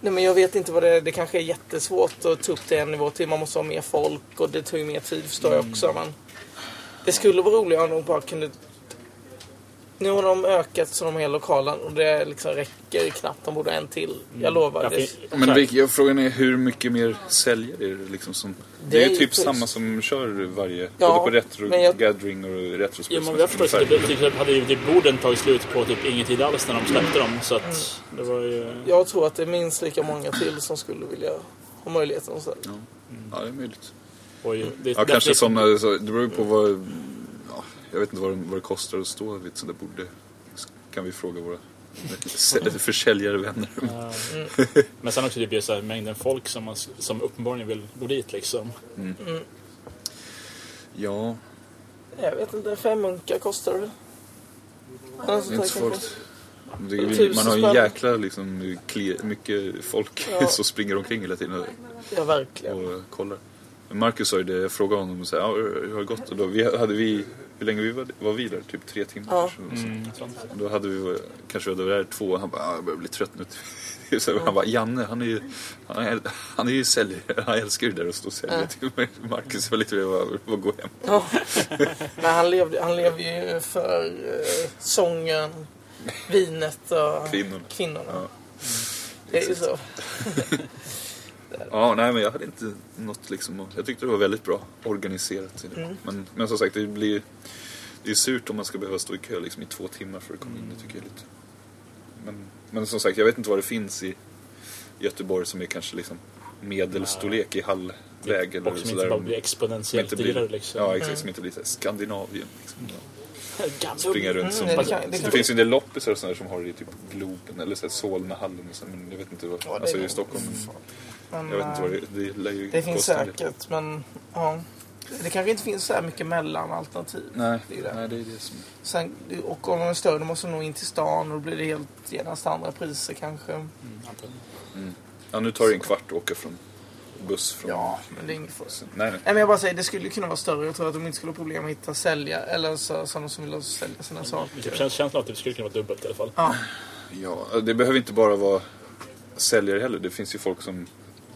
Speaker 4: nej, men jag vet inte vad det är. Det kanske är jättesvårt att ta upp det en nivå till. Man måste ha mer folk och det tar ju mer tid förstår jag också. Men det skulle vara roligare om de bara kunde... Nu har de ökat så de har hela lokalen och det liksom räcker knappt. De borde ha en till. Jag lovar. Det-
Speaker 3: Men vilk- jag- frågan är hur mycket mer säljare är det liksom som...
Speaker 4: Det
Speaker 3: Det,
Speaker 4: är
Speaker 3: är ju typ
Speaker 4: precis.
Speaker 3: samma som kör varje...
Speaker 4: Ja,
Speaker 3: både på retro
Speaker 4: men jag-
Speaker 3: gathering och retro
Speaker 5: Ja, men jag förstår att det, det, hade ju typ borden tagit slut på typ ingen tid alls när de släppte dem. Så att
Speaker 4: Mm.
Speaker 5: det var ju...
Speaker 4: Jag tror att det är minst lika många till som skulle vilja ha möjligheten att ställa.
Speaker 3: Ja, det är möjligt.
Speaker 5: Oj, det,
Speaker 3: Ja, kanske sådana... Så, det beror ju på vad... Ja, jag vet inte vad, de- vad det kostar att stå vid ett sånt där bord. Det kan vi fråga våra sä- försäljare vänner.
Speaker 5: Mm. Men sen också typ just så här, mängden folk som, man, som uppenbarligen vill gå dit liksom.
Speaker 3: Mm.
Speaker 4: Mm.
Speaker 3: Ja,
Speaker 4: Jag vet inte, fem munkar kostar det.
Speaker 3: Det är inte så folk. Det är, man har ju en jäkla liksom, kli- mycket folk
Speaker 4: Ja.
Speaker 3: [LAUGHS] som springer omkring hela tiden
Speaker 4: Ja, verkligen.
Speaker 3: och kollar. Marcus sa ju det, jag frågade honom och sa, ja, hur har det gått? Och då vi, hade vi, hur länge vi var, var vi där? Typ tre timmar?
Speaker 4: Ja.
Speaker 3: Och så. Och då hade vi, kanske vi hade varit där två och han bara, "Ah, jag börjar bli trött nu. [LAUGHS] Så Han bara, Janne han är ju, han är, han är ju säljare, han älskar ju det där att stå och sälja
Speaker 4: Ja.
Speaker 3: till mig. Marcus var lite, jag bara, "Vad, gå hem.
Speaker 4: Ja. Men han levde, han levde ju för eh, sången, vinet och
Speaker 3: Kvinnorna.
Speaker 4: kvinnorna.
Speaker 3: Ja.
Speaker 4: Det är ju så.
Speaker 3: Ja, nej men jag hade inte något liksom, att- jag tyckte det var väldigt bra organiserat. typ.
Speaker 4: Mm.
Speaker 3: Men, men som sagt, det blir ju- det är surt om man ska behöva stå i kö liksom, i två timmar för att komma in. Det tycker jag är lite... Men, men som sagt, jag vet inte vad det finns i Göteborg som är kanske liksom medelstorlek i hallväg eller
Speaker 5: Och som
Speaker 3: sådär.
Speaker 5: inte bara
Speaker 3: Om-
Speaker 5: blir exponentiellt
Speaker 3: som inte blir-
Speaker 5: dyrare, liksom.
Speaker 3: Ja, exakt. Som
Speaker 5: Mm.
Speaker 3: inte blir så här Skandinavien. Liksom.
Speaker 5: [LAUGHS] Gamla-
Speaker 3: Springa runt som...
Speaker 5: Mm,
Speaker 3: det,
Speaker 5: det kan- det kan-
Speaker 3: finns ju en del loppisar och sådär som har det i typ Globen eller så här Solnahallen. Och så, men jag vet inte vad...
Speaker 4: det
Speaker 3: alltså
Speaker 4: är-
Speaker 3: i Stockholm.
Speaker 4: Men,
Speaker 3: jag vet inte vad det... Det, lär ju
Speaker 4: Det finns
Speaker 3: kosta en del.
Speaker 4: säkert, men ja. Det kanske inte finns så här mycket mellanalternativ.
Speaker 3: Nej,
Speaker 4: Det är det.
Speaker 3: nej, det är det som...
Speaker 4: Sen, och om de är större, då måste de nog in till stan och då blir det helt genast andra priser kanske.
Speaker 3: Mm. Ja, nu tar det en kvart att åka från buss från...
Speaker 4: Ja, men det är inget fusk.
Speaker 3: Nej, nej.
Speaker 4: Nej, men jag bara säger, det skulle ju kunna vara större. Jag tror att de inte skulle ha problem att hitta sälja, eller så, sådana som vill sälja sina saker.
Speaker 5: Typ känns- känslan att det skulle kunna vara dubbelt i alla fall.
Speaker 4: Ja.
Speaker 3: Ja, det behöver inte bara vara säljare heller. Det finns ju folk som,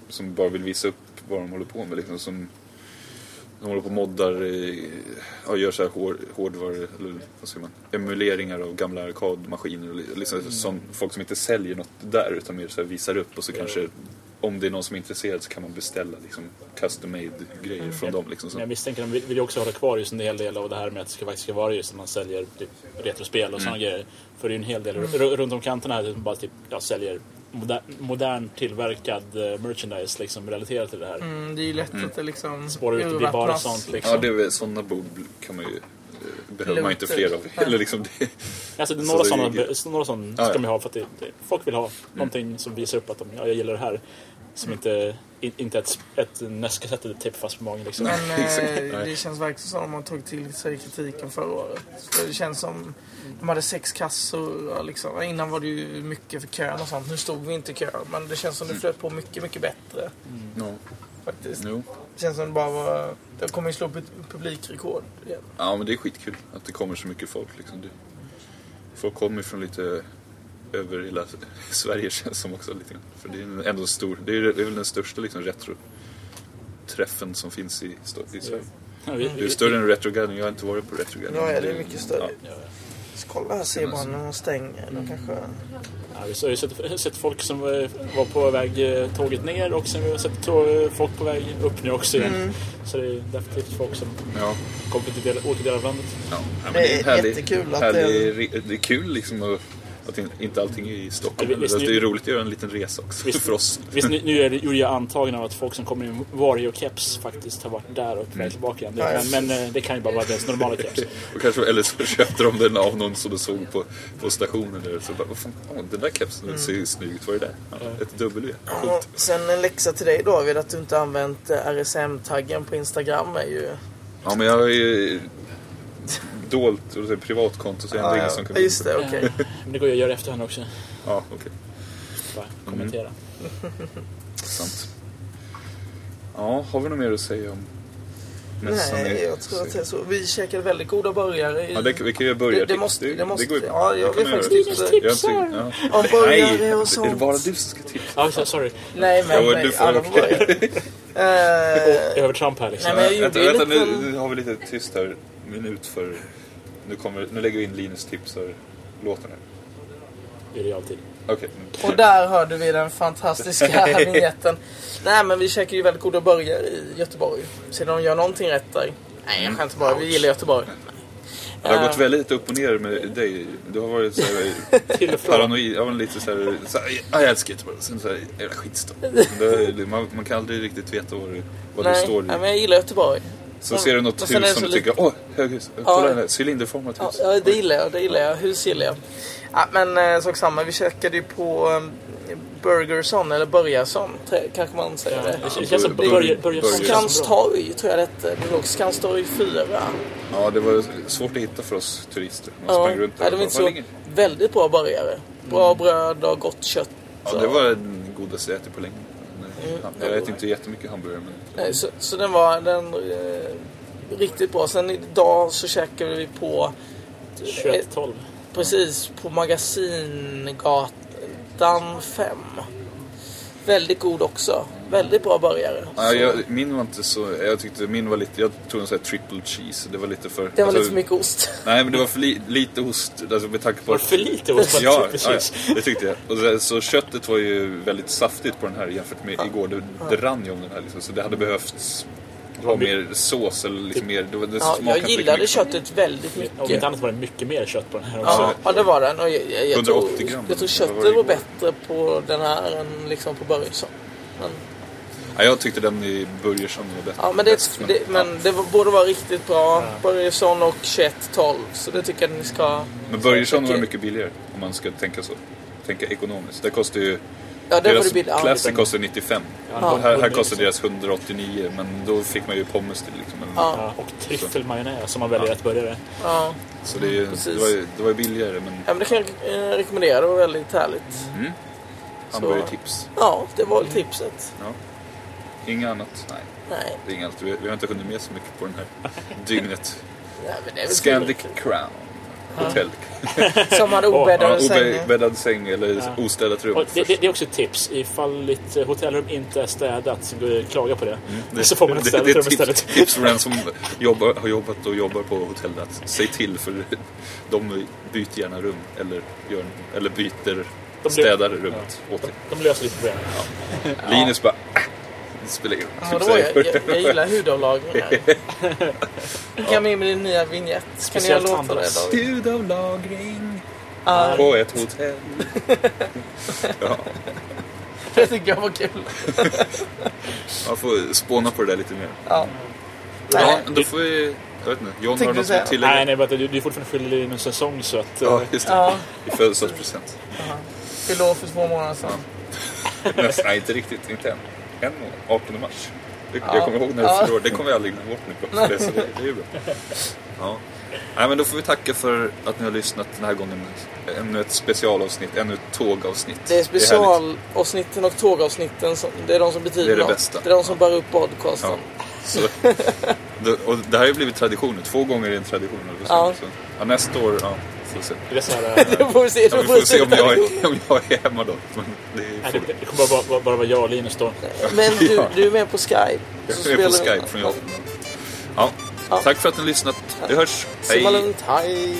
Speaker 3: som bara vill visa upp vad de håller på med. Liksom, som, de håller på och moddar, eh, ja, gör så här hår, hårdvaru, eller vad säger man, emuleringar av gamla arkadmaskiner. och li- Liksom,
Speaker 5: Mm.
Speaker 3: som, folk som inte säljer något där utan mer så här visar upp och så kanske om det är någon som är intresserad så kan man beställa liksom, custom made grejer
Speaker 5: Mm.
Speaker 3: från dem. Liksom,
Speaker 5: Men
Speaker 3: så.
Speaker 5: jag misstänker att de vill vill ju också hålla kvar just en hel del av det här med att det ska faktiskt ska vara just att man säljer typ retrospel och sådana
Speaker 3: Mm.
Speaker 5: grejer. För det är ju en hel del
Speaker 3: Mm.
Speaker 5: ru- runt om kanterna här som bara typ, ja, säljer moder modern tillverkad eh, merchandise liksom relaterat till det här.
Speaker 4: Mm, det är ju lätt att det liksom
Speaker 5: Spårar ut, det blir bara
Speaker 4: urvattnas.
Speaker 5: sånt liksom.
Speaker 3: Ja, det är väl, sådana bord kan man ju, eh, behöver man ju inte fler av.
Speaker 5: Nej.
Speaker 3: Eller liksom det,
Speaker 5: Alltså, det är
Speaker 3: så
Speaker 5: några
Speaker 3: det är
Speaker 5: sådana,
Speaker 3: ju-
Speaker 5: be- så- några sådana
Speaker 3: Ja, Mm.
Speaker 5: ska
Speaker 3: ja.
Speaker 5: man ju ha för att det, det, folk vill ha någonting som visar upp att de, ja, jag gillar det här. Som
Speaker 3: Mm.
Speaker 5: inte, in, inte ett, ett näskassett eller tejp fast på magen liksom.
Speaker 4: Men eh, det känns verkligen som att de har tagit till sig kritiken förra året. För det känns som de hade sex kassor. och Liksom. Innan var det ju mycket för kön och sånt. Nu stod vi inte i kö. Men det känns som det flöt på mycket, mycket bättre.
Speaker 3: Ja.
Speaker 4: Faktiskt.
Speaker 3: Jo.
Speaker 4: Det känns som det bara var... Det kommer ju slå pu- publikrekord igen.
Speaker 3: Ja, men det är skitkul att det kommer så mycket folk. Liksom. Det, folk kommer ju från lite över hela [LAUGHS] Sverige känns som också. Lite grann. För det är en- ändå en stor, det är, det är väl den största liksom, retro-träffen som finns i, Sto- i Sverige.
Speaker 5: Ja, vi-
Speaker 3: Det är större än Retro Garden. Jag har inte varit på Retro Garden.
Speaker 4: Ja, ja, det är mycket större.
Speaker 3: Ja.
Speaker 4: Så kolla här, ser man när de stänger. De kanske...
Speaker 5: Ja, vi har ju sett, sett folk som var var på väg eh, tåget ner och sen vi har sett tå- folk på väg upp nu också igen.
Speaker 4: Mm.
Speaker 5: Så det är definitivt folk som
Speaker 3: Ja.
Speaker 5: kommer till del, olika delar av landet.
Speaker 3: Ja, men det är, en härlig, härlig, re- det är kul liksom att, att in- inte allting är i Stockholm.
Speaker 5: Ja, vi- visst,
Speaker 3: Alltså, det
Speaker 5: ni-
Speaker 3: är roligt att göra en liten resa också för oss.
Speaker 5: Visst, nu, nu är det, gjorde jag antagande av att folk som kommer in vario keps faktiskt har varit där och på
Speaker 3: Mm.
Speaker 5: väg tillbaka igen.
Speaker 3: Ja, ja.
Speaker 5: Men, men eh, det kan ju bara vara deras
Speaker 3: [LAUGHS]
Speaker 5: normala keps.
Speaker 3: Och kanske, eller så köpte de den av någon som de såg på, på stationen. Där, så bara, vad fan, åh, den där kepsen
Speaker 4: Mm.
Speaker 3: ser ju snygg ut. Vad är det där? Ja, ett W.
Speaker 4: Ja, sen en läxa till dig David att du inte använt eh, RSM-taggen på Instagram är ju...
Speaker 3: Ja, men jag har ju dolt och det är privatkonto så jag har
Speaker 4: Ja,
Speaker 3: ändå ingen
Speaker 4: ja.
Speaker 3: som kan...
Speaker 4: Ja, just det, okej.
Speaker 5: Eh, Men det går ju att göra i efterhand också.
Speaker 3: Ja, okej.
Speaker 5: Bara kommentera.
Speaker 3: Mm. Sant. Ja, har vi något mer att säga om mässan?
Speaker 4: Nej,
Speaker 3: i-
Speaker 4: jag tror att det är så. Vi käkade väldigt goda burgare. i-
Speaker 3: Alltså, Ja, det, vi kan ju börja
Speaker 4: Det, det måste... Det, måste
Speaker 3: går ju-
Speaker 4: ja,
Speaker 3: det
Speaker 4: jag
Speaker 3: kan
Speaker 4: vill
Speaker 3: man göra.
Speaker 4: faktiskt tipsa dig.
Speaker 3: Jag tycker- ja.
Speaker 4: Om burgare och sånt.
Speaker 3: Är det bara du som ska tipsa?
Speaker 5: Ja, Ah, så- sorry.
Speaker 4: Nej, men...
Speaker 3: Jo,
Speaker 4: nej,
Speaker 3: du får-
Speaker 4: alla får börja. Eh,
Speaker 5: Övertramp här liksom.
Speaker 4: Nej, men jag gjorde
Speaker 3: vänta,
Speaker 4: ju
Speaker 3: vänta
Speaker 4: en liten-
Speaker 3: nu, nu har vi lite tyst här. Minut för... Nu, kommer, nu lägger vi in Linus tipsar-låten här.
Speaker 5: Det gör jag alltid.
Speaker 3: Okej.
Speaker 4: Och där hörde vi
Speaker 3: [LAUGHS]
Speaker 4: den fantastiska vignetten. Nej men vi käkade ju väldigt goda burgare i Göteborg. Så de gör någonting rätt där. Nej jag skämtar bara, vi gillar Göteborg.
Speaker 3: Det har
Speaker 4: Eh,
Speaker 3: gått väldigt upp och ner med dig. Du har varit så
Speaker 4: [LAUGHS]
Speaker 3: här... paranoid. Jag var lite så här... Så här "Ja, jag älskar Göteborg. Sen så här, jävla skitstad. Det- det- Man, man kan aldrig riktigt veta var, du- var du
Speaker 4: Nej,
Speaker 3: står.
Speaker 4: nej, men jag gillar Göteborg.
Speaker 3: Så ser du något
Speaker 4: Men sen är
Speaker 3: hus
Speaker 4: det
Speaker 3: som
Speaker 4: så
Speaker 3: du tycker,
Speaker 4: lite-
Speaker 3: åh, höghus.
Speaker 4: Ja.
Speaker 3: Kolla det här, cylinderformat
Speaker 4: Ja,
Speaker 3: hus.
Speaker 4: ja, det gillar jag. Det gillar jag. Hus gillar jag. Ja, men eh, sak samma, vi käkade ju på eh, Burgerson, eller Börjesson, tre- kanske man säger det.
Speaker 12: det känns som Börje- Börjesson.
Speaker 4: Skanstorg tror jag det hette. Det låg Skanstorg 4.
Speaker 3: Ja, det var svårt att hitta för oss turister. Man
Speaker 4: Ja,
Speaker 3: sprang runt
Speaker 4: nej, det var
Speaker 3: och
Speaker 4: inte
Speaker 3: bara, "Var
Speaker 4: så
Speaker 3: ligger-"
Speaker 4: väldigt bra burgare. Bra
Speaker 3: Mm.
Speaker 4: bröd och gott kött.
Speaker 3: Ja,
Speaker 4: och-
Speaker 3: det var den godaste jag ätit på länge. Men,
Speaker 4: Mm.
Speaker 3: Jag äter inte jättemycket hamburgare, men
Speaker 4: Nej, så, så den var den, eh, riktigt bra. Sen idag så käkade vi på...
Speaker 12: 21-12.
Speaker 4: Precis, på Magasingatan 5. Väldigt god också. Väldigt bra burgare.
Speaker 3: Ja, jag, min var inte så... Jag tyckte min var lite... Jag tog en sån här triple cheese. Det var lite för...
Speaker 4: Det var lite för mycket ost.
Speaker 3: Nej, men alltså, det var för li, lite ost. Alltså med tanke på...
Speaker 4: Var det för lite ost på en
Speaker 3: Ja,
Speaker 4: triple
Speaker 3: ja,
Speaker 4: cheese?
Speaker 3: ja, det tyckte jag. Och så, så köttet var ju väldigt saftigt på den här jämfört med igår. Det, det rann ju om den här liksom, så det hade behövts ha mer sås eller liksom mer... Det, var- det
Speaker 4: Ja,
Speaker 3: smakade
Speaker 4: jag
Speaker 3: inte lika
Speaker 4: gillade
Speaker 3: mycket. Alltså,
Speaker 4: köttet väldigt mycket.
Speaker 12: Om inte annat var det mycket mer kött på den här också.
Speaker 4: Ja, ja, det var den. Och jag, jag, jag, tror,
Speaker 12: 180 gram.
Speaker 4: jag tror
Speaker 3: Vad var
Speaker 4: köttet
Speaker 3: det
Speaker 4: var bättre på den här än liksom på Börjesson. Men,
Speaker 3: Ja, jag tyckte den i Börjesson var bättre.
Speaker 4: ja, men det, det, men det var, borde vara riktigt bra. Börjesson och 21-12. Så det tycker jag ni ska...
Speaker 3: Men Börjesson var mycket billigare om man ska tänka så. Tänka ekonomiskt. Det kostar ju...
Speaker 4: Ja, det var
Speaker 3: deras
Speaker 4: det billiga.
Speaker 3: Classic kostar 95.
Speaker 4: Ja.
Speaker 3: Och här, här kostar deras 189 men då fick man ju pommes till liksom. En,
Speaker 4: Ja.
Speaker 12: Ja, och tryffelmajonnäs som man väljer att börja med.
Speaker 4: Ja.
Speaker 3: Så det, är ju- det, var ju, det var ju billigare men
Speaker 4: Ja, men det kan jag eh, rekommendera. Det var väldigt härligt.
Speaker 3: Mm.
Speaker 4: Så-
Speaker 3: hamburgertips.
Speaker 4: Ja, det var väl tipset.
Speaker 3: Ja. Inget annat? Nej.
Speaker 4: Nej.
Speaker 3: Det är inget annat. Vi, vi har inte hunnit med så mycket på
Speaker 4: [LAUGHS]
Speaker 3: den här dygnet.
Speaker 4: Nej, men det är väl
Speaker 3: Scandic Crown Hotel.
Speaker 4: Som hade obäddade
Speaker 3: ja,
Speaker 4: sängar.
Speaker 3: obäddad säng eller
Speaker 12: Ja.
Speaker 3: ostädat rum.
Speaker 12: Och det, det, det är också ett tips. Ifall ditt eh, hotellrum inte är städat, så eh, klaga på det.
Speaker 3: Mm, Det-
Speaker 12: så får man ett
Speaker 3: det-
Speaker 12: städat
Speaker 3: det är
Speaker 12: rum
Speaker 3: tips-
Speaker 12: istället.
Speaker 3: Tips för den som jobbar, har jobbat och jobbar på hotell att säg till för de byter gärna rum eller, gör, eller byter
Speaker 12: blir-
Speaker 3: städar rummet åt dig.
Speaker 12: De löser ditt problem.
Speaker 3: Linus bara "Ah, det spelar ingen roll. Typ
Speaker 4: Ja, det var jag, jag, jag gillar hudavlagringen
Speaker 3: [LAUGHS]
Speaker 4: här. Kan med din nya vignett. Kan ni göra
Speaker 3: Speciellt
Speaker 4: låtar där
Speaker 3: Anders.
Speaker 4: David?
Speaker 3: Hudavlagring.
Speaker 4: Ja. [LAUGHS]
Speaker 3: På ett
Speaker 4: Eh.
Speaker 3: hotell. Ja.
Speaker 4: Det tycker jag var kul.
Speaker 3: Man får spåna på det där lite mer.
Speaker 4: Ja.
Speaker 3: Ja, då får vi... Jag vet inte. John, har du något att tillägga?
Speaker 12: Nej, nej, bara att du, du är fortfarande skyldig i en säsong så att...
Speaker 3: Ja,
Speaker 12: eh,
Speaker 3: just det.
Speaker 4: Ja.
Speaker 3: I födelsedagspresent.
Speaker 4: Fyllde år för två månader sedan.
Speaker 3: Nästan, nej, inte riktigt. Inte än. En månad. 18 mars. Det,
Speaker 4: Ja.
Speaker 3: Jag kommer ihåg när
Speaker 4: Ja.
Speaker 3: du förlorade. Det kommer jag aldrig glömma bort nu. Claes. Det, är så- det är ju bra. Ja. Nej, men då får vi tacka för att ni har lyssnat den här gången. Ännu ett specialavsnitt. Ännu ett tågavsnitt.
Speaker 4: Det är
Speaker 3: härligt.
Speaker 4: specialavsnitten och tågavsnitten. Som, det är de som betyder
Speaker 3: Det är det
Speaker 4: något.
Speaker 3: bästa.
Speaker 4: Det är de som bär upp podcasten.
Speaker 3: Ja. Så, det, och det här har ju blivit tradition nu. Två gånger är en tradition. eller så.
Speaker 4: Ja.
Speaker 3: Så, ja, nästa år, ja. Får vi se.
Speaker 12: Det är så här,
Speaker 3: [LAUGHS]
Speaker 12: eh,
Speaker 4: Det får vi se.
Speaker 3: Ja, vi får se om jag, är, om jag är hemma då. Men det är
Speaker 12: Nej, det, det kommer bara, bara, bara vara jag och Linus då.
Speaker 4: Men du, du är med på Skype.
Speaker 3: Jag är på Skype från Japan. Ja. Tack för att ni har lyssnat. Vi hörs.
Speaker 4: Simma lugnt. Hej.